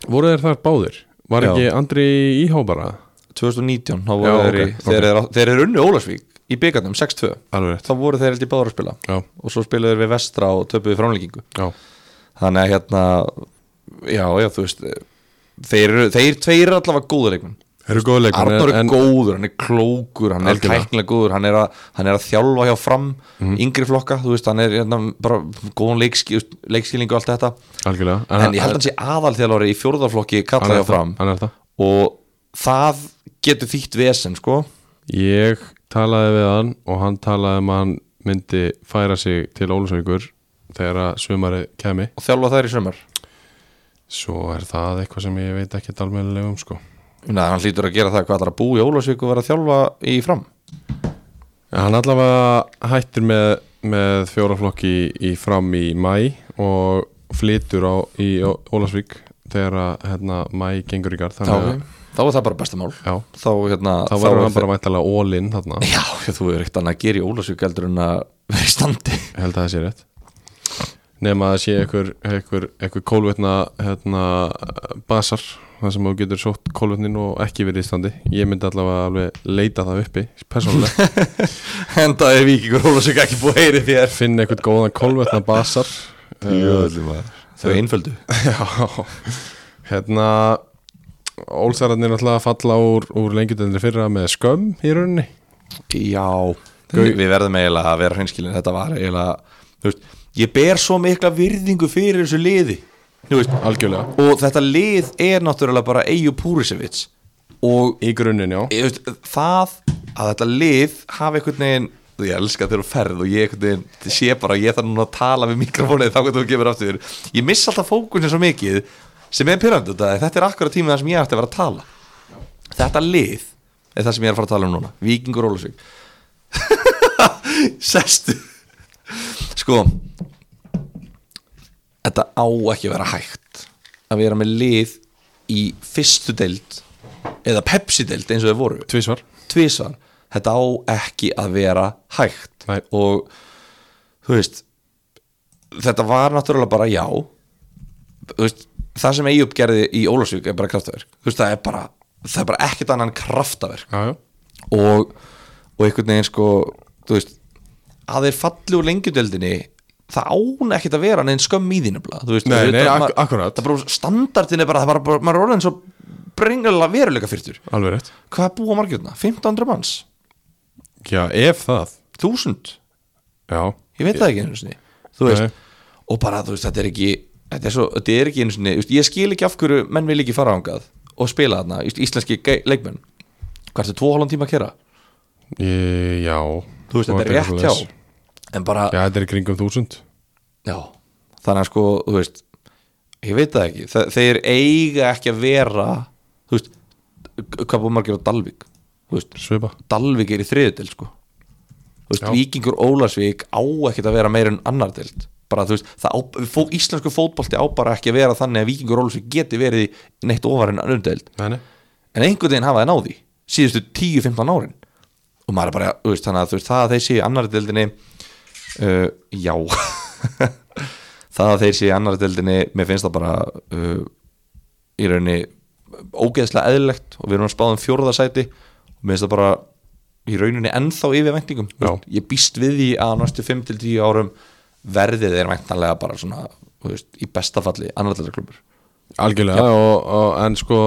S1: voru þeir þar báðir? Var
S2: Já.
S1: ekki Andri íhá bara?
S2: 2019 þá voru
S1: Já,
S2: þeir,
S1: ok,
S2: okay, þeir, eru, þeir eru unni Ólasvík í byggarnum 6-2
S1: Alveg rétt
S2: þá voru þeir held í báður að spila
S1: Já,
S2: og svo spilaðu þeir við vestra og töpuðu framleggingu
S1: já,
S2: þannig að hérna já já þú veist þeir, eru- þeir tveir eru allavega góða leikmenn
S1: eru góð leikmenn
S2: Arnór er
S1: en-
S2: góður, hann er klókur hann er
S1: Algjörlega. Mhm.
S2: tæknilega góður, hann er, að, hann er að þjálfa hjá fram yngri flokka, þú veist, hann er hérna, bara góðan leikski, leikskilingu og allt þetta
S1: Algjörlega
S2: en ég held hann sé aðalþjálfari í fjórðarflokki kalla hjá fram
S1: Hann er það
S2: og það getur þýtt vesen, sko
S1: Ég talaði við hann og hann talaði um að hann myndi færa sig til Ólusvíkur þegar að sumarið kemi
S2: og þjálfa þær í sömur
S1: Svo er það eitthvað sem ég veit ekki almennilega um sko
S2: Nei, hann hlýtur að gera það hvað það er að búi í Ólafsvík og vera að þjálfa í fram
S1: En Hann allavega hættir með, með fjóraflokki í, í fram í mæ og flytur á, í Ólusvík þegar að hérna, mæ gengur í garð
S2: þá,
S1: þannig að-
S2: þá er það bara besta mál
S1: Já,
S2: þá, hérna,
S1: þá verður
S2: er
S1: hann
S2: þeir-
S1: bara væntalega ólinn þarna
S2: Já, já, þú er ekkert annað að gera í Ólafsvík heldur en að vera í standi
S1: Ég held að það sé rétt nema að það sé einhver, einhver, einhver kólvetna hérna, basar þar sem þú getur sótt kólvetnin og ekki verið í standi ég myndi allavega alveg leita það uppi persónulega,
S2: en það er vikingur Ólafsvík ekki búið að heyri þér
S1: finn einhvern góðan kólvetna basar
S2: Jöðli maður Þau einföldu
S1: já hérna Ólsararnir náttúrulega falla úr, úr lengjutendri fyrra með skömm í rauninni
S2: Já Við verðum eiginlega að vera hreinskilin Þetta var eiginlega þú veist, Ég ber svo mikla virðingu fyrir þessu liði Þú veist,
S1: Algjörlega
S2: Og þetta lið er náttúrulega bara Eyju Púrisevits Og
S1: Í grunninn, já
S2: ég veist, það að þetta lið hafi einhvern veginn ég elska þegar þú ferð og ég einhvern veginn sé bara að ég þarf núna að tala við mikrofónið þá hvernig þú gefur aftur ég missa alltaf fókusin svo mikið sem er pyrrandu þetta er- þetta er akkurat tímið það sem ég ætti að vera að tala þetta lið er það sem ég er að fara að tala um núna Víkingur Ólusvík sestu sko þetta á ekki að vera hægt að vera með lið í fyrstu deild eða pepsi deild eins og þeir voru
S1: Tvísvar
S2: tvisvar þetta á ekki að vera hægt
S1: Nei.
S2: og þú veist þetta var náttúrulega bara já þú veist, það sem eigi uppgerði í Ólafsvík er bara kraftaverk þú veist, það er bara, það er bara ekkert annan kraftaverk
S1: Já, já
S2: og, og einhvern veginn sko þú veist, að þeir falli úr lengjudeldinni það án ekkert að vera neinn skömm í þínu blað, þú veist,
S1: Nei, nei,
S2: það,
S1: ak- akkurat.
S2: það er bara standardin er bara, það er bara, maður er orðin svo brengulega veruleika fyrtur
S1: Alveg rétt
S2: hvað búa margjörna? 1500 manns
S1: Já, ef það
S2: 1000
S1: Já
S2: ég veit það ekki einu sinni þú veist, og bara þú veist, þetta er ekki þetta er, svo, þetta er ekki einu sinni, þú veist, ég skil ekki af hverju menn vil ekki fara ángað og spila þarna þú veist, íslenski gæ- leikmenn hvað ertu tvo hálfum tíma að kera?
S1: Í, Já
S2: þú
S1: Og
S2: veist, þetta er rétt
S1: svoleiðis.
S2: hjá en bara,
S1: Já, þetta er í kringum þúsund
S2: já, þannig að sko þú veist, ég veit það ekki Þe, þeir eiga ekki að vera þú veist, hvað búið margir á Dalvik þú veist,
S1: Svipa
S2: Dalvik er í þriðudeld sko Þú veist,
S1: Já.
S2: Víkingur Ólarsvík á ekkert að vera meira en annar deild bara þú veist, það á, fó, íslensku fótbolti á bara ekki að vera þannig að Víkingur Ólarsvík geti verið í neitt ofar en annar deild
S1: Nei, nei
S2: en einhvern veginn hafa það náði síðustu 10-15 árin og maður er bara, þú veist, þannig að þú veist, það að þeir séu í annarri deildinni uh, já það að þeir séu í annarri deildinni mér finnst það bara uh, í rauninni ógeðslega eðlilegt og við erum að spáða um fjórðasæti og mér finnst það bara í rauninni ennþá yfir væntingum
S1: Já.
S2: ég býst við því að á næstu 5-10 árum verðið er væntanlega bara svona, þú veist, í besta falli annar deildarklubur
S1: Algjörlega og, og, En sko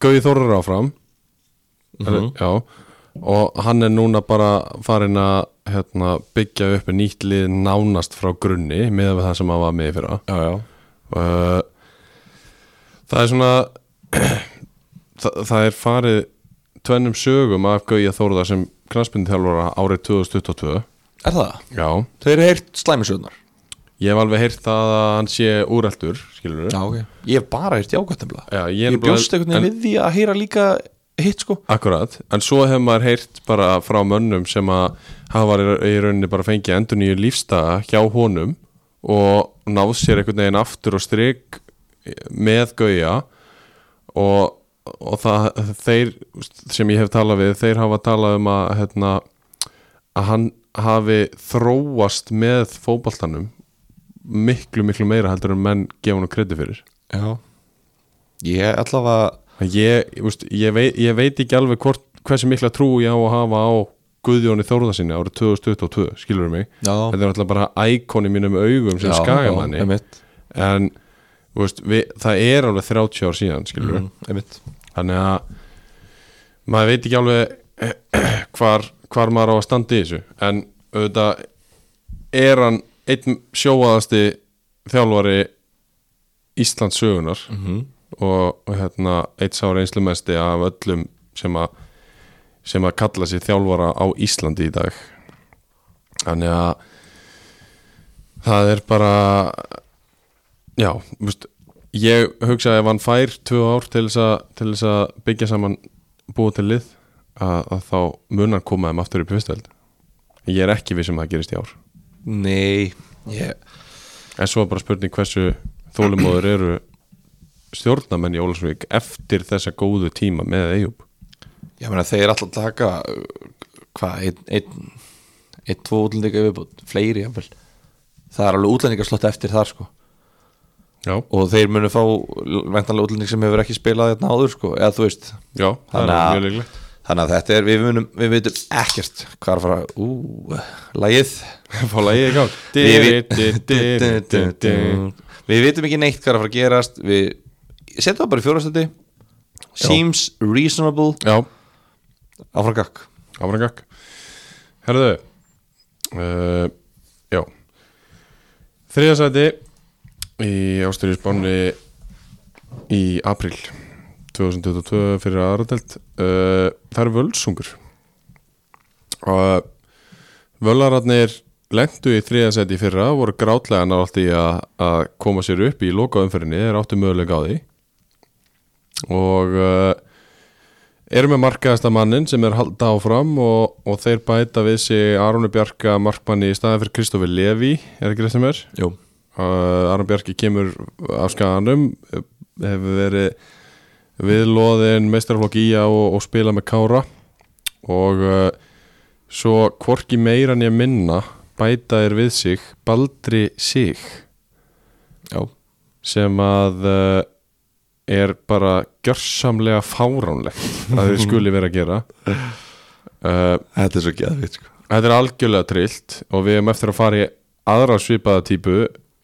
S1: Gauði Þórar áfram Mhm. Já Og hann er núna bara farin að hérna, byggja upp nýtt lið nánast frá grunni með það sem hann var með í fyrra
S2: já, já,
S1: uh, Það er svona það, það er farið tvennum sögum af Gauja Þórða sem knarsbyndþjálfara árið 2022
S2: er það?
S1: Já,
S2: Þau eru heyrt slæmisöðnar
S1: ég hef alveg heyrt það að hann sé úreltur, skilur við
S2: Já, ok Ég hef bara heyrt jákvæmt nefnilega
S1: Já, ég
S2: Ég,
S1: er
S2: ég bjóst
S1: nefnilega-
S2: einhvern veginn
S1: en-
S2: við því að heyra líka hitt sko
S1: Akkurat, en svo hefur maður heyrt bara frá mönnum sem að hafa í rauninni bara fengið endur nýju lífstaga hjá honum og náð sér einhvern veginn aftur og strik með gauja og, og það, þeir sem ég hef talað við, þeir hafa talað um að, hérna, að hann hafi þróast með fótboltanum miklu, miklu meira heldur en menn gefa hann kredi fyrir
S2: Já Ég allavega
S1: Ég, ég, veist, ég, veit, ég veit ekki alveg hvort, hversu mikla trú ég á að hafa á Guðjóni Þórðarsinni árið 2022, skilur mig
S2: Já.
S1: Þetta er alltaf bara íkon í mínum augum sem
S2: Já,
S1: skagamanni
S2: já, einmitt.
S1: En þú veist, við, það er alveg 30 ár síðan, skilur við
S2: Mm, Einmitt
S1: Þannig að maður veit ekki alveg hvar, hvar maður á að standa í þessu En auðvitað er hann einn sjóaðasti þjálfari Íslands sögunar
S2: Mhm.
S1: og, og hérna eitt sá reynslumesti af öllum sem að sem að kalla sér þjálfara á Íslandi í dag þannig að það er bara já, veist, ég hugsa að ef hann fær tvö ár til þess að, til þess að byggja saman búa til lið að, að þá munar koma þeim aftur upp í fyrstöld ég er ekki vissum að það gerist í ár
S2: Nei Ég
S1: en svo er bara spurning hversu þólumóður eru stjórnamenn í Ólasvík eftir þessa góðu tíma með Eyjúb
S2: Ég meina þeir alltaf taka uh, Hvað Einn ein, ein, Tvo útlendinga viðbútt Fleiri jafnvel Það er alveg útlendingarslott eftir þar sko
S1: Já,
S2: Og þeir munu fá Væntanlega útlending sem hefur ekki spilað þetta áður sko Eða þú veist
S1: já það
S2: Þannig
S1: er
S2: að-
S1: mjög leiklegt
S2: Þannig að þetta er, við, munum, við veitum ekkert hvað er að fara, ú, lægið
S1: Fá lagið í gang
S2: Við veit- Við veitum ekki neitt hvað er að fara að gerast Við setjum það bara í fjórastöldi seems reasonable
S1: Já,
S2: áfram gakk
S1: áfram gakk Herðu uh, Já Þriðasæti í Ásturíspáni í april 2022 fyrir aðratelt uh, Það er völsungur og völararnir lendu í þriðasæti í fyrra voru grátlega nátti að, að koma sér upp í lokaumferinni þeir áttu mögulega á því og uh, erum með markaðasta mannin sem er halda áfram og, og þeir bæta við sig Aronu Bjarka markmanni í staðin fyrir Kristofi Levi, er ekki þetta sem er?
S2: Jú.
S1: uh, Aron Bjarki kemur af skaganum uh, hefur verið viðloðin meistarflokk í að og, og spila með Kára og uh, svo hvorki meira en ég minna bæta er við sig Baldri Sig
S2: Já.
S1: sem að uh, er bara gjörsamlega fáránlegt að þið skuli vera að gera uh,
S2: þetta er svo geðvitt sko.
S1: Þetta er algjörlega trillt og við erum eftir að fara í aðra svipaða típu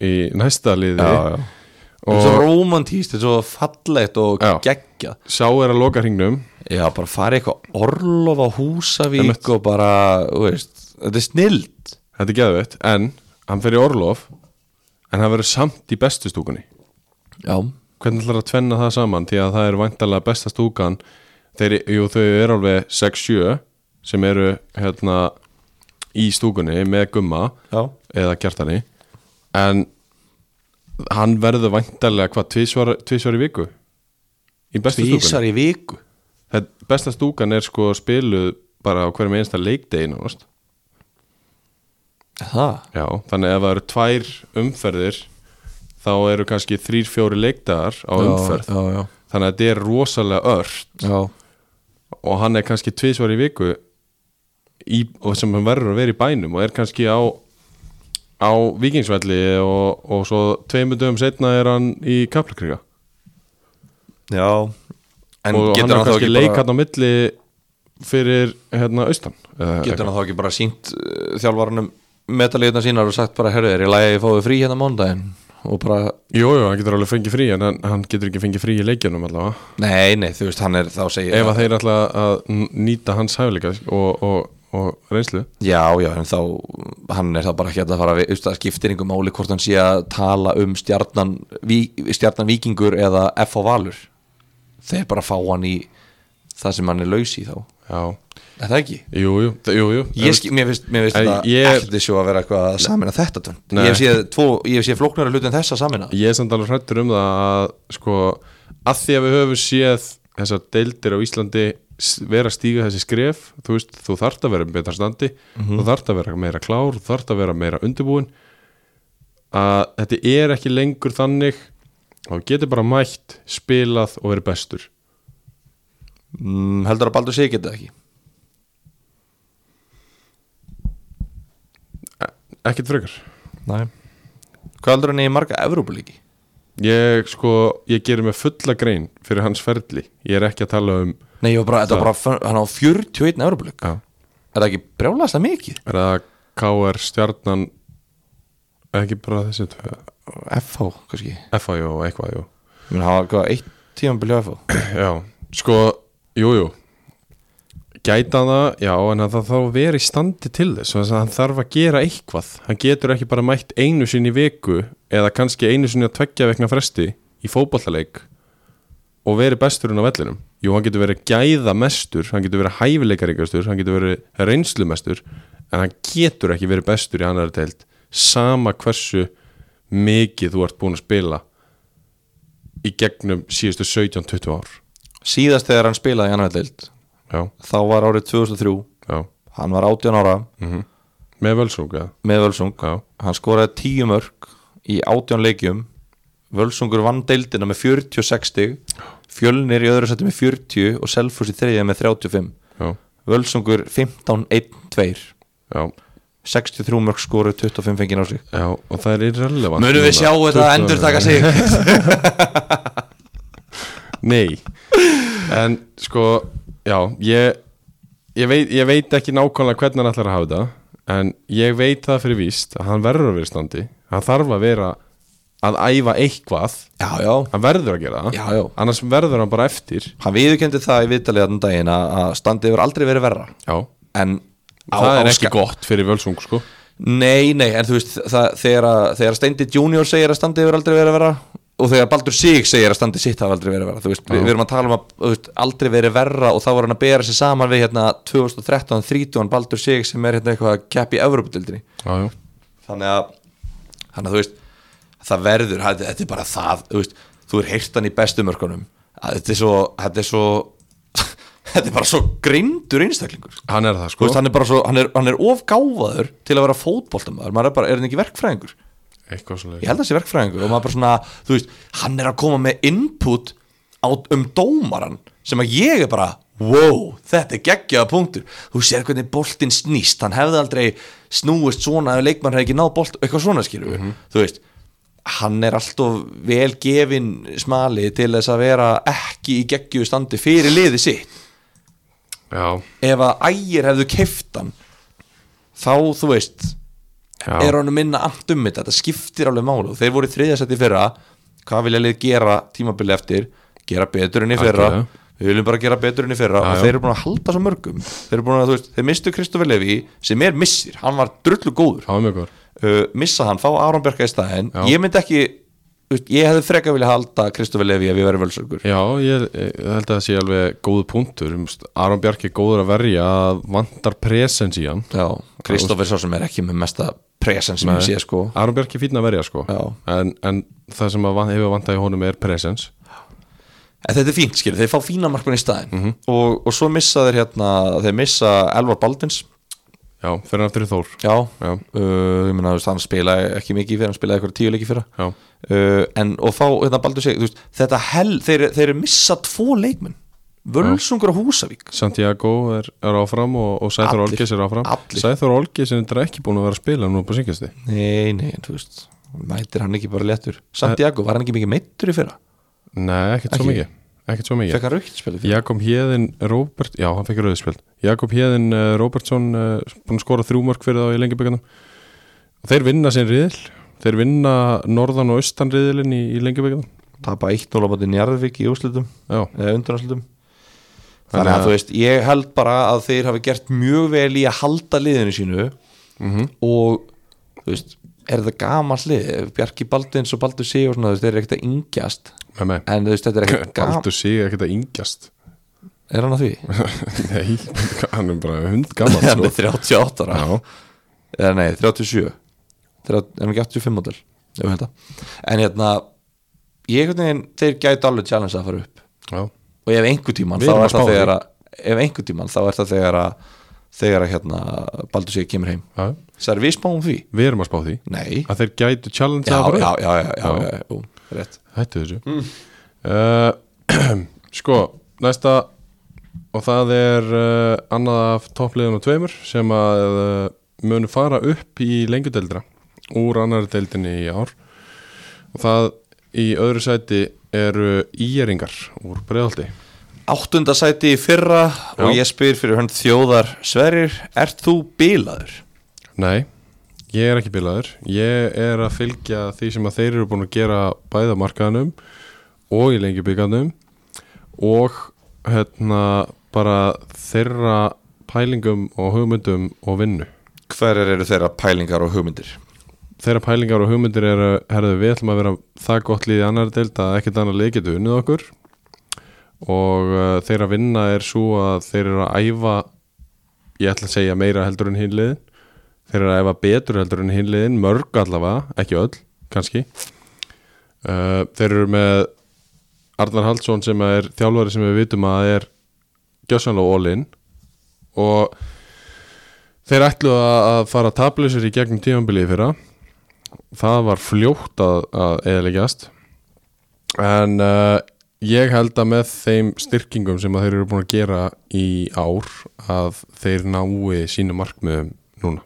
S1: í næsta liði
S2: já, já. Og...
S1: og
S2: svo romantíst, þetta er svo fallegt og
S1: Já.
S2: geggjað
S1: sá er að loka hringnum
S2: Já, bara fara í eitthvað orlof á Húsavík
S1: Einmitt.
S2: og bara, þú veist, þetta er snild
S1: þetta er geðvett, en hann fer í orlof en hann verður samt í bestu stúkunni
S2: Já,
S1: hvernig ætlar að tvenna það saman því að það er vantarlega besta stúkan þeir, jú, þau eru alveg 6-7 sem eru hérna í stúkunni með gumma
S2: já,
S1: eða kjartani en hann verður vantarlega hvað, tvísvar, tvísvar í viku í bestu stúkunni
S2: tvísar í viku
S1: Þetta, besta stúkan er sko spiluð bara á hverjum einsta leikdegi nánast
S2: Það,
S1: Já, þannig ef það eru tvær umferðir þá eru kannski þrýr, fjóri leikdagar á umferð
S2: Já, já,
S1: þannig að þetta er rosalega ört
S2: já
S1: og hann er kannski tvisvar í viku í, og sem hann verður að vera í bænum og er kannski á á vikingsvelli og, og svo tveimur dögum setna er hann í kaplakriga
S2: Já, en
S1: og hann er
S2: getur hann þá
S1: kannski
S2: ekki
S1: leik
S2: bara
S1: hann á milli fyrir hérna austan eða
S2: getur hann þá ekki bara sínt uh, þjálfvaranum metalíðuna sínar og sagt bara, herru, er ég lægi að ég fái frí hérna mándaginn og bara,
S1: Jú, jú, hann getur alveg fengið frí en hann, hann getur ekki fengið frí í leikjunum allavega
S2: nei, nei, þú veist, hann er þá segir
S1: ef að þeir ætla að n- nýta hans hæfileika og, og, og reynslu
S2: Já, já, en þá hann er þá bara ekki að fara við, þú veist, það skiptir einhver máli hvort hann sé að tala um stjarnan, ví, stjarnan vikingur eða F á Valur þeir bara fá hann í það sem hann er laus í þá Er
S1: Já,
S2: það ekki?
S1: jú, jú, þ- jú, jú.
S2: Ég skip, mér finnst, mér finnst
S1: Ei,
S2: þetta
S1: ég-
S2: ekki svo að vera eitthvað að samina þetta tönn.
S1: Nei.
S2: Ég hef séð, tvo, ég hef séð flóknara hlut en þessa samina
S1: ég er samt alveg hrættur um það að sko, að því að við höfum séð þessar deildir á Íslandi s- vera að stíga þessi skref þú veist, þú þarft að vera í betra standi þú þarft að vera meira klár, þú þarft að vera meira undirbúin að þetta er ekki lengur þannig að þú getur bara mætt spilað og verið bestur
S2: mm, heldur að Baldur segi geta ekki
S1: ekkert frekar
S2: Nei. Hvað heldur hann í marga Evrópulíki?
S1: Ég sko, ég gerir mig fulla grein fyrir hans ferli, ég er ekki að tala um
S2: Nei, ég var bara, þetta var bara, hann á 41 Evrópulík
S1: Já.
S2: Er það ekki brjálast það mikið?
S1: er það KR stjarnan ekki bara þessi tvö,
S2: FH, kannski
S1: FAJ og eitthvað jú.
S2: Ég meina, hann var hvað, eitt tímabil hjá FH
S1: Já, sko, jújú jú. gæta hann það, já en hann þarf þá að vera í standi til þess þannig að hann þarf að gera eitthvað hann getur ekki bara mætt einu sinni í viku eða kannski einu sinni að tveggja vekna fresti í fótballaleik og verið besturinn á vellinum Jú, hann getur verið gæðamestur, hann getur verið hæfileikaríkastur, hann getur verið reynslumestur en hann getur ekki verið bestur í annar deild sama hversu mikið þú ert búin að spila í gegnum síðustu 17-20 ár
S2: Síðast þegar hann spilaði í annar deild
S1: Já,
S2: Þá var árið 2003
S1: já,
S2: Hann var 18 ára
S1: með völsung eða?
S2: með Völsung
S1: Já,
S2: Hann skoraði 10 mörg í 18 leikjum Völsungur vann deildina með 46 stig Fjölnir í öðru sætti með 40 og Selfos í þriðja með 35
S1: já,
S2: Völsungur 15-1-2
S1: já
S2: 63 mörg skoruð 25 fengið á sig
S1: Já, og það er irrelevant
S2: Mönum við
S1: núna.
S2: sjá þetta
S1: 20
S2: endur taka sig
S1: Nei, en sko, já, ég, ég, veit, ég veit ekki nákvæmlega hvernig hann ætlar að hafa þetta En ég veit það fyrir víst að hann verður að vera í standi Hann þarf að vera að æfa eitthvað
S2: já, já,
S1: hann verður að gera það
S2: já, já
S1: annars verður hann bara eftir
S2: hann viðurkendi það í viðtalið þann daginn að að standið hefur aldrei verið verra
S1: já,
S2: en
S1: það er
S2: ska-
S1: ekki gott fyrir völsung sko
S2: Nei, nei, en þú veist það, þegar, að- þegar Steindi Junior segir að standið hefur aldrei verið að vera og þegar Baldur Sig segir að standið sitt hafa aldrei verið að vera þú veist, við, við erum að tala um að þú veist, aldrei verið verra og þá var hann að bera sér saman við hérna 2013-30 Baldur Sig sem er hérna eitthvað að keppa í Evropadildinni
S1: já, já,
S2: þannig að, þannig að þú veist það verður, það- þetta er bara það þú veist, þú er heyrtan í bestu mörkunum að þetta er svo þetta er, svo, þetta er bara svo grindur einstaklingur
S1: hann er það
S2: Þú
S1: sko
S2: veist, hann er bara svo, hann er, hann er ofgáfaður til að vera fótboltamaður, maður er bara, er hann ekki verkfræðingur?
S1: eitthvað
S2: Ég
S1: svolítið
S2: held að það sé verkfræðingur og maður bara svona, þú veist, hann er að koma með input á, um dómaran sem að ég er bara, wow, þetta er geggjaða punktur, þú sér hvernig boltinn snýst, hann hefði aldrei snúist svona ef leikmann hefði ekki náð bolt, eitthvað svona skilur við, þú veist, hann er alltof vel gefin smali til þess að vera ekki í geggju standi fyrir liði sitt
S1: já,
S2: ef að ægir hefðu keift hann þá þú veist
S1: já,
S2: er honum minna allt um þetta, þetta skiptir alveg málu og þeir voru í þriðasætti fyrra hvað vilja liðið gera tímabili eftir gera betur enn í fyrra
S1: Algjörlega.
S2: við viljum bara gera betur enn í fyrra og
S1: já.
S2: þeir eru búin að halda svo mörgum þeir eru búin að, þú veist, þeir mistu Kristoffer Levi sem er missir, hann var drullu góður
S1: það er mjög góð
S2: uh, missa hann, fá Aron Björka í staðinn
S1: Já.
S2: ég myndi ekki, þú veist, ég hefði freka vilja halda Kristoffer Levi ef ég verið völsökur
S1: Já, ég, ég held að það sé alveg góð punktur Þú veist, Aron Bjarki er góður að verja að vantar presens í hann
S2: Já, Kristoffer sá sem er ekki með mesta presen sem ég sé sko
S1: Aron Bjarki er fínn að verja sko
S2: Já.
S1: en, en það sem að van- hefur vantað í honum er presens
S2: En þetta er fínt, skilur, þeir fá fína markmann í staðin
S1: Mhm.
S2: og, og svo missa þeir hérna þeir missa Elvar Baldins
S1: Já, fyrir hann aftur í Þór
S2: já,
S1: Já,
S2: Uh, ég meina, þú veist, hann spilaði ekki mikið fyrir, hann spilaði eitthvað tíu leiki fyrir
S1: já,
S2: uh, en, og fá, hérna, Baldur segir, þú veist þetta hel, þeir, þeir missa tvo leikmenn Völsungur og Húsavík
S1: Santiago er, er áfram og, og Sæþór
S2: Allir.
S1: Olgis er áfram
S2: Allir.
S1: Sæþór Olgis er þetta ekki búin að vera að spila nú på syngjast
S2: Nei, nei, en þú veist mætir hann ekki bara léttur Santiago, var hann ekki mikið meittur í fyrra?
S1: Nei, ekkert svo
S2: Ekki.
S1: mikið Ekkert svo mikið
S2: Fekk hann raukt spilið fyrir?
S1: Jakob Hjeðin Robert, já hann fekk rauðspjöld Jakob Hjeðin uh, Robertsson uh, búin að skora þrjú mörg fyrir þá í lengjubikarnum og þeir vinna sinn riðil þeir vinna norðan og austan riðilin í, í lengjubikarnum
S2: Tapa 1-0 á móti Njarðvík í úrslitum
S1: já,
S2: eða undanáslutum
S1: Þannig
S2: eh, þannig
S1: að-
S2: að þú veist, ég held bara að þeir hafi gert mjög vel í að halda liðinu sínu og þú veist, er þetta gamalt lið Bjarki Baldins og Baldur Sig og svona, þú veist, þeir eru ekkert að yngjast
S1: með mig
S2: en þú veist, þetta er ekkert gamalt
S1: Galdur sig ekkert að yngjast
S2: er hann að því?
S1: Nei, hann er bara hundgammal
S2: hann
S1: sko.
S2: er 38 ára
S1: Já,
S2: eða nei, 37 Þrjá- er hann ekki 85 model Jú, hérna. en hérna ég einhvern veginn, þeir gæti alveg challenge að fara upp
S1: já,
S2: og ef einhver tíman
S1: Við
S2: þá
S1: erum að
S2: er það
S1: spá
S2: þegar að ef einhver tíman þá er það þegar að þegar að hérna Baldur Sigur kemur heim
S1: já
S2: það er við spáum því
S1: Við erum að spá því
S2: nei já,
S1: að þeir gætu challenge
S2: já,
S1: að fara upp.
S2: já, já, já, já,
S1: Já.
S2: já, jú, rétt
S1: Hættu þessu uh, Sko, næsta og það er uh, annað af toppliðinu tveimur sem að uh, munu fara upp í lengjudeldra úr annari deildinni í ár og það í öðru sæti eru íjeringar úr bregðaldi
S2: áttunda sæti í fyrra og
S1: Já.
S2: ég spyr fyrir hönd þjóðar Sverrir, ert þú bílaður?
S1: Nei, ég er ekki bilaður ég er að fylgja því sem að þeir eru búin að gera bæða markaðanum og í lengjubikanum og hérna bara þeirra pælingum og hugmyndum og vinnu
S2: hverjar eru þeirra pælingar og hugmyndir?
S1: þeirra pælingar og hugmyndir eru herðu, við ætlum að vera það gott liðið annar deild að ekkert annar lið getur unnið okkur og uh, þeirra vinna er svo að þeir eru að æfa ég ætla að segja meira heldur en hinliðin þeir eru að æfa betur heldur en hinliðin mörg allavega, ekki öll kannski uh, þeir eru með Arnar Haldsson sem er þjálfari sem við vitum að er gjössanlega all-in og þeir ætlu að að fara tablusir í gegnum tímanbilið fyrra það var fljótt að, að eðalegjast en uh, ég held að með þeim styrkingum sem að þeir eru búin að gera í ár að þeir nái sínu markmiðum núna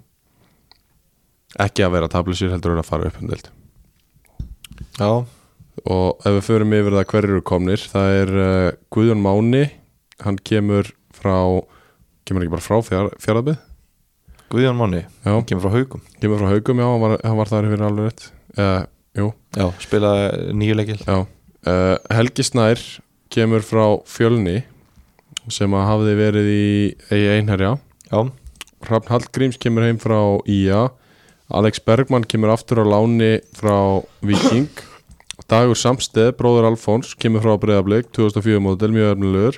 S1: ekki að vera tablusir heldur en að fara upp um deild
S2: já,
S1: og ef við förum yfir það hverju eru komnir það er uh, Guðjón Máni hann kemur frá kemur ekki bara frá fjár, fjárðabið
S2: Guðjón Máni
S1: Já.
S2: kemur frá haugum
S1: kemur frá haugum, já, hann var, hann var þar fyrir alveg rétt eða, jú,
S2: Já, spilaði nýju leikil
S1: já uh, Helgi Snær kemur frá Fjölni sem að hafði verið í, í einherja
S2: Já,
S1: Hrafn Hallgríms kemur heim frá IA Alex Bergmann kemur aftur á láni frá Viking Dagur Samsteð, bróður Alfons kemur frá Breiðablík 2004 mótel, mjög öfnilegur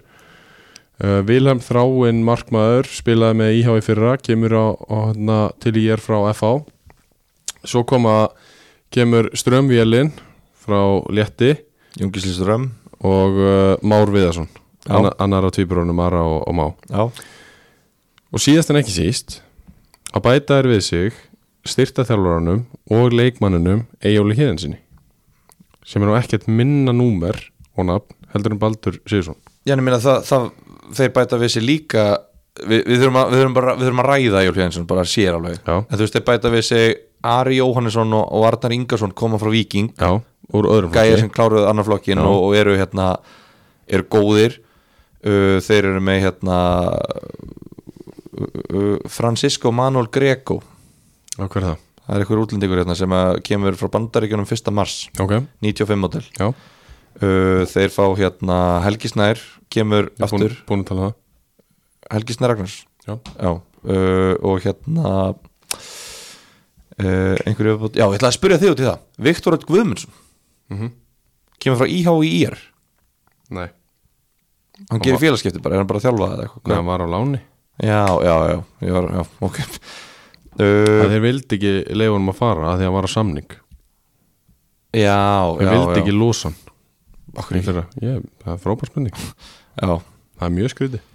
S1: uh, Vilhelm Þráin Markmaður spilaði með IH í fyrra kemur á, á, hana, til IR frá FH svo koma kemur Strömvélin frá Létti
S2: Jungislýstur Römm
S1: og uh, Már Viðarsson
S2: Já.
S1: annar, annar af tvíbrunum Ara og, og Má
S2: Já,
S1: Og síðast en ekki síst að bæta er við sig styrta þjálfaranum og leikmannunum Eyjóli Híðansinni sem er nú ekkert minna númer og nafn heldur en Baldur Sigursson
S2: já en ég meina það, það þeir bæta við sér líka við, við, þurfum að, við, þurfum bara, við þurfum að ræða Jólf Jensson bara sér alveg
S1: Já.
S2: En þú veist, þeir bæta við sér Ari Jóhannesson og, og Arnar Ingarsson koma frá Víking
S1: Já, úr öðrum
S2: gæja
S1: flokki.
S2: sem kláruðu annar flokkin
S1: Já.
S2: og, og eru hérna eru góðir uh, þeir eru með hérna uh, uh, Francisco Manuel Greco
S1: Já, hver er það?
S2: það er eitthvað útlendingur hérna sem að kemur frá bandaríkjunum 1. mars
S1: Ok,
S2: 95 model
S1: já,
S2: uh, þeir fá hérna Helgi Snær kemur
S1: ég er búin,
S2: aftur
S1: búin að tala um
S2: Helgi Snær Ragnars
S1: það Já,
S2: já, uh, og hérna uh, einhverju viðbót- já, ég ætla að spyrja þig út í það Viktor Öll Guðmundsson
S1: Mhm.
S2: kemur frá IH í IR
S1: nei,
S2: hann gerir félagskipti bara, er hann bara að þjálfa eða
S1: nei,
S2: eitthvað
S1: hann var á láni
S2: já, já, já, já, var, já ok
S1: uh,
S2: uh,
S1: Þeir vildi ekki leifunum að fara að því að hann var á samning
S2: já, já,
S1: Þeir vildi
S2: já.
S1: ekki losa hann
S2: Okkur
S1: Í
S2: ekki.
S1: fyrra. Ég, Það er frábær spurning
S2: já.
S1: Það er mjög skrýti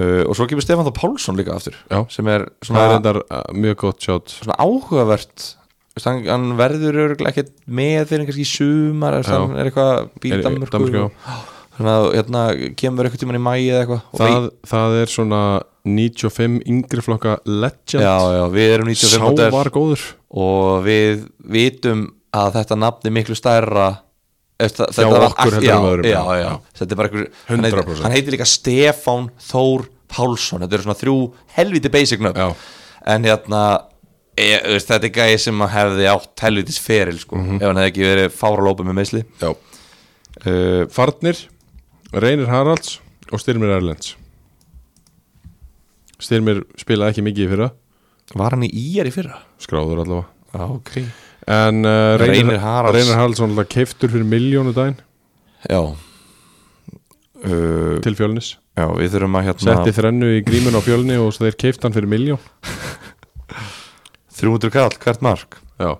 S2: Uh, og svo kemur Stefán Þór Pálsson líka aftur
S1: Já.
S2: sem er
S1: Það er
S2: svona,
S1: endar uh, mjög gott sjátt
S2: svona áhugavert Vist, hann, hann verður örugglega ekkert með þeir kannski í sumar er,
S1: Já.
S2: hann er eitthvað
S1: Er í- Danmörku, já.
S2: bíldamörku þannig að hérna, kemur eitthvað tíman í mæi eða eitthvað og
S1: það, það er svona 95 yngri flokka
S2: við,
S1: legend
S2: já, já, við erum 95
S1: Sá
S2: model
S1: var góður
S2: og við vitum að þetta nafn er miklu stærra eh, eftir,
S1: Já, okkur heldur
S2: já,
S1: en öðrum,
S2: já,
S1: já.
S2: já, þetta er bara einhver hann heitir-
S1: 100%.
S2: hann heitir líka Stefán Þór Pálsson þetta eru svona þrjú helviti basic nöfn
S1: Já.
S2: en hérna e, þú veist, þetta er gæði sem að hefði átt helvitis feril sko,
S1: Mhm.
S2: ef hann hefði ekki verið fáralópa með meðsli
S1: já.
S2: uh,
S1: Farnir, Reynir Haralds og Styrmir Erlends Styrmir spilaði ekki mikið í fyrra
S2: var hann í íjar í fyrra?
S1: skráður allavega
S2: Já, ok
S1: en uh, Reynir,
S2: Reynir Haralds.
S1: Reynir Haralds var alltaf keiftur fyrir miljónu daginn
S2: já Uh,
S1: til fjölnis
S2: já, við þurfum að hérna
S1: setti þrennu í grímun á fjölni og svo þeir keift hann fyrir miljón
S2: 300 kall, hvert mark
S1: já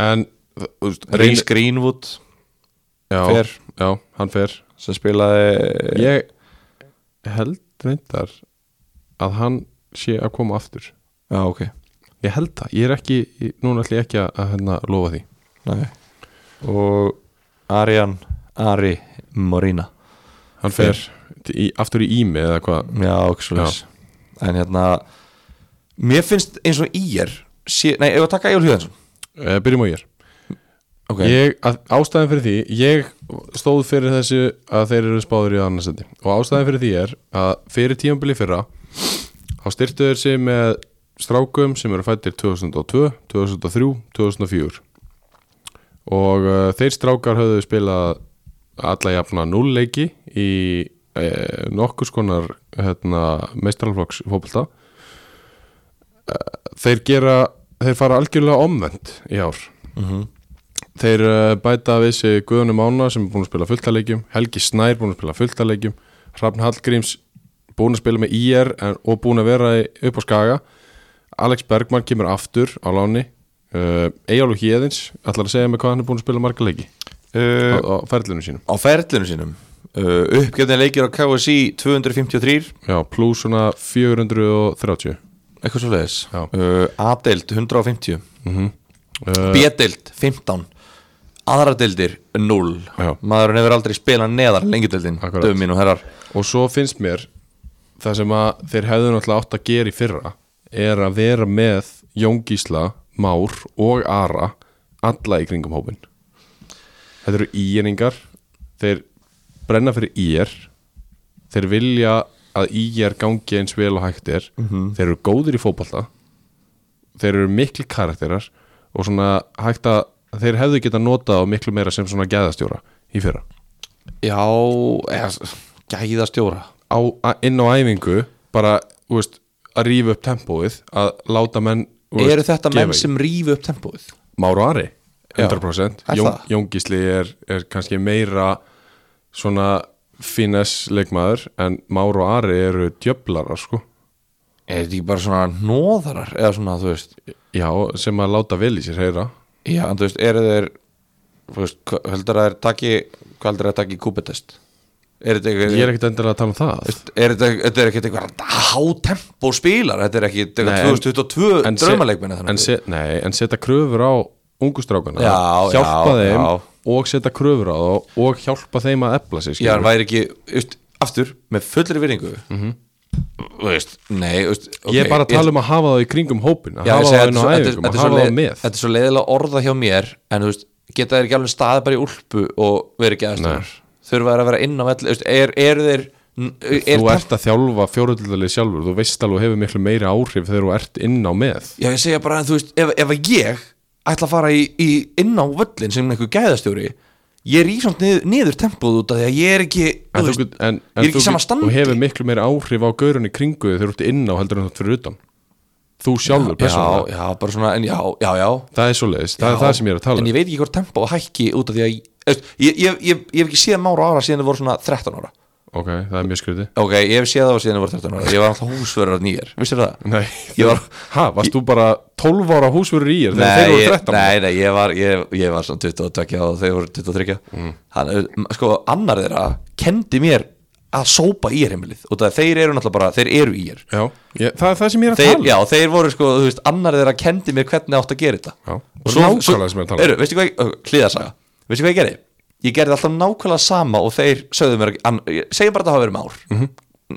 S1: en þú veist,
S2: Reis Greenwood
S1: já,
S2: fer.
S1: já, hann fer
S2: sem spilaði
S1: ég held reyndar að hann sé að koma aftur
S2: Já, ok
S1: ég held það, ég er ekki, ég- núna ætlum ég ekki að, að hérna, lofa því
S2: Nei. Og Arjan Ari Morína
S1: hann fer til- í, aftur í Ími eða hvað
S2: Já, ok, svo leys En hérna Mér finnst eins og í er sé, Nei, ef að taka Egil Hjöðansson
S1: Eh, byrjum á ég
S2: Ok,
S1: ég, að, ástæðan fyrir því ég stóð fyrir þessu að þeir eru spáður í annarsendi og ástæðan fyrir því er að fyrir tíambili fyrra þá styrtu þeir sig með strákum sem eru fættir 2002, 2003, 2004 og uh, þeir strákar höfðu spilað alla jafna nullleiki í eh, nokkus konar hérna, meistralflokks fótbolta Eh, þeir gera þeir fara algjörlega omvend í ár Þeir uh, bæta við sig Guðunum Ána sem er búin að spila fullt að leikjum Helgi Snær búin að spila fullt að leikjum Hrafn Hallgríms búin að spila með IR en, og búin að vera í- upp á skaga Alex Bergmann kemur aftur á láni uh, Eyjálu Híðins ætlar að segja mig hvað hann er búin að spila marga leiki á,
S2: uh,
S1: á ferlinu sínum
S2: Á ferlinu sínum uh, Uppgefni leikir á KSI 253
S1: Já, pluss svona 430
S2: Eitthvað svo leis
S1: Já.
S2: uh, A-deild 150
S1: uh,
S2: B-deild 15 Aðra deildir 0
S1: Já.
S2: Maðurinn hefur aldrei spilað neðar lengi deildin
S1: Akkurat.
S2: Dömin og herrar
S1: Og svo finnst mér það sem að þeir hefðu náttúrulega átt að gera í fyrra er að vera með Jón Gísla, Már og Ara alla í kringum hópin Þetta eru íjeringar þeir brenna fyrir íjer þeir vilja að íjer gangi eins vel og hægt er þeir eru góðir í fótballa þeir eru miklu karakterar og svona hægt að þeir hefðu geta notað á miklu meira sem svona gæðastjóra í fyrra
S2: Já, eða, s- gæðastjóra
S1: á, a- inn á æfingu bara, þú veist, að rífa upp tempóið að láta menn þú veist,
S2: Eru þetta menn
S1: gefa í.
S2: sem rýfi upp tempóið?
S1: Már og Ari, 100%
S2: Já, er
S1: Jón,
S2: það?
S1: Jón Gísli er, er kannski meira svona finnes leikmaður en Már og Ari eru djöflarar sko
S2: Er þetta ekki bara svona nóðarar eða svona, þú veist
S1: Já, sem að láta vel í sér heyra
S2: Já, en þú veist, eru þeir þú veist, hva- heldur að þeir taki hvað heldur að þeir taki kúpetest? Er þetta
S1: Ég er
S2: ekki
S1: ekkert endilega að tala um það
S2: Er þetta, þetta er ekki eitthvað hátempo spílar, þetta er ekki þetta
S1: Nei,
S2: er
S1: en-
S2: 2022
S1: en se-
S2: drömmaleikminni
S1: en se, Nei, en setja kröfur á ungustrákana
S2: Já,
S1: Hjálpa
S2: já,
S1: þeim
S2: já.
S1: og setja kröfur á þá og hjálpa þeim að epla sig
S2: Já, hann
S1: skilurðu.
S2: væri ekki, veist, aftur með fullri virðingu mm -hmm. veist, Nei, veist
S1: Mhm. Ég er bara að tala um að hafa það í kringum hópin að
S2: Já, ég
S1: hafa
S2: segi,
S1: það
S2: þetta
S1: inn
S2: er
S1: á
S2: svo- þetta er-
S1: æfingum að
S2: þetta er svo
S1: hafa það
S2: leið-
S1: með
S2: Þetta er svo leiðilega orða hjá mér en þú veist, geta þeir ekki alveg staðið bara í úlpu og verið ekki aðstöður þurfa þeir að vera inn á velli, þú veist, er, er þeir n- er
S1: Þú ert að þjálfa fjóruðlöðlið sjálfur þú veist alveg hefur miklu meiri áhrif þegar þú ert inn á með
S2: Já, ég segja bara, þú veist, ef, ef að ég ætla að fara í, í inn á völlin sem einhver gæðastjóri ég er í samt niður, niður tempóð út af því að ég er ekki,
S1: En
S2: þú
S1: þú,
S2: veist,
S1: get- en,
S2: ég er
S1: en
S2: ekki
S1: þú,
S2: sama
S1: get- þú
S2: standi
S1: hefur miklu meiri áhrif á gaurunni kringu þig þegar þú ert inn á heldur en þú ert fyrir utan Þú sjálfur
S2: Já,
S1: persónulega
S2: já, bara svona, en já, já, já
S1: Það er svo leiðis, það er
S2: Já,
S1: það sem ég er að tala
S2: En
S1: um
S2: ég veit ekki hvort tempó hækki út af því að ég, ég, ég, ég, ég, ég hef ekki séð mára ára síðan þau voru svona 13 ára
S1: Ok, það er mjög skröti
S2: Ok, ég hef séð það síðan ég var 13 ára Ég var alltaf húsverður að nýjar, vissir það?
S1: Nei,
S2: Ég var-
S1: ha, varst þú bara 12 ára húsverður í þér þegar þeir
S2: ég,
S1: voru sko. 13?
S2: nei, nei, ég var, ég, ég var svona 22 og þau voru 23 mm. Þannig, sko, annar þeirra kendi mér að sópa í er heimilið og það, þeir eru náttúrulega bara, þeir eru í er
S1: Já, ég, það er það sem ég er að
S2: þeir,
S1: tala um
S2: Já, þeir voru sko, þú veist, annar þeirra kendi mér hvernig átt að gera þetta
S1: Já,
S2: Og
S1: nákvæmlega sem ég er að tala um.
S2: Eru, veistu hvað, ég- ö, hliðarsaga Veistu hvað ég gerði? Ég gerði alltaf nákvæmlega sama og þeir sögðu mér, an, ég- segjum bara að það hafa verið már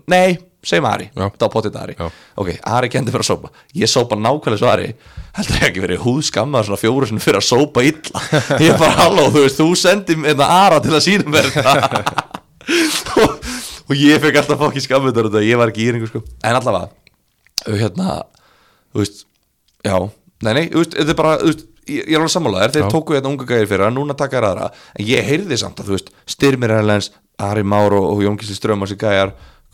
S2: Nei, segjum Ari,
S1: Mhm. Já.
S2: þá potið Ari
S1: Já.
S2: Ok, Ari kendi mér að sópa Ég sópa nákvæmlega svo Ari Heldur ég ekki verið húðskammaður svona fjóru sinni fyrir að sópa illa Ég bara halló, þú veist, þú sendir mér hérna Ara til að sína mér þetta og, og ég fekk alltaf fokki skammundar út af því að ég var ekki í yringu sko en allavega, uh, hérna þú veist, já nei, nei, þú veist, þetta er bara, þú veist ég ég er alveg sammálaðir, þeir
S1: Já.
S2: tóku hérna unga gæðir fyrir að núna taka þér aðra, en ég heyrði samt að þú veist, Styrmir Erlens, Ari Már og, og Jón Gísli Strömmar sér gæjar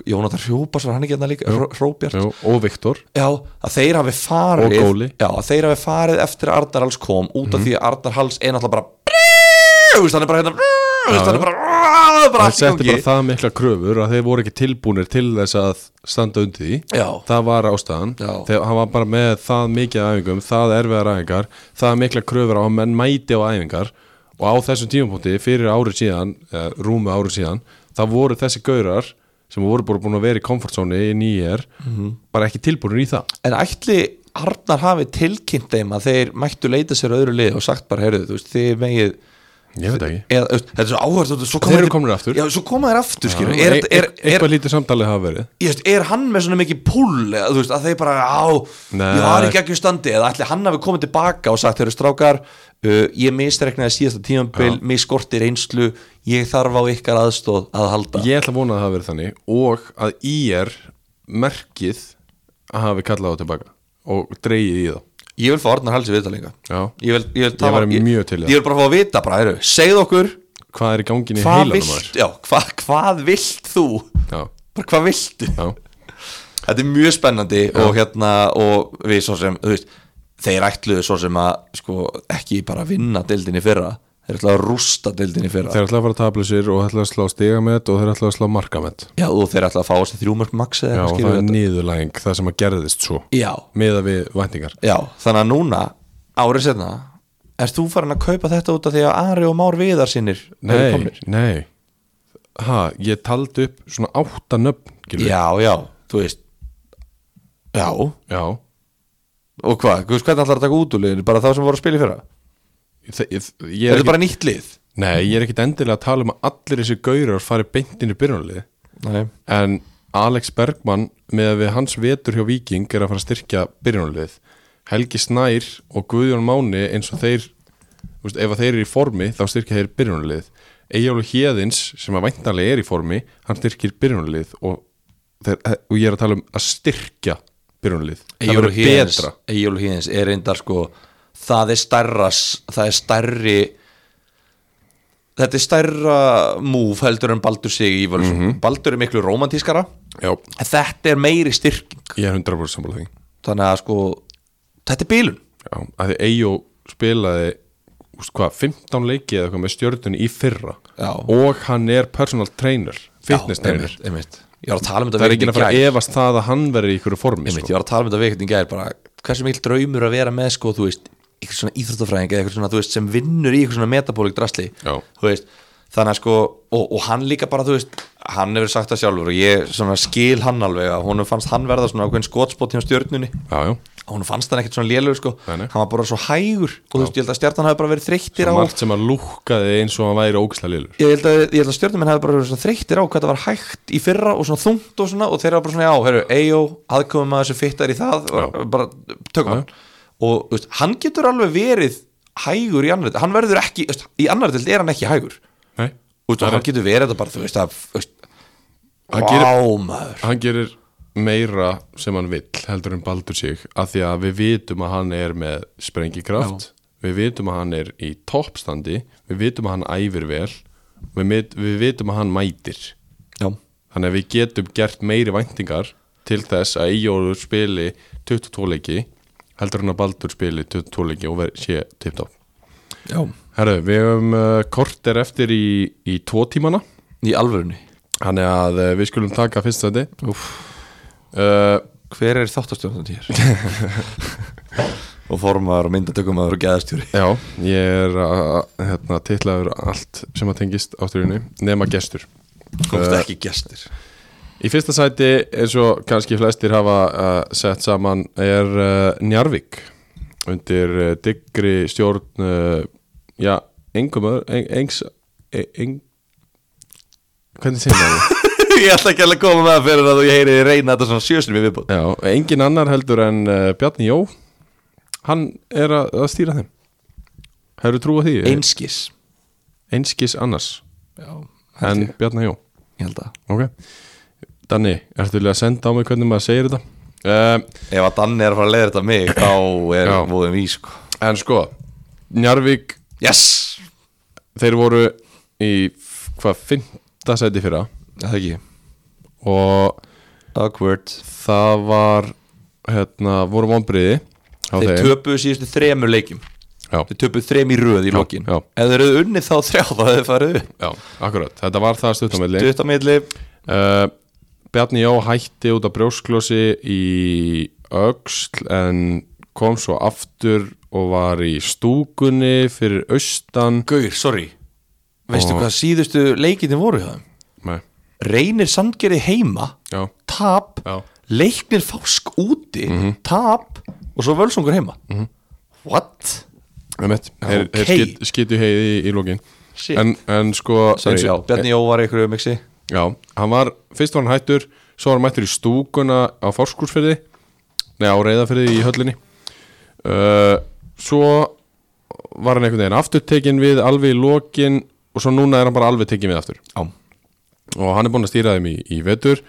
S2: Jónatar Hrópas var hann ekki hérna líka, Hró- Hróbjart
S1: Jú, Og Viktor
S2: Já, að þeir hafi farið
S1: Og Góli. Mhm.
S2: Já, að þeir hafi farið eftir að Arnar Hals kom út af því að Arnar Hals er náttúrulega bara Þú veist, hann er bara hérna Þú veist, hann er bara Það er bara
S1: Það
S2: allt í
S1: setti
S2: gangi.
S1: bara það mikla kröfur að þeir voru ekki tilbúnir til þess að standa undir því
S2: Já.
S1: Það var ástæðan
S2: Já.
S1: Þegar hann var bara með það mikið af æfingum það erfiðar æfingar, það mikla kröfur á að menn mæti á æfingar og á þessum tímapunkti fyrir árið síðan eh, rúmu árið síðan, það voru þessi gaurar sem voru bara búin að vera í komfortzóni í nýjar,
S2: Mhm.
S1: bara ekki tilbúinir í það
S2: En ætli Arnar hafi tilkynnt þeim að þeir mættu leita sér að öðru lið og sagt bara, heyrðu, þú veist, þið megið
S1: Ég veit ekki
S2: eða, þú veist, þetta er svo áhverð svo koma
S1: Þeir eru
S2: þeir-
S1: komnir aftur.
S2: Já, svo koma þeir aftur, skilur
S1: Já,
S2: er,
S1: e- e-
S2: er, er,
S1: Eitthvað lítið samtalið hafa verið
S2: ég veist, er hann með svona mikið púl eða, þú veist, að þeir bara, á,
S1: Nei.
S2: ég var ekki ekki standi eða ætli hann hafi komið tilbaka og sagt þeir eru strákar, uh, ég misreknaði síðasta tímambil, mig skortir einslu ég þarf á ykkar aðstóð að halda
S1: Ég ætla að vona að það hafi verið þannig og að IR merkið að hafi kallað á tilbaka og dreigið í þá
S2: Ég vil fá Arnar Halsi viðtalinga
S1: Já.
S2: Ég vil, ég vil tala,
S1: væri mjög til í
S2: ég,
S1: það.
S2: ég vil bara fá að vita bara, heyrðu, segð okkur
S1: Hvað er í ganginni í
S2: hvað
S1: heilanum
S2: vilt,
S1: þar?
S2: já, hvað, hvað vilt þú
S1: Já,
S2: bara hvað viltu
S1: já,
S2: þetta er mjög spennandi og hérna og við svo sem, þú veist þeir ætluðu svo sem að sko, ekki bara vinna deildinni fyrra þeir ætluðu að rústa deildinni fyrra
S1: þeir ætla að fara að tabla sér og ætla að slá stigamett og þeir ætla að slá markamett
S2: já, og þeir ætla að fá þessi þrjúmörk maxi
S1: Já, og það er nýðurlæging, það sem að gerðist svo
S2: já,
S1: meða við væntingar
S2: já, þannig að núna árið setna, erst þú farin að kaupa þetta út af því að Ari og Már Viðar sinnir eru
S1: Nei,
S2: komnir?
S1: nei Ha, ég taldi upp svona átta nöfn skilur.
S2: já, já, þú veist já, og
S1: já.
S2: hvað, Þú veist, hvernig ætlar að taka út úr liðinu bara þá sem voru að spila í fyrra
S1: Þe- Ég, ég er
S2: er þetta
S1: ekki,
S2: bara nýtt lið
S1: Nei, ég er ekkit endilega að tala um að allir þessi gaurar fari beintinni byrjunalið
S2: Nei.
S1: en Alex Bergman með að við hans vetur hjá Viking er að fara að styrkja byrjunarlið Helgi Snær og Guðjón Máni eins og þeir þú veist, ef að þeir eru í formi þá styrkja þeir byrjunarlið Egjálu Hjeðins sem að væntanlega er í formi hann styrkir byrjunarlið og, þeir, eh, og ég er að tala um að styrkja byrjunarlið það verður betra
S2: Egil Híðins er reyndar sko það er stærra s- það er stærri þetta er stærra múf heldur en Baldur sig í Völsum
S1: Mhm.
S2: Baldur er miklu romantískara
S1: Já,
S2: en þetta er meiri styrking
S1: ég er 100% sammála því
S2: þannig að sko, þetta er bílun
S1: Já, að því Eyjó spilaði úst, hva, 15 leiki eða eitthvað með stjörnun í fyrra
S2: Já.
S1: og hann er personal trainer fitness trainer,
S2: einmitt, einmitt. ég var að tala um þetta
S1: það er ekki
S2: við
S1: að fara
S2: í
S1: að
S2: gær.
S1: efast það að hann verði í ykkur formi
S2: einmitt,
S1: sko.
S2: ég var að tala um þetta veikind í gær bara, hversu mikil draumur að vera með sko, þú veist, eitthvað svona íþróttafræðing eða eitthvað svona, þú veist, sem vinnur í eitthvað svona metabólik drasli,
S1: Já.
S2: þú veist þannig að sko, og, og hann líka bara, þú veist hann hefur sagt það sjálfur og ég svona skil hann alveg að honum fannst hann verða svona ákveðin skotspót hjá stjörnunni
S1: já, já,
S2: honum fannst hann ekkert svona lélugur sko
S1: Nei, nei.
S2: hann var bara svo hægur og þú veist, ég held að stjartan hafi bara verið þreyttir á
S1: margt sem að lúkkaði eins og hann væri ógislega lillur
S2: ég held að, ég held að stjórnumenn hefði bara verið svona þreyttir á hvað það var hægt í fyrra og svona þungt og svona og þeir eru bara svona, já, herru, EIO aðkomum að þessu fittar í það og
S1: Já.
S2: bara tökum
S1: Já.
S2: hann og þú veist, hann getur alveg verið hægur í annar dild, hann verður ekki þú veist, í annar dild er hann ekki hægur Þú
S1: Nei,
S2: veist, og hann getur verið þetta bara, þú veist að, þú veist,
S1: Hann
S2: vá,
S1: gerir-
S2: maður
S1: hann gerir meira sem hann vill heldur en baldur sig af því að við vitum að hann er með sprengikraft við vitum að hann er í toppstandi við vitum að hann æfir vel við, mit- við vitum að hann mætir
S2: já,
S1: Þannig að við getum gert meiri væntingar til þess að Íjóður spili 22 leiki heldur hann að Baldur spili 22 leiki og ver- sé tipptopp.
S2: já,
S1: Herru, við höfum uh, korter eftir í, í tvo tímana
S2: í alvörunni
S1: þannig að uh, við skulum taka fyrst þetta uh,
S2: hver er þáttastjórnandi hér? og formar og myndatökumar og geðastjóri
S1: Já, ég er að hérna, titlaður allt sem að tengist átturinu nema gestur
S2: komst ekki gestir
S1: Í fyrsta sæti, eins og kannski flestir hafa uh, sett saman, er uh, Njarvík undir uh, diggri stjórn, uh, já, engum öður, eng, engs, e- eng, hvernig segir maður það?
S2: ég ætla ekki alveg að koma með það fyrir að þú ég heyri þig reyna þetta svona sjösunum við viðbútt
S1: Já, engin annar heldur en uh, Bjarni Jó, hann er að, að stýra þeim. Hefur trú á því?
S2: einskis
S1: Einskis annars
S2: já,
S1: en Bjarni Jó.
S2: ég held að
S1: Ok. Danni, ertu til að senda á mig hvernig maður segir þetta? Um,
S2: ef að Danni er að fara að leiða þetta mig þá er
S1: Já.
S2: móðum í sko
S1: en sko, Njarvík
S2: yes
S1: þeir voru í f- hvað fimmta sæti fyrra
S2: það ekki
S1: og
S2: awkward
S1: það var hérna, voru vonbriði á
S2: þeir
S1: þeim.
S2: töpuðu síðustu þremur leikjum
S1: já,
S2: þeir töpuðu þrem í röð í lokin
S1: já.
S2: ef þeir eru unnið þá þrjá þá hefur farið upp
S1: já, akkurat, þetta var það stuttamilli Stutt.
S2: stutt á milli
S1: uh, Bjarni Jó hætti út af brjósklosi í öxl en kom svo aftur og var í stúkunni fyrir austan
S2: Gaur, sorry veistu
S1: Og-
S2: hvað síðustu leikinni voru hjá þeim
S1: Nei,
S2: reynir sandgeri heima
S1: já,
S2: tap,
S1: Já.
S2: leiknir fásk úti tap og svo völsungur heima what?
S1: með mitt þeir, þeir
S2: ok.
S1: skit, skitu heiði í, í lókin
S2: Shit.
S1: en, en sko
S2: Eins og- Bjarni Jó var í einhverju mixi
S1: Já, hann var, fyrst var hann hættur svo var hann mættur í stúkuna á fórskúrsfyrði nei á reyðafyrði í höllinni uh, svo var hann einhvern veginn aftur tekinn við alveg í lokin og svo núna er hann bara alveg tekinn við aftur
S2: Já.
S1: og hann er búinn að stýra þeim í, í vetur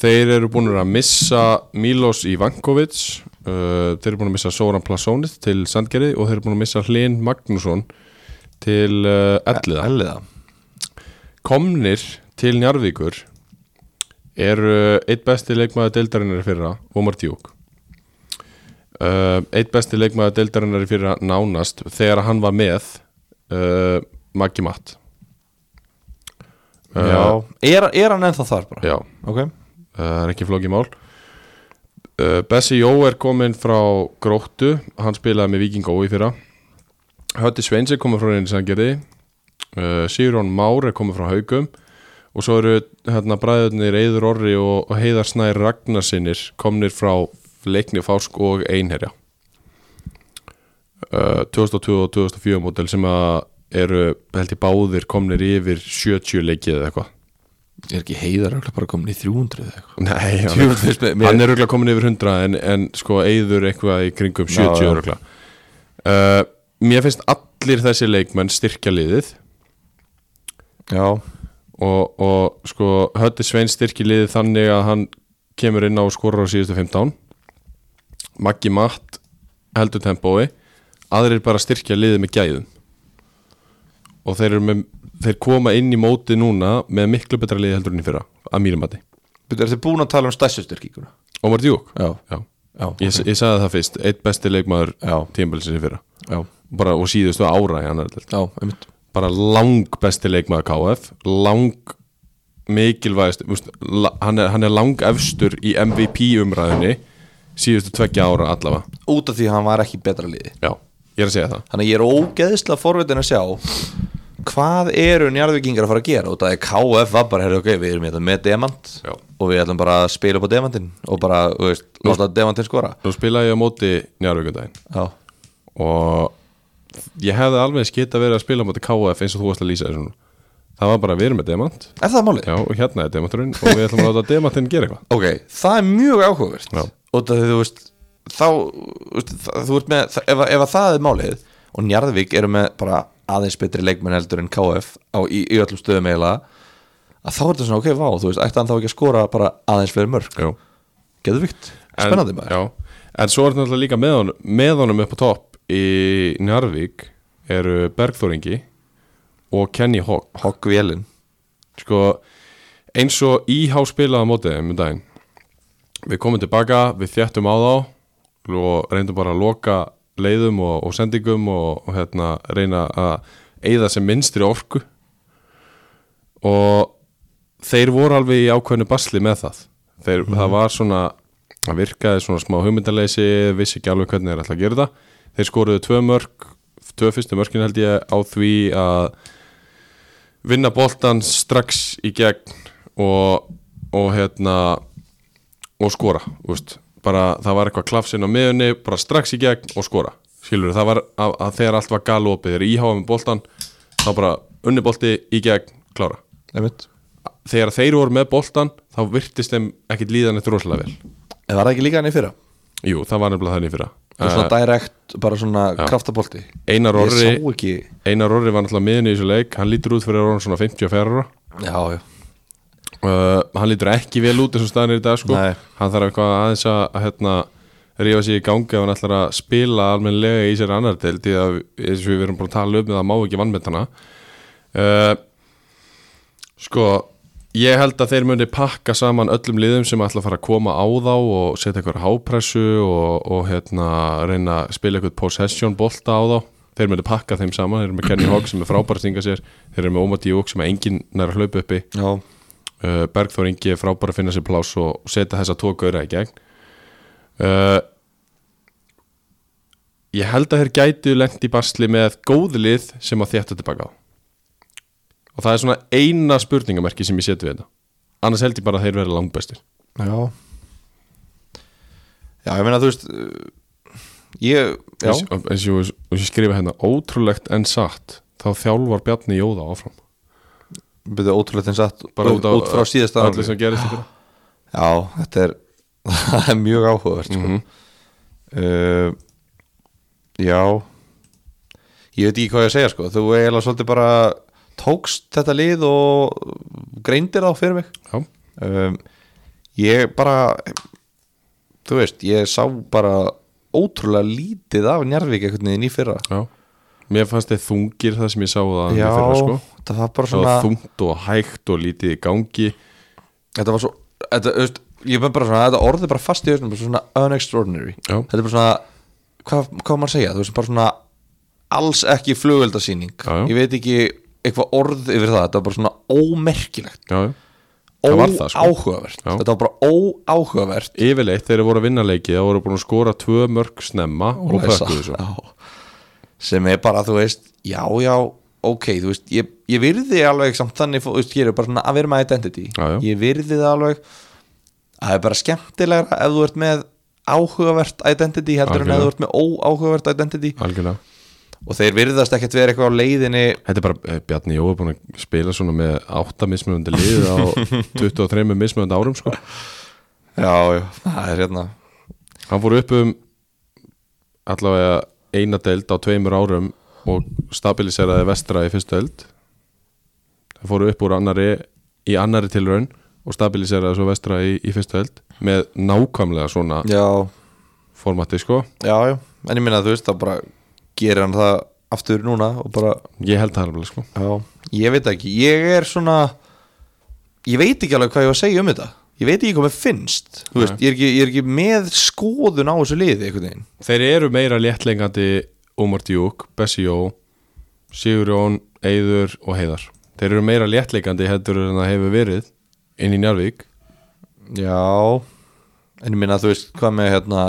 S1: þeir eru búin að missa Milos Ivankovic uh, þeir eru búin að missa Soran Plasonit til Sandgerði og þeir eru búin að missa Hlyn Magnússon til uh, Elliða
S2: E, Elliða
S1: komnir til Njarvíkur eru eitt besti leikmaður deildarinnar í fyrra, Omar Djúk uh, eitt besti leikmaður deildarinnar í fyrra nánast þegar hann var með uh, Maggi Matt Uh,
S2: Já. er, er hann ennþá þar bara?
S1: já,
S2: Ok
S1: það er ekki flókið mál uh, Bessi Jó er kominn frá Gróttu, hann spilaði með Viking Ó í fyrra Hötti Sveins er komið frá reyni sangerði uh, Sýrón Már er komið frá Haugum og svo eru hérna bræðurnir Eður Orri og, og Heiðar Snær Ragnarsinnir komnir frá leikni Fásk og Einherja uh, 2002 og 2004 mótel sem að eru held ég báðir komnir yfir 70 leikið eða eitthvað
S2: Er ekki heiðar örugglega bara komin í 300 eða eitthvað?
S1: Nei, hann
S2: Djöfull finnst mér- mér-
S1: hann er röglega komin yfir 100 en, en sko eigður eitthvað í kringum 70
S2: já.
S1: röglega uh, Mér finnst allir þessi leikmenn styrkja liðið
S2: Já
S1: og, og sko Hötti Svein styrkja liðið þannig að hann kemur inn á skorar á síðustu 15 Maggi Matt heldur tempói aðrir bara styrkja liðið með gæðum og þeir, eru með, þeir koma inn í móti núna með miklu betra liðið heldur enn í fyrra að mínum mati
S2: Býttu, er þið búin að tala um stærstu styrkíkuna?
S1: Ómar Djúk
S2: Já,
S1: Já.
S2: já,
S1: Ég, ég sagði það fyrst, eitt besti leikmaður
S2: já,
S1: tímbilsins í fyrra
S2: já,
S1: bara, og síðustu ára í annar deild.
S2: já, einmitt
S1: bara lang besti leikmaður KF lang mikilvægast úst, la, hann, er, hann er lang efstur í MVP umræðinni síðustu tveggja ára allavega
S2: Út af því að hann var ekki í betra liði
S1: Já, ég er að segja það
S2: Þannig að ég er ógeðslega forvitin að sjá hvað eru njarðvikingar að fara að gera og það er KF var bara, herrðu, ok, við erum hérna með demant
S1: Já.
S2: og við ætlum bara að spila upp á demantin og bara, þú veist, láta demantin skora
S1: Nú spilaði ég á móti njárvíkundaginn
S2: Já,
S1: og ég hefði alveg skitt að vera að spila á móti KF eins og þú varst að lýsa þessu núna. Það var bara við erum með demant
S2: er það málið?
S1: Já, og hérna er demanturinn og við ætlum að láta demantinn gera eitthvað
S2: Ok, það er mjög áhugavert
S1: Já.
S2: og það þú veist þá, þú veist, það, þú ert með það, ef, að- ef að það er málið og Njarðvík eru með bara aðeins betri leikmenn heldur en KF á, í, í öllum stöðum eiginlega að þá er þetta svona, ok, vá, þú veist, ætti hann þá ekki að skora bara aðeins fleiri mörg,
S1: Já,
S2: geðvikt spennandi maður,
S1: Já, en svo er náttúrulega líka með honum, með honum upp á topp í Njarðvík eru Bergþóringi og Kenny Hogg
S2: hogg vélinn
S1: sko, eins og íhá spilaði á mótið um daginn við komum tilbaka, við þjættum á þá og reyndum bara að loka leiðum og, og sendingum og, og hérna, reyna að eyða sem minnstri orku og þeir voru alveg í ákveðnu basli með það þeir, það var svona það virkaði svona smá hugmyndaleysi vissi ekki alveg hvernig þeir ætla að gera það þeir skoruðu tvö mörg tvö fyrstu mörkin held ég á því að vinna boltan strax í gegn og, og hérna og skora úst. bara það var eitthvað klafsinn á miðunni bara strax í gegn og skora skilur það var að, að þegar allt var galopið þegar íháða með boltan þá bara unni bolti í gegn klára
S2: einmitt,
S1: þegar þeir voru með boltan þá virtist þeim ekkit líðan eitt rosalega vel
S2: en var það ekki líka hann í fyrra
S1: jú það var nefnilega þannig fyrra
S2: það er svona direkt, bara svona kraftabolti
S1: Eh. Einar
S2: ég
S1: Orri,
S2: sá ekki,
S1: Eh, Einar Orri var náttúrulega miðunni í þessu leik hann lítur út fyrir orðan svona 54 ára
S2: já, já
S1: uh, hann lítur ekki vel út eins og staðan er í dag sko.
S2: Nei.
S1: hann þarf eitthvað aðeins að að, hérna, rífa sér í gangi ef hann ætlar að spila almennilega í sér annar deild því að eins og við erum búin að tala um það má ekki vannmetana uh, sko ég held að þeir muni pakka saman öllum liðum sem ætla að fara að koma á þá og setja eitthvað hápressu og, og hérna, reyna að spila eitthvað possession bolta á þá þeir muni pakka þeim saman, þeir eru með Kenny Hogg sem er frábært þingar sér, þeir eru með Omati Júk sem að enginn nær að hlaupa uppi
S2: já,
S1: uh, Bergþór Ingi er frábær að finna sér pláss og setja þessa tvo gauðra í gegn uh, Ég held að þeir gætu lengt í basli með góð lið sem að þétta tilbaka á og það er svona eina spurningamerki sem ég seti við þetta annars held ég bara að þeir verða langbestir
S2: Já Já, ég meina þú veist uh, Ég, já
S1: eins eins og ég, ég skrifa hérna ótrúlegt en satt þá þjálfar Bjarni Jóða áfram
S2: Byrðu ótrúlega eins að
S1: bara eh,
S2: út, eh, út frá síðasta
S1: öllu
S2: ári
S1: sem gerist í fyrra.
S2: Já, þetta er það er mjög áhugavert sko. uh, Já Ég veit ekki hvað ég að segja sko Þú eiginlega svolítið bara tókst þetta lið og greindir þá fyrir mig
S1: Já,
S2: um, ég bara þú veist, ég sá bara ótrúlega lítið af Njarvík einhvern veginn í fyrra
S1: já Mér fannst þeir þungir það sem ég sá það í
S2: Já,
S1: fyrra, sko.
S2: það var bara
S1: það
S2: svona
S1: var þungt og hægt og lítið í gangi
S2: þetta var svo, þetta, þú veist ég var bara svona, þetta orðið er bara fast í öðrum svona unextraordinary,
S1: Já.
S2: þetta er bara svona hvað, hvað á maður að segja, þú veist, bara svona alls ekki flugöldasýning
S1: Já, já.
S2: ég veit ekki eitthvað orð yfir það, þetta var bara svona ómerkilegt
S1: já, já. Það var það, sko.
S2: óáhugavert,
S1: Já.
S2: þetta var bara óáhugavert
S1: yfirleitt þegar þeir voru að vinna leikið þá voru búin að skora tvö mörg snemma og, og
S2: læsa.
S1: pökkuðu svo
S2: Já. sem er bara, þú veist já, já, ok, þú veist ég, ég virði alveg samt þannig þú veist, ég er bara svona að vera með identity
S1: Já, já.
S2: ég virði það alveg það er bara skemmtilegra ef þú ert með áhugavert identity heldur
S1: Algjörlega.
S2: en ef þú ert með óáhugavert identity
S1: algjörlega
S2: og þeir virðast ekkert vera eitthvað á leiðinni
S1: Þetta er bara, eh, Bjarni Jó er búin að spila svona með átta mismunandi lið á 23 mismunandi árum sko
S2: já, já, það er hérna
S1: Hann fór upp um allavega eina deild á tveimur árum og stabiliseraði vestra í fyrstu deild Það fóru upp úr annari í annari tilraun og stabiliseraði svo vestra í, í fyrstu deild með nákvæmlega svona
S2: já,
S1: formati sko
S2: já, já, en ég minna þú veist það bara gerir hann það aftur núna og bara
S1: Ég held það alveg sko
S2: Já, ég veit það ekki, ég er svona ég veit ekki alveg hvað ég var að segja um þetta ég veit ekki hvað mér finnst Þú veist, ég, er ekki, ég er ekki með skoðun á þessu liði einhvern veginn
S1: Þeir eru meira léttlengandi Omar Djúk, Bessi Jó Sigurjón, Eyður og Heiðar Þeir eru meira léttlengandi heldur en það hefur verið inn í Njarvík
S2: Já En ég minna þú veist hvað með hérna,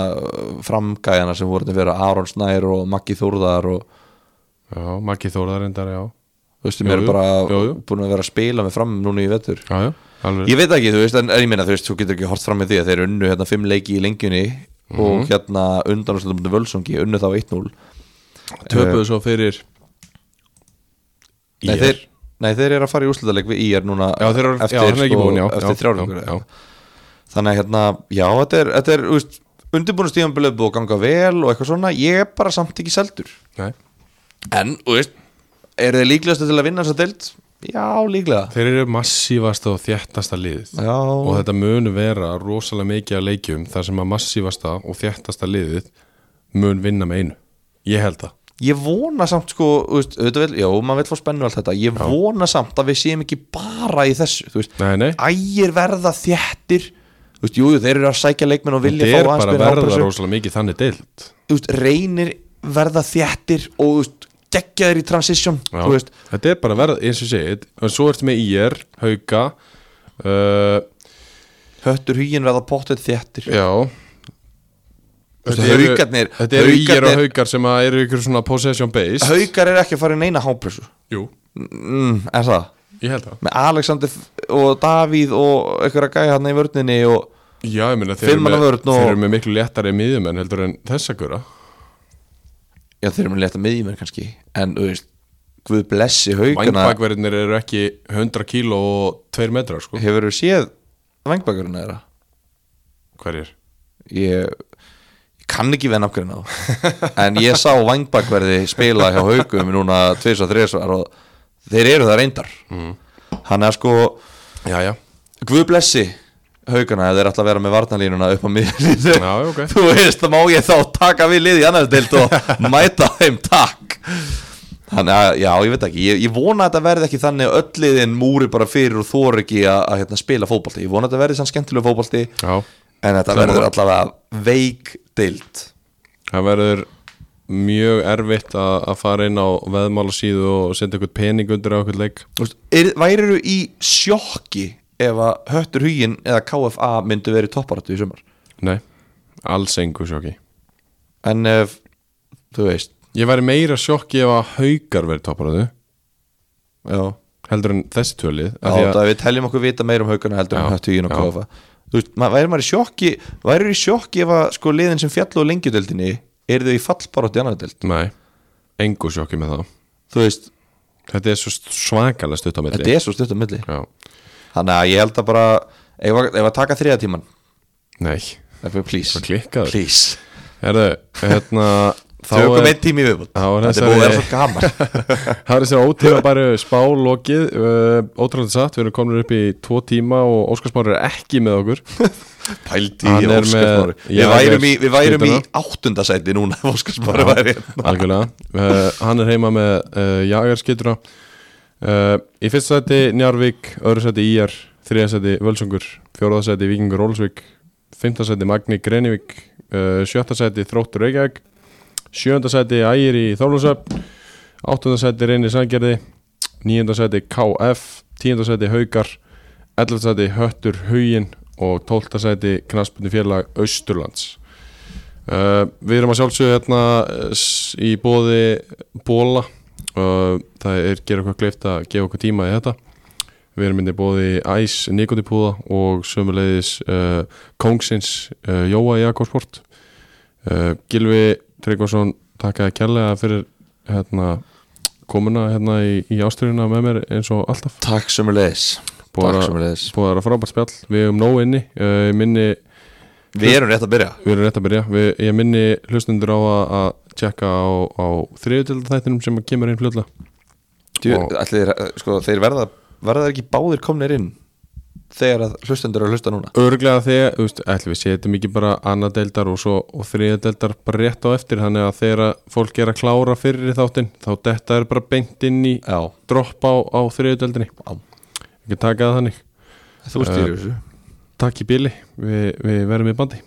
S2: framgæjana sem voru þetta fyrir Aron Snær og Maggi Þórðar og
S1: Já, Maggi Þórðar endar, já
S2: þú veist,
S1: Jú,
S2: mér er
S1: jú,
S2: bara
S1: jú, jú.
S2: búin að vera að spila með fram núna í vettur
S1: Já, já, alveg
S2: Ég veit ekki, þú veist, en, en ég minna þú veist, þú getur ekki hort fram með því að þeir unnu hérna fimm leiki í lengjunni
S1: Mhm.
S2: og hérna undan og sluttum völsungi, unnu þá 1-0
S1: Töpuðu svo fyrir
S2: Nei,
S1: IR.
S2: þeir, nei, þeir eru að fara í úrslitaleg við IR núna
S1: Já, þeir eru,
S2: eftir,
S1: já, hann er ekki
S2: sko,
S1: búin, já
S2: eftir
S1: já,
S2: þrjár vikur
S1: já,
S2: Þannig að hérna, já, þetta er, þetta er úst, undirbúinu stíðanbilið búið að ganga vel og eitthvað svona, ég er bara samt ekki seldur
S1: já. Nei.
S2: En, þú veist, eru þeir líklegastu til að vinna þess að deild? Já, líklega
S1: Þeir eru massífasta og þjættasta liðið
S2: Já,
S1: og þetta mun vera rosalega mikið að leikjum þar sem að massífasta og þjættasta liðið mun vinna með einu ég held það
S2: ég vona samt sko, þú veist, auðvitað vil, já, maður vil fá spennu og allt þetta Ég vona samt að við séum ekki bara í þessu, þú veist
S1: nei, nei,
S2: Ægir verða þjættir, þú veist, jú, jú, þeir eru að sækja leikmenn og vilja
S1: þetta er
S2: fá aðeins
S1: bara
S2: meiri
S1: verða
S2: ápressu.
S1: rosalega mikið þannig deilt
S2: þú veist, reynir verða þjættir og þú veist, geggja þér í transition
S1: Já.
S2: þú veist,
S1: þetta er bara verða, eins og ég segi en svo ertu með IR, Hauka uh,
S2: höttur hugin verða pottet þjættir
S1: já
S2: veist,
S1: Þetta eru-
S2: Haukarnir-
S1: þetta eru IR og
S2: Haukarnir-
S1: Haukar sem að eru ykkur svona possession based
S2: haukar er ekki að fara í neina hápressu
S1: jú,
S2: mm, er það,
S1: ég held það
S2: með Alexander F- og Davíð og einhverja gæja hann í vörninni og
S1: já, ég meina, þeir, eru
S2: Fimm manna
S1: með,
S2: vörn og-
S1: þeir eru með miklu léttari miðjumenn heldur en þessa gura
S2: já, þeir eru með leta miðjumenn kannski en þú veist, Guð blessi haukana
S1: vangbakverðinir eru ekki 100 kíló og 2 metrar sko
S2: hefur þú séð vangbakurinn þeirra
S1: hverjir?
S2: ég, ég kann ekki við nafngrinna en ég sá vangbakverði spila hjá haugum núna tvis og þriðsvar og þeir eru það reyndar mm. hann er sko
S1: Já, já,
S2: guð blessi haugana ef þeir ætla að vera með varnalínuna upp á miðlínu
S1: já, ok
S2: þú veist þá má ég þá taka við liði í annars deild og mæta þeim takk þannig að já ég veit ekki ég, ég vona að þetta verði ekki þannig að öll liðin múri bara fyrir og þóri ekki að, að hérna, spila fótbolti ég vona að þetta verði sann skemmtilega fótbolti
S1: Já,
S2: En þetta
S1: Sammála.
S2: verður allavega veik deild
S1: það verður mjög erfitt að, að fara inn á veðmálasíðu og senda einhvern pening undir á einhvern leik
S2: Þú veist, er- Værirðu í sjokki ef að Höttur Huginn eða KFA myndu verið topparatu í sumar
S1: Nei, alls engu sjokki
S2: En ef, þú veist
S1: Ég væri meira sjokki ef að haukar verið topparaðu
S2: Já,
S1: heldur en þessi tölið
S2: já
S1: af því
S2: það
S1: að,
S2: við teljum okkur vita meira um haugana
S1: Já,
S2: heldur en Höttur Huginn og
S1: já.
S2: KFA Þú veist, ma- væri maður í sjokki Værirðu í sjokki ef að sko liðin sem fjallu á lengjudeldinni Er þau í fallbaratu í annar deild
S1: Nei, engu sjokki með það
S2: Þú veist,
S1: Þetta er svo svakalega stutt á
S2: þetta
S1: milli
S2: er svo stutt á milli
S1: Já,
S2: Þannig að ég held að bara Ef að, ef að taka þriða tíman
S1: nei,
S2: Please,
S1: það klikkaður
S2: please
S1: Herðu, hérna þá
S2: Tökum
S1: er-
S2: einn tími í viðbútt
S1: Þá er
S2: Þetta er búið að vera
S1: þessari-
S2: svo gaman
S1: Það er þessi ótegabæru spá lokið uh, Ótrúlega satt, við erum komin upp í tvo tíma og Óskar Smári er ekki með okkur
S2: Pældi
S1: Hann
S2: í
S1: er
S2: Óskarsmári
S1: með-
S2: Við
S1: Já,
S2: værum, í,
S1: ég-
S2: við værum í
S1: skiptuna.
S2: áttundasæti núna ef Óskarsmári væri hérna.
S1: Algjörlega uh, Hann er heima með uh, Jagarskituna uh, Í fyrsta sæti Njarvík, öðru sæti IR þriða sæti Völsungur, fjóraða sæti Víkingur Rólsvík, fimmta sæti Magni Grenivík, uh, sjötta sæti Þróttur Reykjavík, sjönda sæti Ægir í Þórlúsöfn áttunda sæti Reynir Sangerði níunda sæti KF, tíunda sæti Haukar, ellefta sæti Höttur Hugin og tólta sæti Knaspunni félag Austurlands Uh, við erum að sjálfsögja hérna uh, s- í bóði bóla uh, það er gera okkur kleift að gefa okkur tíma í þetta við erum hérna myndið bóði æs nikotipúða og sömuleiðis uh, kongsins uh, Jóa í Akkorsport uh, Gilvi Tryggvason takkaði kærlega fyrir hérna, komuna hérna í, í ásturina með mér eins og alltaf
S2: Takk sömulegis
S1: Búið að-
S2: Takk sömulegis
S1: búið að vera frábært spjall, við erum nóg inni uh, ég minni
S2: Við erum rétt að byrja
S1: Við erum rétt að byrja, við, ég minni hlustundur á að, að tjekka á, á þriðutildatættinum sem kemur inn fljóðlega
S2: Djú, eh,
S1: Og-
S2: ætli, þeir- sko, Þeir verða, verða þeir ekki báðir komnir inn þegar að hlustendur eru að hlusta núna
S1: Örglega þegar, þú veist, ætlum við setjum ekki bara annað deildar og svo og þriða deildar bara rétt á eftir, þannig að þegar að fólk er að klára fyrir í þáttinn þá þetta er bara beint inn í
S2: Já,
S1: dropp á, á þriða deildinni
S2: Já.
S1: Ekki taka það þannig
S2: þú stýrir þessu
S1: Takk í bíli, við, við verðum í bandi